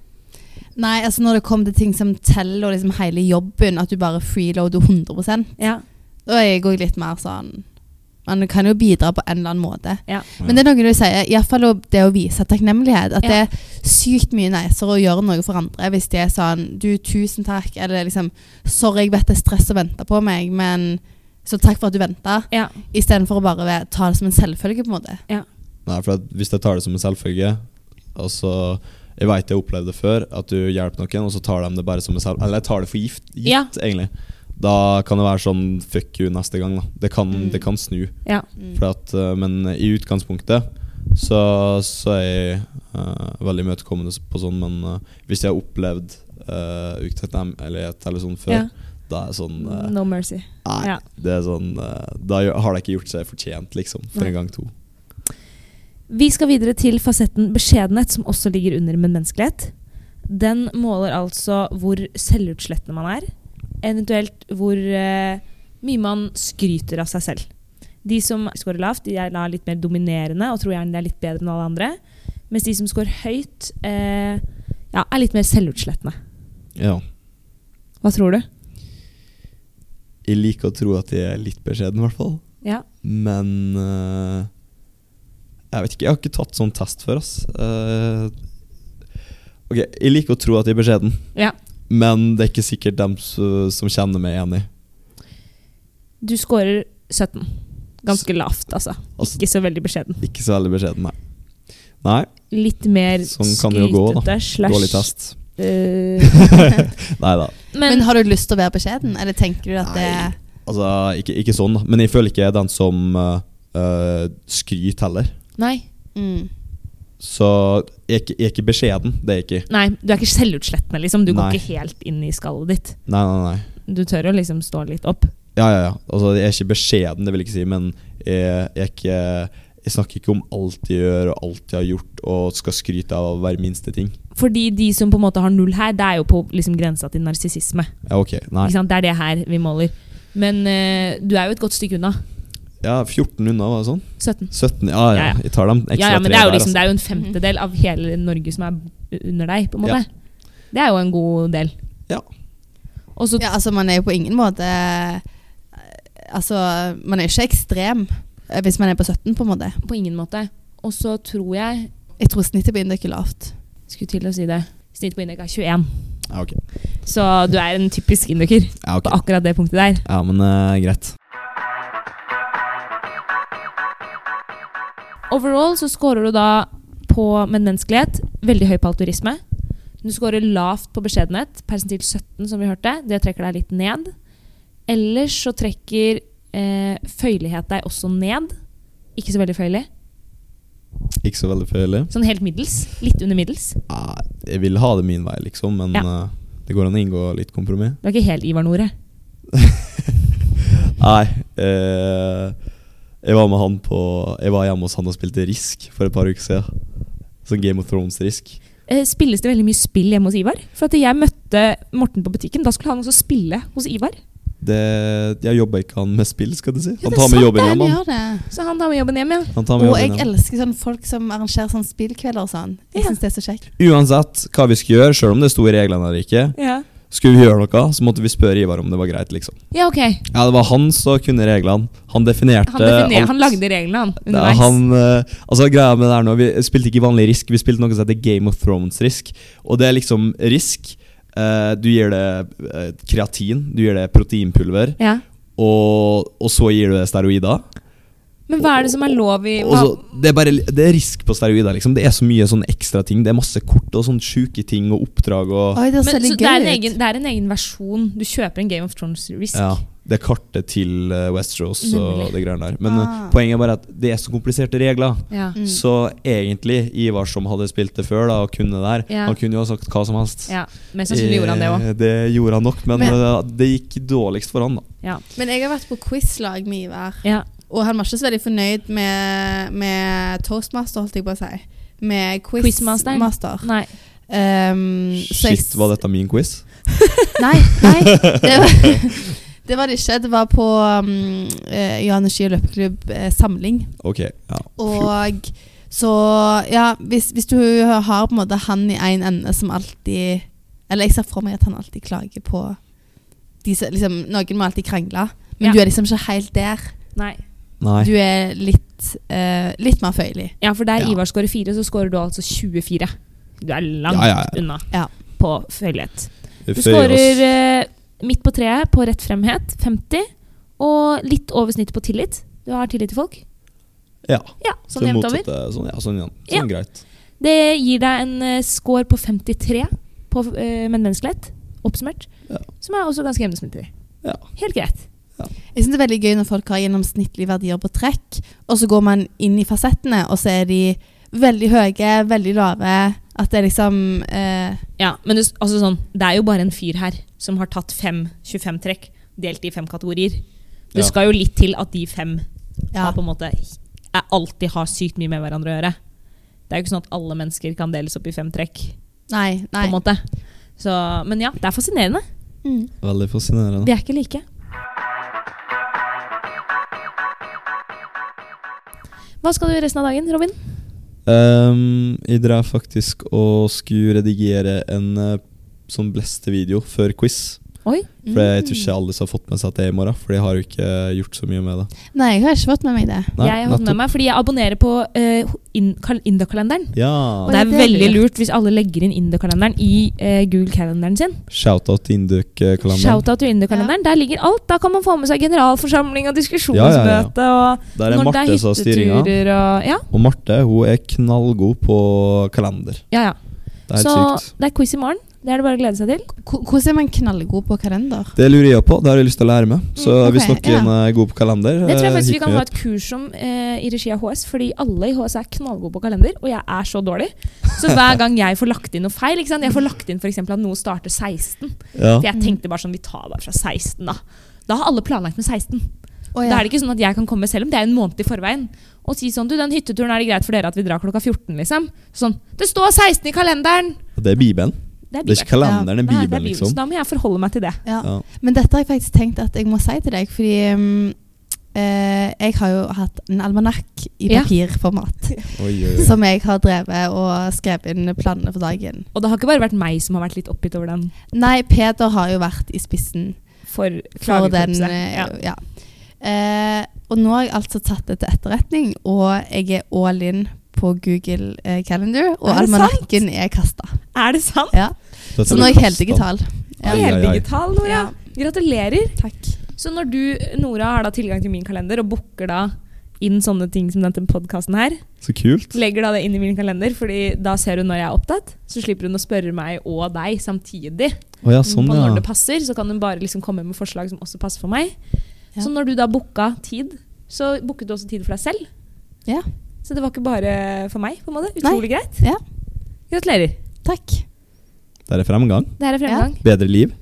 Speaker 1: Nei, altså når det kom til ting som teller, og liksom hele jobben, at du bare freeloader 100
Speaker 2: Ja.
Speaker 1: da er jeg òg litt mer sånn Man kan jo bidra på en eller annen måte.
Speaker 2: Ja.
Speaker 1: Men det er noe du sier, iallfall det å vise takknemlighet. At
Speaker 2: Ja.
Speaker 1: det er sykt mye nicere å gjøre noe for andre hvis de er sånn Du, tusen takk. Eller liksom Sorry, jeg vet det er stress å vente på meg, men så takk for at du venta.
Speaker 2: Ja.
Speaker 1: Istedenfor å bare være- ta det som en selvfølge, på en måte.
Speaker 3: Nei, for at hvis jeg tar det som en selvfølge Altså, Jeg veit jeg opplevde det før, at du hjelper noen, og så tar de det bare som en selv... Eller jeg tar det for gift, gitt,
Speaker 2: Ja.
Speaker 3: egentlig. Da kan det være sånn fuck you neste gang. da Det kan,
Speaker 1: Mm.
Speaker 3: det kan snu.
Speaker 2: Ja.
Speaker 3: For at, eh, men i utgangspunktet så, så er jeg eh, veldig imøtekommende på sånn, men eh, hvis jeg har opplevd uh, urettferdighet eller sånn før,
Speaker 2: Ja.
Speaker 3: da er det sånn eh,
Speaker 2: No mercy.
Speaker 3: Nei,
Speaker 2: Ja.
Speaker 3: det er sånn eh, Da gjør- har det ikke gjort seg fortjent, liksom, for
Speaker 2: Nei.
Speaker 3: en gang to.
Speaker 2: Vi skal videre til fasetten beskjedenhet, som også ligger under medmenneskelighet. Den måler altså hvor selvutslettende man er, eventuelt hvor eh, mye man skryter av seg selv. De som scorer lavt, de er da litt mer dominerende og tror gjerne de er litt bedre enn alle andre. Mens de som scorer høyt, eh, ja, er litt mer selvutslettende.
Speaker 3: Ja.
Speaker 2: Hva tror du?
Speaker 3: Jeg liker å tro at jeg er litt beskjeden, i hvert fall.
Speaker 2: Ja.
Speaker 3: Men eh, Jeg vet ikke, jeg har ikke tatt sånn test før, ass. Eh, ok, jeg liker å tro at jeg er beskjeden,
Speaker 2: ja.
Speaker 3: men det er ikke sikkert dem s- som kjenner meg, er enig.
Speaker 2: Du scorer 17. Ganske lavt, altså.
Speaker 3: Altså-
Speaker 2: Ikke så veldig beskjeden.
Speaker 3: Ikke så veldig beskjeden, nei. Nei,
Speaker 2: Litt mer
Speaker 3: Sånn kan det jo gå, da.
Speaker 2: skrytete slash
Speaker 3: dårlig test.
Speaker 2: eh,
Speaker 3: nei da.
Speaker 1: Men,
Speaker 2: men
Speaker 1: har du lyst til å være beskjeden, eller tenker du at det
Speaker 3: Nei. Altså, ikke, ikke sånn, da. Men jeg føler ikke jeg er den som eh, eh, skryter heller.
Speaker 2: nei,
Speaker 1: mm.
Speaker 3: Så jeg er ikke- jeg er ikke beskjeden. Det er jeg ikke.
Speaker 2: nei, du er ikke selvutslettende, liksom. Du
Speaker 3: Nei.
Speaker 2: går ikke helt inn i skallet ditt.
Speaker 3: Nei, nei, nei.
Speaker 2: Du tør å liksom stå litt opp.
Speaker 3: Ja, ja, ja. Altså, jeg er ikke beskjeden, det vil jeg ikke si, men eh, jeg, jeg, er ikke, jeg snakker ikke om alt jeg gjør og alt jeg har gjort, og skal skryte av hver minste ting.
Speaker 2: Fordi de som på en måte har null her, det er jo på liksom grensa til narsissisme.
Speaker 3: Ja, ok, nei.
Speaker 2: Ikke sant? Det er det her vi måler. Men eh, du er jo et godt stykke unna.
Speaker 3: Ja, 14 unna, var det sånn?
Speaker 2: 17.
Speaker 3: 17, ja ja,
Speaker 2: Ja, ja.
Speaker 3: jeg tar dem ekstra
Speaker 2: Ja, ja, men
Speaker 3: tre
Speaker 2: det er, jo
Speaker 3: der,
Speaker 2: liksom, det
Speaker 3: altså.
Speaker 2: er jo en femtedel av hele Norge som er under deg, på en måte. Det er jo en god del.
Speaker 3: Ja.
Speaker 2: Og så
Speaker 1: Ja, altså man er jo på ingen måte Altså, man er ikke ekstrem eh, hvis man er på 17, på en måte.
Speaker 2: på ingen måte. Og så tror jeg
Speaker 1: Jeg tror snittet på Indøk er lavt.
Speaker 2: Skulle til å si det. Snitt på Indek er 21.
Speaker 3: Ja, ok.
Speaker 2: Så du er en typisk indoker
Speaker 3: Ja, ok.
Speaker 2: på akkurat det punktet der.
Speaker 3: ja men eh, greit.
Speaker 2: Overall så scorer du da på medmenneskelighet veldig høy på alturisme. Du scorer lavt på beskjedenhet, persentil 17 som vi hørte. Det trekker deg litt ned. Ellers så trekker eh, føyelighet deg også ned. Ikke så veldig føyelig.
Speaker 3: Ikke så veldig føyelig.
Speaker 2: Sånn helt middels. Litt under middels.
Speaker 3: Ja, jeg vil ha det min vei, liksom, men
Speaker 2: Ja.
Speaker 3: eh, det går an å inngå litt kompromiss.
Speaker 2: Du er ikke helt Ivar Nore.
Speaker 3: Nei. Eh, jeg var med han på Jeg var hjemme hos han og spilte Risk for et par uker siden. Sånn Game of Thrones-risk.
Speaker 2: Eh, Spilles det veldig mye spill hjemme hos Ivar? For at jeg møtte Morten på butikken, da skulle han også spille hos Ivar.
Speaker 3: Det, jeg jobber ikke han med spill, skal du si. Han
Speaker 1: det
Speaker 3: tar
Speaker 1: er
Speaker 3: med
Speaker 1: sant,
Speaker 3: jobben
Speaker 1: det,
Speaker 3: hjem.
Speaker 1: han
Speaker 3: Han.
Speaker 1: gjør det.
Speaker 2: Så han tar med jobben hjem, ja.
Speaker 3: Han tar med
Speaker 1: Og jeg
Speaker 3: jobben hjem.
Speaker 1: elsker sånn folk som arrangerer sånn spillkvelder og sånn. Jeg
Speaker 2: Ja.
Speaker 1: synes det er så kjekt.
Speaker 3: Uansett hva vi skulle gjøre, selv om det sto i reglene eller ikke,
Speaker 2: Ja,
Speaker 3: skulle vi gjøre noe, så måtte vi spørre Ivar om det var greit, liksom.
Speaker 2: ja ok.
Speaker 3: Ja, det var han som kunne reglene. Han definerte
Speaker 2: Han, definer,
Speaker 3: alt.
Speaker 2: han lagde reglene, han.
Speaker 3: Det er
Speaker 2: Underveis.
Speaker 3: han, eh, altså greia med det her nå Vi spilte ikke vanlig risk, vi spilte noe som heter Game of Thrones-risk. Og det er liksom risk. eh, du gir det eh, kreatin, du gir det proteinpulver,
Speaker 2: Ja.
Speaker 3: og, og så gir du det steroider.
Speaker 2: Men hva er det som er lov i
Speaker 3: Og
Speaker 2: hva?
Speaker 3: så, det, er bare, det er risk på steroider. Liksom. Det er så mye sånne ekstra ting. Det er masse kort og sånne sjuke ting og oppdrag og
Speaker 1: Oi, det er
Speaker 2: Men,
Speaker 1: så
Speaker 2: så
Speaker 1: veldig
Speaker 2: det, er en
Speaker 1: gøy ut.
Speaker 2: egen, det er en egen versjon. Du kjøper en Game of Thrones Risk.
Speaker 3: ja. det kartet til eh, Westeros og
Speaker 2: Nemlig.
Speaker 3: det greiene der. Men eh,
Speaker 1: Ah.
Speaker 3: poenget er bare at det er så kompliserte regler.
Speaker 2: Ja.
Speaker 1: Mm.
Speaker 3: Så egentlig, Ivar som hadde spilt det før da, og kunne det der,
Speaker 2: Ja.
Speaker 3: han kunne jo ha sagt hva som helst.
Speaker 2: ja. Mest sannsynlig gjorde han det òg.
Speaker 3: Eh, Det gjorde han nok, men,
Speaker 1: Men-
Speaker 3: eh, det gikk dårligst for han, da.
Speaker 2: Ja.
Speaker 1: Men jeg har vært på quizlag med Ivar,
Speaker 2: Ja.
Speaker 1: og han var ikke så veldig fornøyd med, med toastmaster, holdt jeg på å si. Med
Speaker 2: Quizmasteren.
Speaker 3: Eh.
Speaker 1: quizmaster.
Speaker 2: Nei.
Speaker 1: Um,
Speaker 2: Mm,
Speaker 1: så jeg-
Speaker 3: Shit, var dette min quiz?
Speaker 1: Nei, nei. Det var, det var det ikke. Det var på um, eh, Jan og Ski og løpeklubb eh, samling.
Speaker 3: Ok. Ja.
Speaker 1: Og så Ja, hvis, hvis du har på en måte han i én ende som alltid Eller jeg ser for meg at han alltid klager på de som, liksom, Noen må alltid krangle, men
Speaker 2: Ja.
Speaker 1: du er liksom ikke helt der.
Speaker 2: Nei.
Speaker 3: Nei.
Speaker 1: Du er litt, eh, litt mer føyelig.
Speaker 2: Ja, for der
Speaker 3: Ja.
Speaker 2: Ivar skårer fire, så skårer du altså 24. Du er langt
Speaker 3: Ja, ja, ja.
Speaker 2: unna
Speaker 1: Ja.
Speaker 2: på følgelighet. Du
Speaker 3: Føyer oss.
Speaker 2: skårer eh, midt på treet på rett fremhet, 50, og litt over snittet på tillit. Du har tillit til folk.
Speaker 3: Ja.
Speaker 2: Ja,
Speaker 3: Så
Speaker 2: sånn jevnt over.
Speaker 3: motsatte- Sånn, ja, sånn, igjen.
Speaker 2: Ja.
Speaker 3: sånn greit.
Speaker 2: Det gir deg en eh, score på 53 på eh, menneskelighet, oppsummert,
Speaker 3: Ja.
Speaker 2: som er også ganske jevnsmittig.
Speaker 3: Ja.
Speaker 2: Helt greit.
Speaker 1: Jeg synes det er veldig gøy når folk har gjennomsnittlige verdier på trekk, og så går man inn i fasettene, og så er de veldig høye, veldig lave. At det er liksom eh,
Speaker 2: Ja, men det, s- altså sånn, det er jo bare en fyr her som har tatt fem 25-trekk, delt i fem kategorier. Det
Speaker 3: Ja.
Speaker 2: skal jo litt til at de fem
Speaker 1: ja.
Speaker 2: har på en måte er alltid har sykt mye med hverandre å gjøre. Det er jo ikke sånn at alle mennesker kan deles opp i fem trekk.
Speaker 1: Nei,
Speaker 2: på
Speaker 1: nei.
Speaker 2: en måte. Så, men ja, det er fascinerende.
Speaker 1: Mm.
Speaker 3: Veldig fascinerende.
Speaker 2: De er ikke like. Hva skal du gjøre resten av dagen, Robin?
Speaker 3: Ehm, jeg drev faktisk og skulle redigere en eh, sånn bleste video før quiz.
Speaker 2: Oi.
Speaker 1: mm,
Speaker 3: For jeg tror ikke alle som har fått med seg at det er i morgen. For jeg har jo ikke gjort så mye med det.
Speaker 1: Nei, jeg har ikke fått med meg det.
Speaker 3: Nei,
Speaker 2: jeg har fått
Speaker 3: nettopp.
Speaker 2: med meg fordi jeg abonnerer på eh, in- kal- Indokalenderen.
Speaker 3: Ja.
Speaker 2: Og det er
Speaker 1: det er
Speaker 2: veldig
Speaker 1: lurt.
Speaker 2: lurt hvis alle legger inn Indokalenderen i eh, Google-kalenderen sin.
Speaker 3: Shout-out til Induk-kalenderen.
Speaker 2: Shout-out til Indokalenderen. Der ligger alt. Da kan man få med seg generalforsamling og
Speaker 3: Ja, ja, ja.
Speaker 2: diskusjonsmøte. Og
Speaker 3: Der er
Speaker 2: når
Speaker 3: Marte som har styringa.
Speaker 2: hytteturer og Ja,
Speaker 3: Og Marte hun er knallgod på kalender.
Speaker 2: ja. ja.
Speaker 3: Det er helt
Speaker 2: Så
Speaker 3: sykt.
Speaker 2: det er quiz i morgen. Det er det bare å glede seg til.
Speaker 1: H- Hvordan er man knallgod på kalender?
Speaker 3: Det lurer jeg på. Det har jeg lyst til å lære meg. Så
Speaker 1: Mm, ok,
Speaker 3: hvis noen er god på kalender
Speaker 2: Det tror jeg
Speaker 3: eh,
Speaker 2: faktisk vi
Speaker 3: hit
Speaker 2: kan
Speaker 3: me
Speaker 2: ha
Speaker 3: up.
Speaker 2: et kurs om eh, i regi av HS, fordi alle i HS er knallgode på kalender, og jeg er så dårlig. Så hver gang jeg får lagt inn noe feil ikke sant? Jeg får lagt inn for eksempel at noe starter 16.
Speaker 3: Ja.
Speaker 2: For jeg tenkte bare sånn, vi tar bare fra 16, da. Da har alle planlagt med 16.
Speaker 1: Å, ja.
Speaker 2: Da er det ikke sånn at jeg kan komme, selv om det er en måned i forveien, og si sånn Du, den hytteturen er det greit for dere at vi drar klokka 14, liksom? Sånn Det står 16 i kalenderen!
Speaker 3: Det er Bibelen. Det er ikke kalenderen, det er
Speaker 2: Nei, det er
Speaker 3: Bibelen, liksom.
Speaker 2: Så da må jeg forholde meg til det.
Speaker 1: ja.
Speaker 3: Ja.
Speaker 1: Men dette har jeg faktisk tenkt at jeg må si til deg, fordi mm, eh, jeg har jo hatt en almanakk i
Speaker 2: Ja.
Speaker 1: papirformat
Speaker 3: Oi, oi, oi.
Speaker 1: som jeg har drevet og skrevet inn planene for dagen.
Speaker 2: Og det har ikke bare vært meg som har vært litt oppgitt over den
Speaker 1: Nei, Peder har jo vært i spissen
Speaker 2: for
Speaker 1: for den.
Speaker 2: klagekorpset.
Speaker 1: eh,
Speaker 2: Ja.
Speaker 1: ja. Eh, og nå har jeg altså tatt det til etterretning, og jeg er all in på Google eh, Calendar, og
Speaker 2: Er det sant?
Speaker 1: almanakken er kasta.
Speaker 2: Er det sant?
Speaker 1: Ja.
Speaker 3: Dette
Speaker 1: Så nå er
Speaker 3: blir
Speaker 1: jeg helt
Speaker 3: kasta.
Speaker 1: digital. Ja.
Speaker 3: Ai, ai, ai.
Speaker 2: Heldigital, Nora.
Speaker 1: Ja.
Speaker 2: Gratulerer.
Speaker 1: Takk.
Speaker 2: Så når du, Nora, har da tilgang til min kalender og booker da inn sånne ting som denne podkasten her,
Speaker 3: Så kult.
Speaker 2: legger da det inn i min kalender, fordi da ser hun når jeg er opptatt. Så slipper hun å spørre meg og deg samtidig
Speaker 3: Å ja, sånn,
Speaker 2: på når
Speaker 3: ja.
Speaker 2: det passer. Så kan hun bare liksom komme med forslag som også passer for meg.
Speaker 1: Ja.
Speaker 2: Så når du da booka tid, så booket du også tid for deg selv.
Speaker 1: Ja.
Speaker 2: Så det var ikke bare for meg, på en måte. Utrolig greit.
Speaker 1: Ja.
Speaker 2: Gratulerer.
Speaker 1: Takk.
Speaker 3: Der er fremgang.
Speaker 2: Det her er fremgang.
Speaker 3: Bedre liv.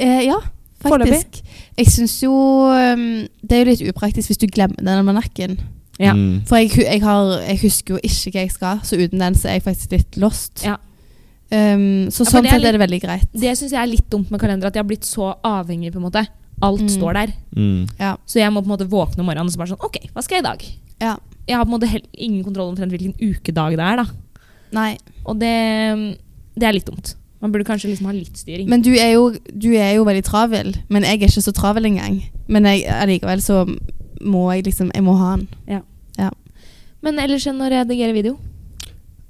Speaker 1: Eh, ja, faktisk. Jeg syns jo um, Det er jo litt upraktisk hvis du glemmer den almanakken.
Speaker 2: Ja.
Speaker 3: Mm.
Speaker 1: For jeg, hu- jeg, har, jeg husker jo ikke hva jeg skal, så uten den så er jeg faktisk litt lost.
Speaker 2: Ja.
Speaker 1: Um, så
Speaker 2: Ja, for
Speaker 1: sånn
Speaker 2: det er
Speaker 1: sett er det veldig greit.
Speaker 2: Det syns jeg er litt dumt med kalender, at jeg har blitt så avhengig. på en måte. Alt
Speaker 1: Mm.
Speaker 2: står der.
Speaker 3: Mm.
Speaker 1: Ja.
Speaker 2: Så jeg må på en måte våkne om morgenen og så bare sånn OK, hva skal jeg i dag?
Speaker 1: ja.
Speaker 2: Jeg har på en måte hel- ingen kontroll omtrent hvilken ukedag det er, da.
Speaker 1: Nei.
Speaker 2: Og det, det er litt dumt. Man burde kanskje liksom ha litt styring.
Speaker 1: Men du er, jo, du er jo veldig travel, men jeg er ikke så travel engang. Men jeg, allikevel så må jeg liksom Jeg må ha den.
Speaker 2: Men ellers enn å redigere video.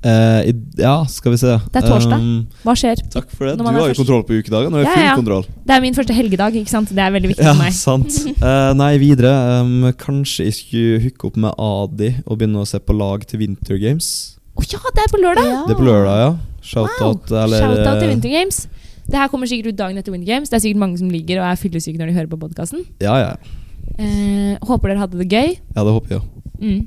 Speaker 3: Eh, i, ja, skal vi se.
Speaker 2: Det er torsdag.
Speaker 3: Um,
Speaker 2: Hva skjer?
Speaker 3: takk for det.
Speaker 2: Når
Speaker 3: Du
Speaker 2: man er
Speaker 3: har jo
Speaker 2: først.
Speaker 3: kontroll på ukedagen. Du har
Speaker 2: Ja,
Speaker 3: full
Speaker 2: ja.
Speaker 3: kontroll.
Speaker 2: Det er min første helgedag, ikke sant? Det er veldig viktig
Speaker 3: Ja,
Speaker 2: for meg.
Speaker 3: sant. Eh, nei, videre. Um, kanskje jeg skulle hooke opp med Adi og begynne å se på lag til Winter Games.
Speaker 2: Å ja, det er på lørdag!
Speaker 3: Det er på lørdag, ja. Shout-out.
Speaker 2: Ah. Wow.
Speaker 3: Eller eh,
Speaker 2: Shout-out til Winter Games. Det her kommer sikkert ut dagen etter Winter Games. Det er sikkert mange som ligger og er fyllesyke når de hører på podkasten.
Speaker 3: Ja, ja. ja.
Speaker 2: Eh, håper dere hadde det gøy.
Speaker 3: Ja, det håper jeg. også.
Speaker 2: Mm. eh,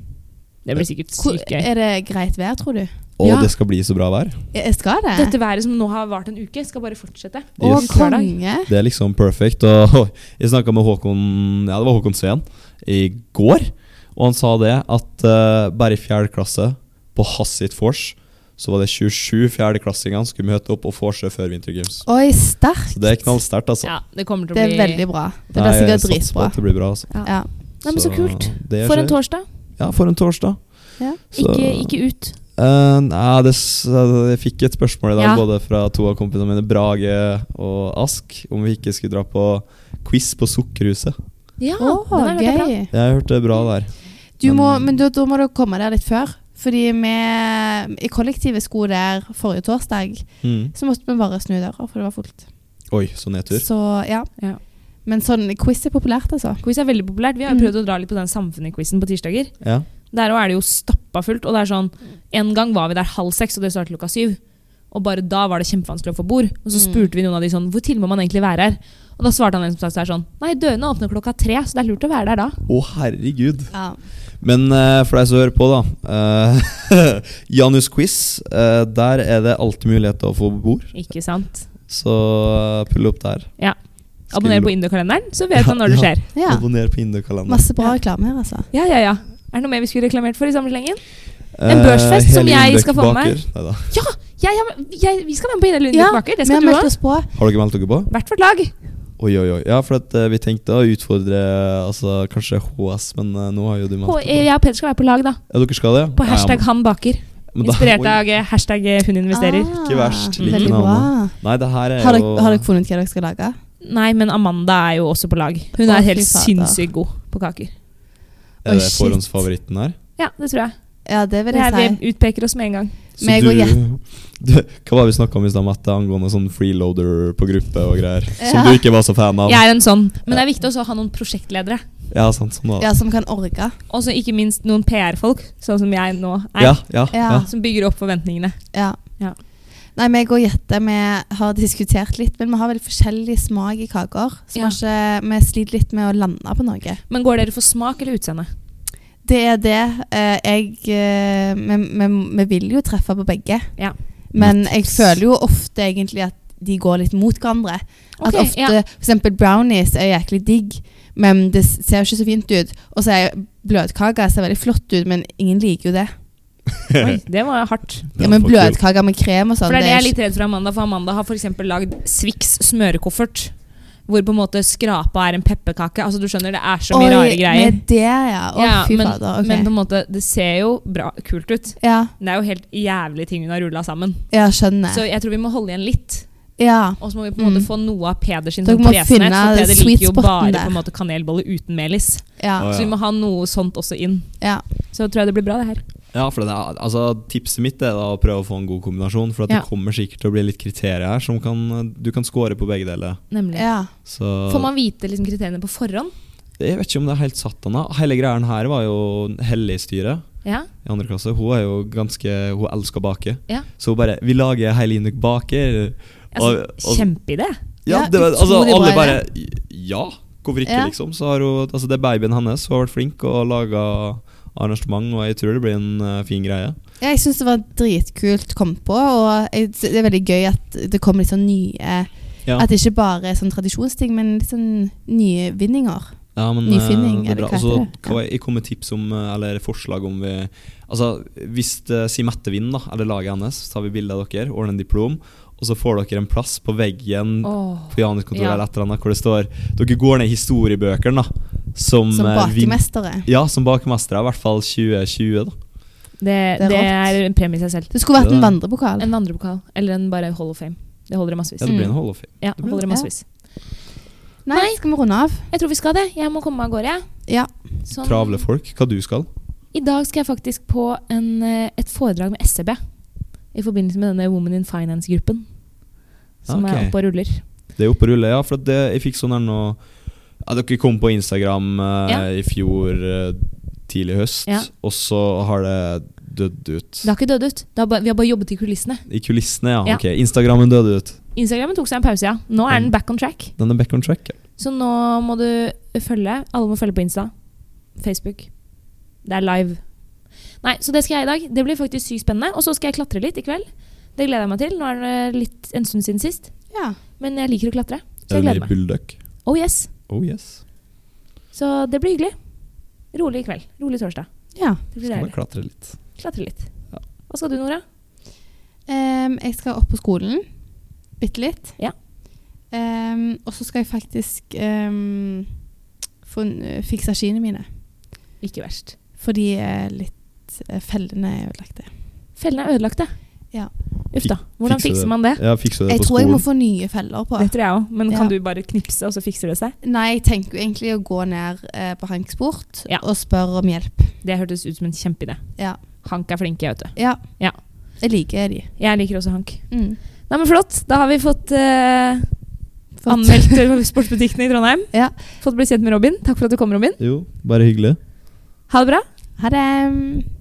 Speaker 2: Det blir sikkert
Speaker 1: Hvor,
Speaker 2: sykt gøy.
Speaker 1: er det greit vær, tror du?
Speaker 3: Og
Speaker 2: Ja.
Speaker 3: det skal bli så bra vær.
Speaker 1: Jeg skal det?
Speaker 2: Dette været som nå har vart en uke, skal bare fortsette.
Speaker 1: Å,
Speaker 3: Yes.
Speaker 1: konge.
Speaker 3: Det er liksom perfect. Og jeg snakka med Håkon Ja, det var Håkon Sveen i går, og han sa det at eh, bare i fjerde klasse på Hassit Fors så var det 27 fjerdeklassinger som skulle møte opp og vorse før Winter Games.
Speaker 1: Oi, sterkt.
Speaker 3: Så det er knallsterkt, altså.
Speaker 2: Ja, det kommer til å
Speaker 1: Det
Speaker 2: bli
Speaker 1: er veldig bra. Det blir
Speaker 3: Nei, jeg
Speaker 1: sikkert
Speaker 3: satser på
Speaker 1: dritbra.
Speaker 3: at Det blir bra, altså.
Speaker 1: Ja.
Speaker 2: Nei, men så kult.
Speaker 3: det
Speaker 2: For en
Speaker 3: skjer.
Speaker 2: torsdag.
Speaker 3: Ja, for en torsdag.
Speaker 1: Ja.
Speaker 3: Så-
Speaker 2: Ikke, ikke ut.
Speaker 3: Eh, nei, det, s- jeg fikk et spørsmål i dag
Speaker 2: Ja.
Speaker 3: både fra to av kompisene mine, Brage og Ask, om vi ikke skulle dra på quiz på Sukkerhuset.
Speaker 2: Ja,
Speaker 1: Å,
Speaker 2: den har jeg hørt er bra.
Speaker 1: gøy.
Speaker 3: Jeg hørte det bra der.
Speaker 1: Du
Speaker 3: Men-
Speaker 1: må, men da, da må du komme der litt før. Fordi vi i kollektivet skulle der forrige torsdag,
Speaker 3: Mm.
Speaker 1: så måtte vi bare snu døra, for det var fullt.
Speaker 3: Oi, så nedtur.
Speaker 1: Så ja.
Speaker 2: Ja.
Speaker 1: Men sånn quiz er populært, altså.
Speaker 2: Quiz er veldig populært. Vi har
Speaker 1: Mm.
Speaker 2: prøvd å dra litt på den samfunnet-quizen på tirsdager.
Speaker 3: Ja.
Speaker 2: Der også er det jo stappa fullt. Og det er sånn, En gang var vi der halv seks, og det startet klokka syv. Og bare da var det kjempevanskelig å få bord. Og så
Speaker 1: Mm.
Speaker 2: spurte vi noen av de sånn Hvor tidlig må man egentlig være her? Og da svarte han en som sa seg sånn Nei, dørene åpner klokka tre, så det er lurt å være der da.
Speaker 3: Å, herregud.
Speaker 1: Ja.
Speaker 3: Men eh, for deg som hører på, da. eh, Janus quiz. eh, der er det alltid mulighet til å få bord,
Speaker 2: Ikke sant?
Speaker 3: så eh, pull opp der.
Speaker 2: Abonner
Speaker 3: Skriv-
Speaker 2: på Indokalenderen, så vet
Speaker 3: Ja,
Speaker 2: han når det
Speaker 3: ja.
Speaker 2: skjer.
Speaker 1: ja.
Speaker 3: Abonner på Indokalenderen.
Speaker 1: Masse bra reklame her, altså.
Speaker 2: Ja, ja, ja. Er det noe mer vi skulle reklamert for i sammenhengen? en
Speaker 3: Eh,
Speaker 2: børsfest som jeg skal få med meg.
Speaker 3: Neida.
Speaker 2: Jeg, jeg, jeg, vi skal være med på Ida Lundvik Baker,
Speaker 1: vi har
Speaker 2: det skal du
Speaker 1: meldt
Speaker 2: òg.
Speaker 1: oss på.
Speaker 3: Har dere meldt dere på?
Speaker 2: Hvert vårt lag.
Speaker 3: Oi, oi, oi. Ja, for at, eh, vi tenkte å utfordre altså, kanskje HS, men eh, nå har jo du meldt
Speaker 2: Og
Speaker 3: deg på.
Speaker 2: jeg og Peder skal være på lag, da.
Speaker 3: Ja, dere skal det? ja?
Speaker 2: E, På
Speaker 3: Ja,
Speaker 2: hashtag
Speaker 3: ja,
Speaker 2: han baker.
Speaker 3: men- men da-
Speaker 2: Inspirert
Speaker 3: oi.
Speaker 2: av eh, hashtag eh, hun investerer.
Speaker 1: Ah,
Speaker 3: Ikke verst,
Speaker 2: like
Speaker 1: Veldig bra.
Speaker 3: navn. Nei, det her er
Speaker 1: Har
Speaker 3: jo
Speaker 1: dere, har dere funnet ut hva dere skal lage?
Speaker 2: Nei, men Amanda er jo også på lag. Hun
Speaker 1: Å,
Speaker 2: er
Speaker 1: fy
Speaker 2: helt
Speaker 1: fader.
Speaker 2: sinnssykt god på kaker.
Speaker 3: Er
Speaker 1: Oi,
Speaker 3: det
Speaker 1: shit.
Speaker 3: forhåndsfavoritten her?
Speaker 2: Ja, det tror jeg.
Speaker 1: Ja, det vil
Speaker 2: Det
Speaker 1: jeg
Speaker 2: er,
Speaker 1: si.
Speaker 2: vi utpeker oss med en gang.
Speaker 3: Så
Speaker 1: Meg
Speaker 3: du-
Speaker 1: og
Speaker 3: du, Hva var det vi snakka om i stad, Mette, angående sånn freeloader på gruppe og greier? Som
Speaker 1: Ja.
Speaker 3: du ikke var så fan av?
Speaker 2: Jeg er en sånn. Men det er viktig også å ha noen prosjektledere.
Speaker 3: Ja, sant, sånn var det.
Speaker 1: Ja, som kan orke.
Speaker 2: Og så ikke minst noen PR-folk, sånn som jeg nå er.
Speaker 3: Ja, ja, ja.
Speaker 1: Ja.
Speaker 2: Som bygger opp forventningene.
Speaker 1: Ja.
Speaker 2: Ja.
Speaker 1: Nei, meg og Jette vi har diskutert litt, men vi har veldig forskjellig smak i kaker. Så vi
Speaker 2: Ja.
Speaker 1: har ikke, vi sliter litt med å lande på noe.
Speaker 2: Men går dere for smak eller utseende?
Speaker 1: Det er det. eh, Jeg eh, vi, vi, vi vil jo treffe på begge.
Speaker 2: Ja.
Speaker 1: Men jeg føler jo ofte egentlig at de går litt mot hverandre. At
Speaker 2: Ok,
Speaker 1: ofte,
Speaker 2: ja.
Speaker 1: for eksempel brownies er jæklig digg, men det s- ser jo ikke så fint ut. Og så er jo bløtkaka ser veldig flott ut, men ingen liker jo det.
Speaker 2: Oi, det var hardt.
Speaker 1: Ja, men
Speaker 3: for kul.
Speaker 1: bløtkaka med krem og sånn,
Speaker 2: For det er det jeg er
Speaker 1: ikke-
Speaker 2: litt redd for Amanda, for Amanda har f.eks. lagd Swix smørekoffert. Hvor på en måte skrapa er en pepperkake. Altså, du skjønner, det er så mye
Speaker 1: Oi,
Speaker 2: rare greier.
Speaker 1: Med det, ja. Å,
Speaker 2: Ja,
Speaker 1: fy
Speaker 2: men,
Speaker 1: fader. ok.
Speaker 2: men på en måte, det ser jo bra, kult ut.
Speaker 1: ja,
Speaker 2: Men det er jo helt jævlig ting hun har rulla sammen.
Speaker 1: ja, skjønner.
Speaker 2: Så jeg tror vi må holde igjen litt.
Speaker 1: ja.
Speaker 2: Og så må vi på en måte
Speaker 1: Mm.
Speaker 2: få noe av Peders sin
Speaker 1: Dere
Speaker 2: sånn
Speaker 1: må
Speaker 2: tresenhet.
Speaker 1: finne
Speaker 2: For Peder
Speaker 1: sweet
Speaker 2: liker jo
Speaker 1: spoten
Speaker 2: bare
Speaker 1: der.
Speaker 2: på en måte kanelbolle uten melis.
Speaker 1: Ja.
Speaker 3: Å,
Speaker 2: Så
Speaker 3: ja.
Speaker 2: vi må ha noe sånt også inn.
Speaker 1: ja.
Speaker 2: Så tror jeg det blir bra, det her.
Speaker 3: Ja, for det er, altså, Tipset mitt er da å prøve å få en god kombinasjon. For at
Speaker 2: Ja.
Speaker 3: det kommer sikkert til å bli litt kriterier her som kan, du kan score på begge deler.
Speaker 2: Nemlig.
Speaker 1: ja.
Speaker 3: Så
Speaker 2: Får man vite liksom, kriteriene på forhånd?
Speaker 3: Jeg vet ikke om det er helt satt henne. Hele greia her var jo Helle i styret
Speaker 2: Ja.
Speaker 3: i andre klasse. Hun er jo ganske Hun elsker å bake.
Speaker 2: Ja.
Speaker 3: Så hun bare Vi lager Heile Induk baker.
Speaker 2: Altså,
Speaker 3: Og- og-
Speaker 2: Kjempeidé.
Speaker 3: Ja,
Speaker 1: Ja,
Speaker 3: det var, altså,
Speaker 1: utrolig
Speaker 3: alle
Speaker 1: bra
Speaker 3: bare Ja, hvorfor ikke,
Speaker 1: Ja.
Speaker 3: liksom? Så har hun Altså, det er babyen hennes. Hun har vært flink og laga arrangement, og jeg tror det blir en eh, fin greie.
Speaker 1: Ja, Jeg syns det var dritkult kommet på, og jeg, det er veldig gøy at det kommer litt sånn nye
Speaker 3: Ja.
Speaker 1: At det ikke bare er sånn tradisjonsting, men litt sånn nye vinninger.
Speaker 3: Ja, men,
Speaker 1: Nyfinning,
Speaker 3: eh, det er
Speaker 1: eller
Speaker 3: bra.
Speaker 1: hva
Speaker 3: Altså,
Speaker 1: heter det?
Speaker 3: hva- Jeg kom med tips om, eh, eller forslag om vi Altså, Hvis eh, si Mette vinner, da, eller laget hennes, så tar vi bilde av dere, ordner en diplom, og så får dere en plass på veggen
Speaker 2: Åh.
Speaker 3: på Janus-kontoret
Speaker 2: ja.
Speaker 3: eller et eller annet, hvor det står Dere går ned i historiebøkene, da. Som,
Speaker 1: Som
Speaker 3: eh, vin-
Speaker 1: bakemestere.
Speaker 3: Ja, som bakmestere. I hvert fall 2020, da.
Speaker 2: Det,
Speaker 1: Det er
Speaker 2: det
Speaker 1: rått.
Speaker 2: er en premie i seg selv.
Speaker 1: Det skulle vært
Speaker 3: Ja.
Speaker 1: en vandrepokal.
Speaker 2: En vandrepokal. Eller en bare Hall of Fame. Det holder i massevis.
Speaker 3: Ja, det blir en
Speaker 1: Mm.
Speaker 3: Hall of Fame.
Speaker 2: Ja, det holder i
Speaker 1: Ja.
Speaker 2: massevis.
Speaker 1: Nei, skal vi runde av?
Speaker 2: Jeg tror vi skal det. Jeg må komme meg av gårde. jeg.
Speaker 1: Ja.
Speaker 2: Sånn.
Speaker 3: Travle folk. Hva du skal?
Speaker 2: I dag skal jeg faktisk på en, eh, et foredrag med SEB i forbindelse med denne Women in Finance-gruppen som
Speaker 3: Ok.
Speaker 2: er oppe og ruller.
Speaker 3: Det er oppe og rulle, ja. For at det, jeg fikk sånn her nå ja, Dere kom på Instagram eh,
Speaker 2: Ja.
Speaker 3: i fjor eh, tidlig høst,
Speaker 2: Ja.
Speaker 3: og så har det dødd ut.
Speaker 2: Det har ikke dødd ut. Det har bare, vi har bare jobbet i kulissene.
Speaker 3: I kulissene, ja.
Speaker 2: Ja.
Speaker 3: Ok, Instagrammen døde ut.
Speaker 2: Instagramen tok seg en pause, ja. Nå er den back on track.
Speaker 5: Den er back on track. ja.
Speaker 2: Så nå må du følge. Alle må følge på Insta. Facebook. Det er live. Nei, så det skal jeg i dag. Det blir faktisk sykt spennende. Og så skal jeg klatre litt i kveld. Det gleder jeg meg til. Nå er det litt en stund siden sist,
Speaker 1: Ja.
Speaker 2: men jeg liker å klatre. Så
Speaker 5: Er du
Speaker 2: jeg
Speaker 5: med
Speaker 2: gleder
Speaker 5: i
Speaker 2: meg.
Speaker 5: Bullduck?
Speaker 2: Oh yes.
Speaker 5: Oh yes.
Speaker 2: Så det blir hyggelig. Rolig kveld. Rolig torsdag.
Speaker 1: ja.
Speaker 2: Det blir
Speaker 5: Skal bare
Speaker 2: deilig.
Speaker 5: klatre litt.
Speaker 2: Klatre litt.
Speaker 5: Ja.
Speaker 2: Hva skal du, Nora?
Speaker 1: Ehm, jeg skal opp på skolen. Bitte litt.
Speaker 2: Ja.
Speaker 1: Ehm, og så skal jeg faktisk ehm, få, fikse skiene mine.
Speaker 2: Ikke verst.
Speaker 1: For de er litt eh, Fellene er ødelagte.
Speaker 2: Fellene er ødelagte.
Speaker 1: Ja.
Speaker 2: Uff da. Hvordan
Speaker 5: Fikse
Speaker 2: fikser man det?
Speaker 5: Ja, fikser du det
Speaker 1: Jeg
Speaker 5: på
Speaker 1: tror jeg må
Speaker 5: skolen?
Speaker 1: få nye feller på.
Speaker 2: Det tror jeg òg, men
Speaker 1: Ja.
Speaker 2: kan du bare knipse, og så fikser det seg?
Speaker 1: Nei, jeg tenker jo egentlig å gå ned eh, på Hanksport
Speaker 2: Ja.
Speaker 1: og spørre om hjelp.
Speaker 2: Det hørtes ut som en kjempeidé.
Speaker 1: Ja.
Speaker 2: Hank er flink, jeg, vet du.
Speaker 1: ja.
Speaker 2: Ja.
Speaker 1: Jeg liker de.
Speaker 2: Jeg liker også Hank.
Speaker 1: Mm.
Speaker 2: Nei, men Flott. Da har vi fått eh,
Speaker 1: Fått-
Speaker 2: anmeldt eh, sportsbutikken i Trondheim.
Speaker 1: Ja.
Speaker 2: Fått bli kjent med Robin. Takk for at du kom, Robin.
Speaker 5: Jo, bare hyggelig.
Speaker 2: Ha det bra.
Speaker 1: Ha det.